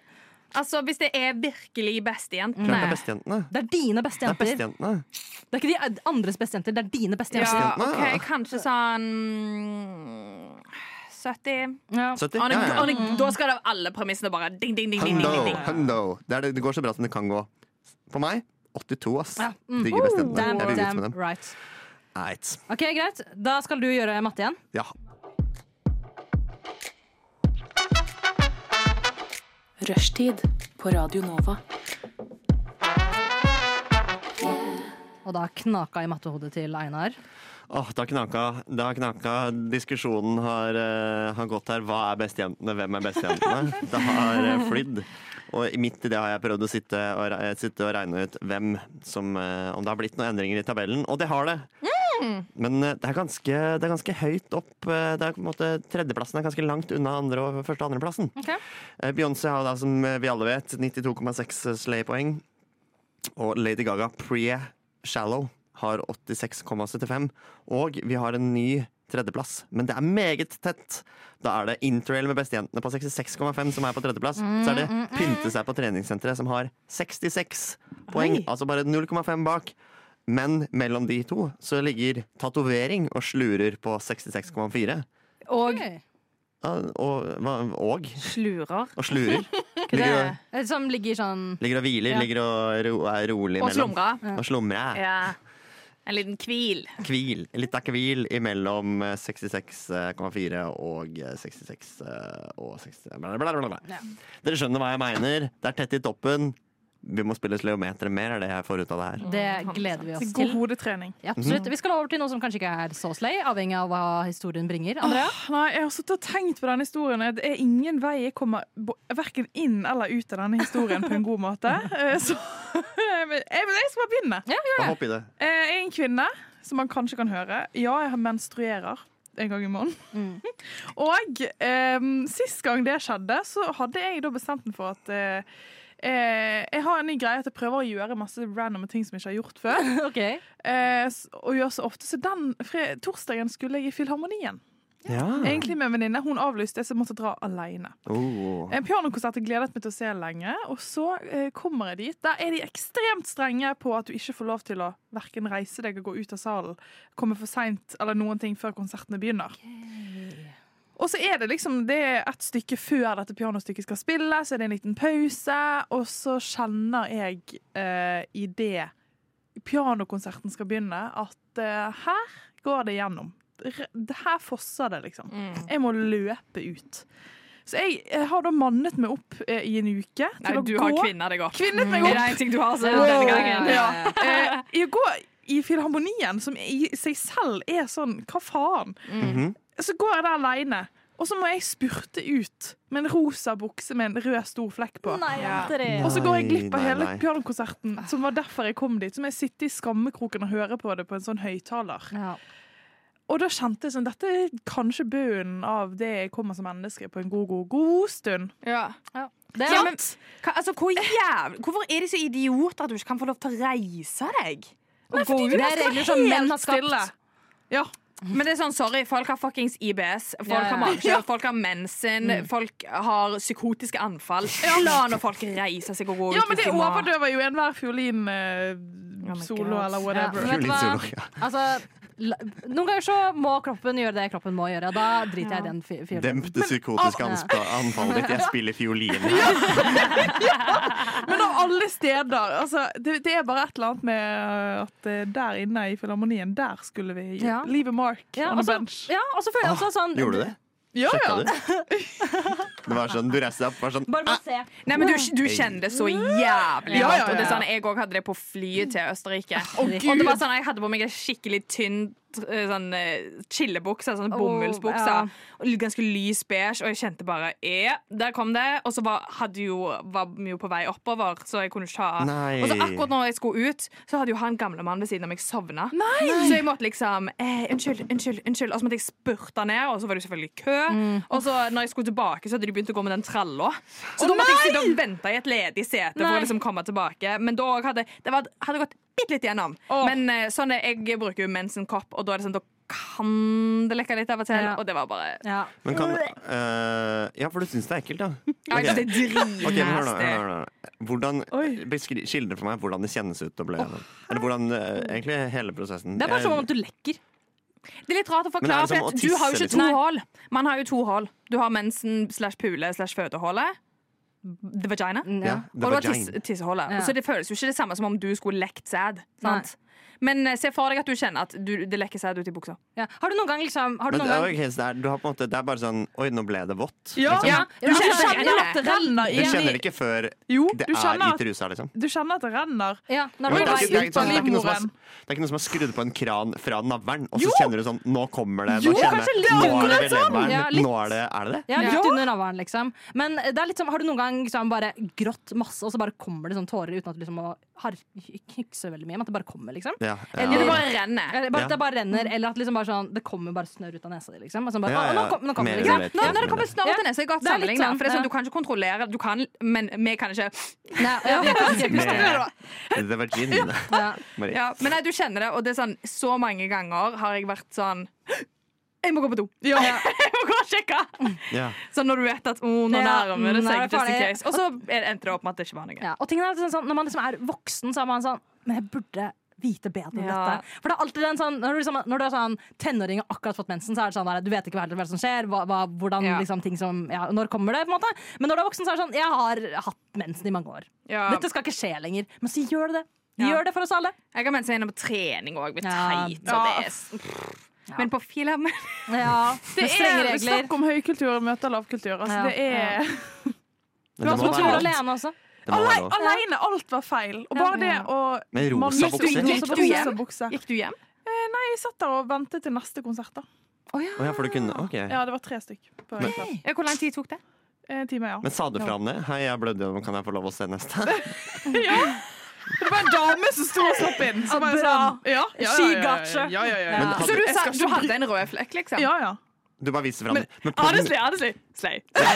Speaker 1: Altså, Hvis det er virkelig
Speaker 3: Klart det er
Speaker 1: bestejentene
Speaker 3: bestejentene.
Speaker 2: Det er dine beste
Speaker 3: Det er
Speaker 2: jenter.
Speaker 3: bestejentene.
Speaker 2: Det er ikke de eh, andres beste jenter, det er dine beste jenter.
Speaker 1: Ja,
Speaker 3: Bestejentene,
Speaker 1: OK,
Speaker 3: ja.
Speaker 1: kanskje sånn mm, 70.
Speaker 2: Ja.
Speaker 3: 70.
Speaker 1: Og
Speaker 3: Ja, ja.
Speaker 1: og Da skal det av alle premissene bare ding, ding, ding. ding, ding,
Speaker 3: Hundo.
Speaker 1: ding, ding.
Speaker 3: Hundo. Det, er det, det går så bra som det kan gå. På meg 82, ass.
Speaker 2: Ja, mm.
Speaker 3: Digger best jentene.
Speaker 2: Damn,
Speaker 3: Jeg vil ut med
Speaker 2: damn
Speaker 3: dem.
Speaker 2: right.
Speaker 3: Eit.
Speaker 2: Ok, Greit. Da skal du gjøre matte igjen.
Speaker 3: Ja.
Speaker 4: Rushtid på Radio Nova.
Speaker 2: Og da knaka i mattehodet til Einar.
Speaker 3: Åh, det har knaka. Det har knaka. Diskusjonen har, eh, har gått her. Hva er bestejentene? Hvem er bestejentene? Det har eh, flydd. Og i midt i det har jeg prøvd å sitte og, re- eh, sitte og regne ut hvem som eh, Om det har blitt noen endringer i tabellen. Og det har det! Men eh, det er, ganske, det er ganske høyt opp. eh, Det er på en måte, tredjeplassen er ganske langt unna andre og første- og andreplassen. Eh, Beyoncé har da, som vi alle eh, vet, 92,6 slay-poeng. Og Lady Gaga pre-shallow har 86,75. Og vi har en ny tredjeplass, men det er meget tett. Da er det Interrail med bestejentene på 66,5 som er på tredjeplass.
Speaker 1: Mm,
Speaker 3: Så er det Pynte seg på treningssenteret som har 66 poeng, altså bare 0,5 bak. Men mellom de to så ligger tatovering og slurer på 66,4.
Speaker 1: Og
Speaker 3: Ja, Og, hva- og,
Speaker 1: slurer.
Speaker 3: og slurer.
Speaker 1: Det
Speaker 3: Ligger og,
Speaker 2: Eh, Som ligger sånn
Speaker 3: ligger og hviler,
Speaker 2: Ja.
Speaker 3: ligger og ro, er rolig
Speaker 1: Og
Speaker 3: mellom.
Speaker 1: slumrer.
Speaker 3: Og slumrer.
Speaker 1: Ja. En liten hvil.
Speaker 3: Kvil. Litt av kvil imellom eh, 66,4 og eh, 66 eh, og 60 bla, bla, bla, bla. Dere skjønner hva jeg mener. Det er tett i toppen. Vi må spille sleometeret mer, er det jeg får ut av det her.
Speaker 2: Det gleder vi oss
Speaker 5: God
Speaker 2: til.
Speaker 5: hodetrening.
Speaker 2: Ja,
Speaker 3: Mhm.
Speaker 2: absolutt. Vi skal over til noe som kanskje ikke er så slay, avhengig av hva historien bringer. Andrea?
Speaker 5: Nei, jeg har suttet og tenkt på denne historien. Det er ingen vei jeg kommer bo- verken inn eller ut av denne historien på en god måte. Eh, Så men jeg, men jeg skal bare begynne.
Speaker 3: Bare hopp i det.
Speaker 5: Eh, Jeg er en kvinne, som man kanskje kan høre. Ja, jeg menstruerer en gang i måneden. Og em, sist gang det skjedde, så hadde jeg da bestemt meg for at eh, eh, jeg har en ny greie at jeg prøver å gjøre masse random ting som jeg ikke har gjort før.
Speaker 2: Ok.
Speaker 5: eh, s- og gjør så ofte. Så den fre torsdagen skulle jeg i Filharmonien.
Speaker 3: Ja.
Speaker 5: Egentlig med en venninne. Hun avlyste, så jeg måtte dra alene.
Speaker 3: Oh.
Speaker 2: Eh,
Speaker 5: En pianokonsert jeg Eh, gledet meg til å se lenge, og så eh, kommer jeg dit. Der er de ekstremt strenge på at du ikke får lov til å verken reise deg og gå ut av salen, komme for seint eller noen ting før konsertene begynner. Og så er det liksom det er et stykke før dette pianostykket skal spille, så er det en liten pause, og så kjenner jeg eh, i det pianokonserten skal begynne, at eh, her går det gjennom. R- Her fosser det, liksom.
Speaker 1: Mm.
Speaker 5: Jeg må løpe ut. Så jeg, eh, har da mannet meg opp eh, i en uke til
Speaker 1: Nei,
Speaker 5: å
Speaker 1: du
Speaker 5: gå.
Speaker 1: har kvinna deg opp.
Speaker 5: Kvinnet meg
Speaker 1: Er
Speaker 5: opp!
Speaker 1: det en ting du har, så er det denne gangen.
Speaker 2: Ja.
Speaker 5: Eh, jeg går i Filharmonien, som i seg selv er sånn Hva faen?
Speaker 3: Mhm.
Speaker 5: Så går jeg der aleine, og så må jeg spurte ut med en rosa bukse med en rød, stor flekk på. Og så går jeg glipp av
Speaker 3: Nei,
Speaker 5: hele
Speaker 3: nei.
Speaker 5: pianokonserten, som var derfor jeg kom dit. Så må jeg sitte i skammekroken og høre på det på en sånn høyttaler.
Speaker 2: Ja.
Speaker 5: Og da kjente jeg sånn Dette er kanskje bunnen av det jeg kommer som menneske på en god, god, god stund.
Speaker 1: Ja.
Speaker 2: Det
Speaker 1: Ja, men, hva, altså, hvor jæv... Hvorfor er de så idioter at du ikke kan få lov til å reise deg? Og gå ut?
Speaker 2: det er regler som menn har skapt.
Speaker 5: Stille. Ja.
Speaker 1: Men det er sånn, sorry, folk har fuckings IBS, folk
Speaker 2: Ja, ja.
Speaker 1: har magekjør, folk har mensen,
Speaker 5: Mm.
Speaker 1: folk har psykotiske anfall. La nå folk reise seg og gå ut.
Speaker 5: ja, men
Speaker 1: hvis
Speaker 5: det
Speaker 1: de må.
Speaker 5: overdøver jo enhver eh, fiolin-solo
Speaker 1: God.
Speaker 5: eller
Speaker 2: Oh Ja,
Speaker 5: whatever.
Speaker 2: men vet du hva?
Speaker 3: Fiolin solo, ja.
Speaker 2: Altså, la, noen ganger så må kroppen gjøre det kroppen må gjøre. Da driter jeg i den fi- fiolinen.
Speaker 3: Demp det
Speaker 2: ah,
Speaker 3: psykotiske anspa- anfallet ditt. Jeg spiller fiolin her.
Speaker 5: Men av alle steder! Altså, det, det er bare et eller annet med at eh, der inne i Filharmonien, der skulle vi
Speaker 2: Ja.
Speaker 5: leave a mark
Speaker 2: Ja,
Speaker 5: on a
Speaker 2: altså-
Speaker 5: bench.
Speaker 2: Ja, og så føler jeg også sånn
Speaker 3: Gjorde du det?
Speaker 5: Ja,
Speaker 3: Sjekka
Speaker 5: ja.
Speaker 3: du? Det var sånn, du reiste deg opp bare sånn
Speaker 2: Bare må se.
Speaker 1: Nei, men du, du kjenner det så jævlig
Speaker 5: Ja, ja, ja,
Speaker 1: godt. Og det er
Speaker 5: ja.
Speaker 1: sånn, jeg òg hadde det på flyet til Østerrike.
Speaker 2: Å,
Speaker 1: og det var sånn, jeg hadde på meg en skikkelig tynn eh, sånn, eh, chillebukse, sånn bomullsbukse.
Speaker 2: ja.
Speaker 1: Og litt ganske lys beige, og jeg kjente bare eh, Der kom det. Og så var, hadde jo, var vi jo på vei oppover, så jeg kunne ikke ha
Speaker 3: Nei.
Speaker 1: Og så akkurat når jeg skulle ut, så hadde jo han gamle mannen ved siden av meg sovna. Så jeg måtte liksom eh, Unnskyld, unnskyld, unnskyld. Og så måtte jeg spurte ned, og så var det jo selvfølgelig kø.
Speaker 2: Mm.
Speaker 1: Og så når jeg skulle tilbake, så hadde de begynt å gå med den tralla. Så da måtte jeg sitte og vente i et ledig sete for
Speaker 2: Nei.
Speaker 1: å liksom komme tilbake. Men da òg hadde det var, hadde gått bitte litt gjennom.
Speaker 5: Åh.
Speaker 1: Men eh, sånn er, jeg bruker jo mensenkopp, og da er det sånn da kan det lekke litt av og til.
Speaker 2: Ja.
Speaker 1: Og det var bare
Speaker 2: Ja.
Speaker 3: Men kan øh, Ja, for du syns det er ekkelt, da?
Speaker 1: Ja,
Speaker 3: Ok.
Speaker 1: Det er dritnasty.
Speaker 3: Ok, men hør nå, hør nå, hør nå. Hvordan,
Speaker 5: Oi.
Speaker 3: beskri- skildre for meg hvordan det kjennes ut å bli gjennom. Eller hvordan eh, egentlig hele prosessen.
Speaker 2: Det er bare
Speaker 3: Jeg-
Speaker 2: som om du lekker.
Speaker 1: Det er litt rart å
Speaker 3: Men er
Speaker 1: forklare,
Speaker 3: det som
Speaker 1: for
Speaker 3: å
Speaker 1: at du har jo
Speaker 3: tisse,
Speaker 1: ikke to
Speaker 3: liksom?
Speaker 1: hull. Man har jo to hull. Du har mensen slash pule slash fødehullet. The vagina.
Speaker 3: Eh, ja,
Speaker 1: Og du har
Speaker 3: vagina.
Speaker 1: tisse, tissehullet.
Speaker 2: Ja.
Speaker 1: Så det føles jo ikke det samme som om du skulle lekt sæd. sant? Men eh, se for deg at du kjenner at du, det lekker sæd ut i buksa.
Speaker 2: Ja. Har du noen gang liksom har du
Speaker 3: Men, eh,
Speaker 2: noen gang,
Speaker 3: ok, så det, er, du har på en måte, det er bare sånn Oi, nå ble det vått.
Speaker 5: Ja.
Speaker 3: liksom.
Speaker 1: Ja,
Speaker 2: Du kjenner
Speaker 1: altså,
Speaker 2: kjenner at det renner
Speaker 3: Du
Speaker 5: Ja,
Speaker 2: inn
Speaker 3: kjenner
Speaker 2: i
Speaker 3: det ikke før
Speaker 5: Jo,
Speaker 3: det er
Speaker 5: du
Speaker 3: i
Speaker 5: kjenner, at,
Speaker 3: trusa, liksom.
Speaker 5: du kjenner at det renner.
Speaker 2: ja, når du
Speaker 3: Jo, men
Speaker 2: er på
Speaker 3: det, er
Speaker 2: vei
Speaker 3: ikke, det, er
Speaker 2: ut
Speaker 3: ikke sånn,
Speaker 2: av
Speaker 3: det, er ikke noe som
Speaker 5: livmoren.
Speaker 3: er, det er ikke noe som er skrudd på en kran fra navlen, og så
Speaker 5: Jo.
Speaker 3: kjenner du sånn Nå kommer det.
Speaker 2: Jo,
Speaker 3: Nå kjenner
Speaker 2: kanskje
Speaker 3: jeg
Speaker 2: litt
Speaker 3: Nå er det
Speaker 2: akkurat
Speaker 3: ved
Speaker 2: sånn.
Speaker 3: leveren.
Speaker 2: Ja, litt.
Speaker 3: Nå er det Er det det?
Speaker 2: Ja, litt under navlen, liksom. Men det er litt som, har du noen gang liksom bare grått masse, og så bare kommer det sånn tårer uten at du liksom må har- knikse veldig mye? Men at det bare kommer, liksom?
Speaker 3: Ja, ja.
Speaker 1: Ja,
Speaker 2: Eller
Speaker 1: det bare renner.
Speaker 2: Eller bare,
Speaker 3: Ja.
Speaker 2: Det bare renner, eller at liksom bare sånn, det kommer bare snørr ut av nesa di. Liksom. Altså bare,
Speaker 3: Ja, ja,
Speaker 2: «Å, Nå, kom, nå kommer
Speaker 3: mer
Speaker 2: det,
Speaker 1: Ja,
Speaker 2: liksom.
Speaker 3: eller-
Speaker 1: nå, når det kommer snørr ut av nesa, jeg har hatt
Speaker 2: Det er litt
Speaker 1: sammenligning der,
Speaker 2: sånn,
Speaker 1: for det er sånn,
Speaker 2: ja.
Speaker 1: du kan ikke kontrollere Du kan, men vi kan ikke
Speaker 2: Nei, ja, vi kan ikke puste.
Speaker 3: Med, det var gin.
Speaker 2: Ja.
Speaker 3: Marie.
Speaker 1: ja, Men nei, du kjenner det, og det er sånn Så mange ganger har jeg vært sånn Jeg må gå på do.
Speaker 2: Ja.
Speaker 1: Jeg må gå og sjekke!
Speaker 3: Ja.
Speaker 1: Sånn når du vet at oh, nå
Speaker 2: Ja, mm,
Speaker 1: nærmer det
Speaker 2: nå er
Speaker 1: seg,
Speaker 2: det
Speaker 1: just in
Speaker 2: farlig.
Speaker 1: case. Og så er- endte det opp med at det ikke var noe.
Speaker 2: Ja, og tingen er at sånn, sånn, Når man liksom er voksen, så er man sånn Men jeg burde vite bedre om
Speaker 1: Ja.
Speaker 2: dette. For det er alltid den sånn Når du, liksom, når du er sånn tenåring og akkurat fått mensen, så er det sånn der, du vet ikke hva, hva som skjer, hva, hva, hvordan
Speaker 1: Ja.
Speaker 2: liksom ting som ja, Når kommer det, på en måte. Men når du er voksen, så er det sånn Jeg har hatt mensen i mange år.
Speaker 1: Ja.
Speaker 2: Dette skal ikke skje lenger. Men så gjør det det.
Speaker 1: Ja.
Speaker 2: Gjør det for oss alle.
Speaker 1: Jeg har ment seg innom på trening òg.
Speaker 2: Ja.
Speaker 1: Teit. så det er s- pff. Men på film
Speaker 2: Ja,
Speaker 5: Det
Speaker 2: med strenge
Speaker 5: er
Speaker 2: regler.
Speaker 5: snakk om høykultur møter lavkultur. Altså,
Speaker 2: Ja,
Speaker 5: det er
Speaker 3: Men det
Speaker 5: Du
Speaker 3: må
Speaker 5: har
Speaker 2: Tror du
Speaker 3: være lov.
Speaker 5: alt.
Speaker 2: alene også?
Speaker 3: Det må være lov.
Speaker 5: Aleine, alt var feil. Og bare det å
Speaker 3: Med rosa
Speaker 5: Man-
Speaker 3: bukser.
Speaker 5: Gikk
Speaker 1: Rosa
Speaker 5: du
Speaker 1: bukser.
Speaker 5: hjem? Bukse.
Speaker 1: Gikk du hjem?
Speaker 5: Nei, jeg satt der og ventet til neste konsert. da
Speaker 3: Å ja, for du kunne OK.
Speaker 5: Ja, det var tre stykk. På en plass.
Speaker 1: Ja, Hvor lang tid tok det?
Speaker 5: En time, ja.
Speaker 3: Men sa du fra om det? Hei, jeg blødde gjennom, kan jeg få lov å se neste?
Speaker 5: Det var en dame som sto og slapp inn. Så var jeg sånn, ja, ja,
Speaker 2: She
Speaker 5: ja, ja,
Speaker 2: gotcha.
Speaker 5: ja, ja, ja, ja.
Speaker 3: Men
Speaker 1: Så du,
Speaker 3: hadde,
Speaker 1: sa, du hadde en rød flekk, liksom?
Speaker 5: ja, ja.
Speaker 3: du bare viser fram? Men på den-
Speaker 5: Honestly, honestly. Slay. Jeg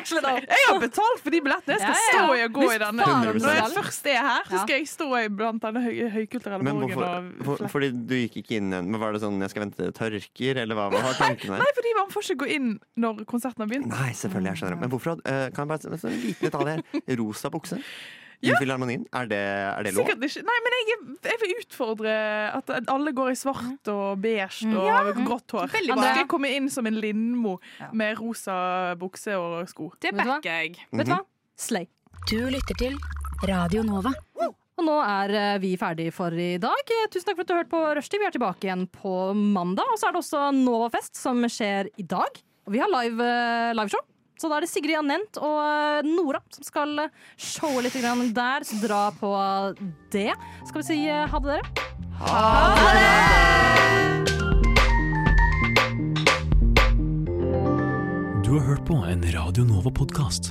Speaker 5: har betalt for de billettene. Jeg
Speaker 2: Ja,
Speaker 5: skal
Speaker 2: ja,
Speaker 5: stå
Speaker 2: ja.
Speaker 5: i og gå i
Speaker 2: Hvis
Speaker 5: denne.
Speaker 2: faen
Speaker 3: du
Speaker 5: Når jeg
Speaker 2: skal.
Speaker 5: først er her, så skal jeg stå i blant denne høy høykulturelle
Speaker 3: men
Speaker 5: borgen.
Speaker 3: hvorfor,
Speaker 5: og
Speaker 3: for,
Speaker 5: flekk.
Speaker 3: fordi du gikk ikke inn igjen. Men Var det sånn jeg skal vente til det tørker, eller hva, hva var tanken her?
Speaker 5: Nei, fordi man får ikke gå inn når konserten har begynt.
Speaker 3: Nei, selvfølgelig. jeg skjønner det. Men hvorfor had- eh, Kan jeg bare en sånn liten detalj her? Rosa bukse? I Filharmonien? Er det, er det lov?
Speaker 5: Sikkert ikke. Nei, men jeg, jeg vil utfordre at at alle går i svart og beige og har grått hår.
Speaker 1: Veldig
Speaker 5: Nå
Speaker 1: bra.
Speaker 5: skal jeg komme inn som en Lindmo
Speaker 2: Ja.
Speaker 5: med rosa bukse og sko.
Speaker 1: Det
Speaker 2: Vet du hva?
Speaker 1: backer jeg.
Speaker 2: Vet du hva? Slay.
Speaker 7: Du lytter til Radio Nova.
Speaker 2: Og nå er eh, vi ferdig for i dag. Eh, Tusen takk for at du hørte på Rushdie. Vi er tilbake igjen på mandag. Og så er det også Novafest som skjer i dag. Og vi har live, eh, liveshow. Så da er det Sigrid Anent og eh, Nora som skal eh, showe litt grann der. Så dra på det. Skal vi si eh, ha det, dere?
Speaker 8: Du har hørt på en Radio Nova-podkast.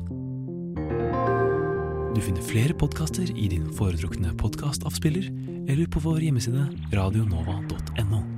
Speaker 8: Du finner flere podkaster i din foretrukne podkastavspiller eller på vår hjemmeside radionova.no.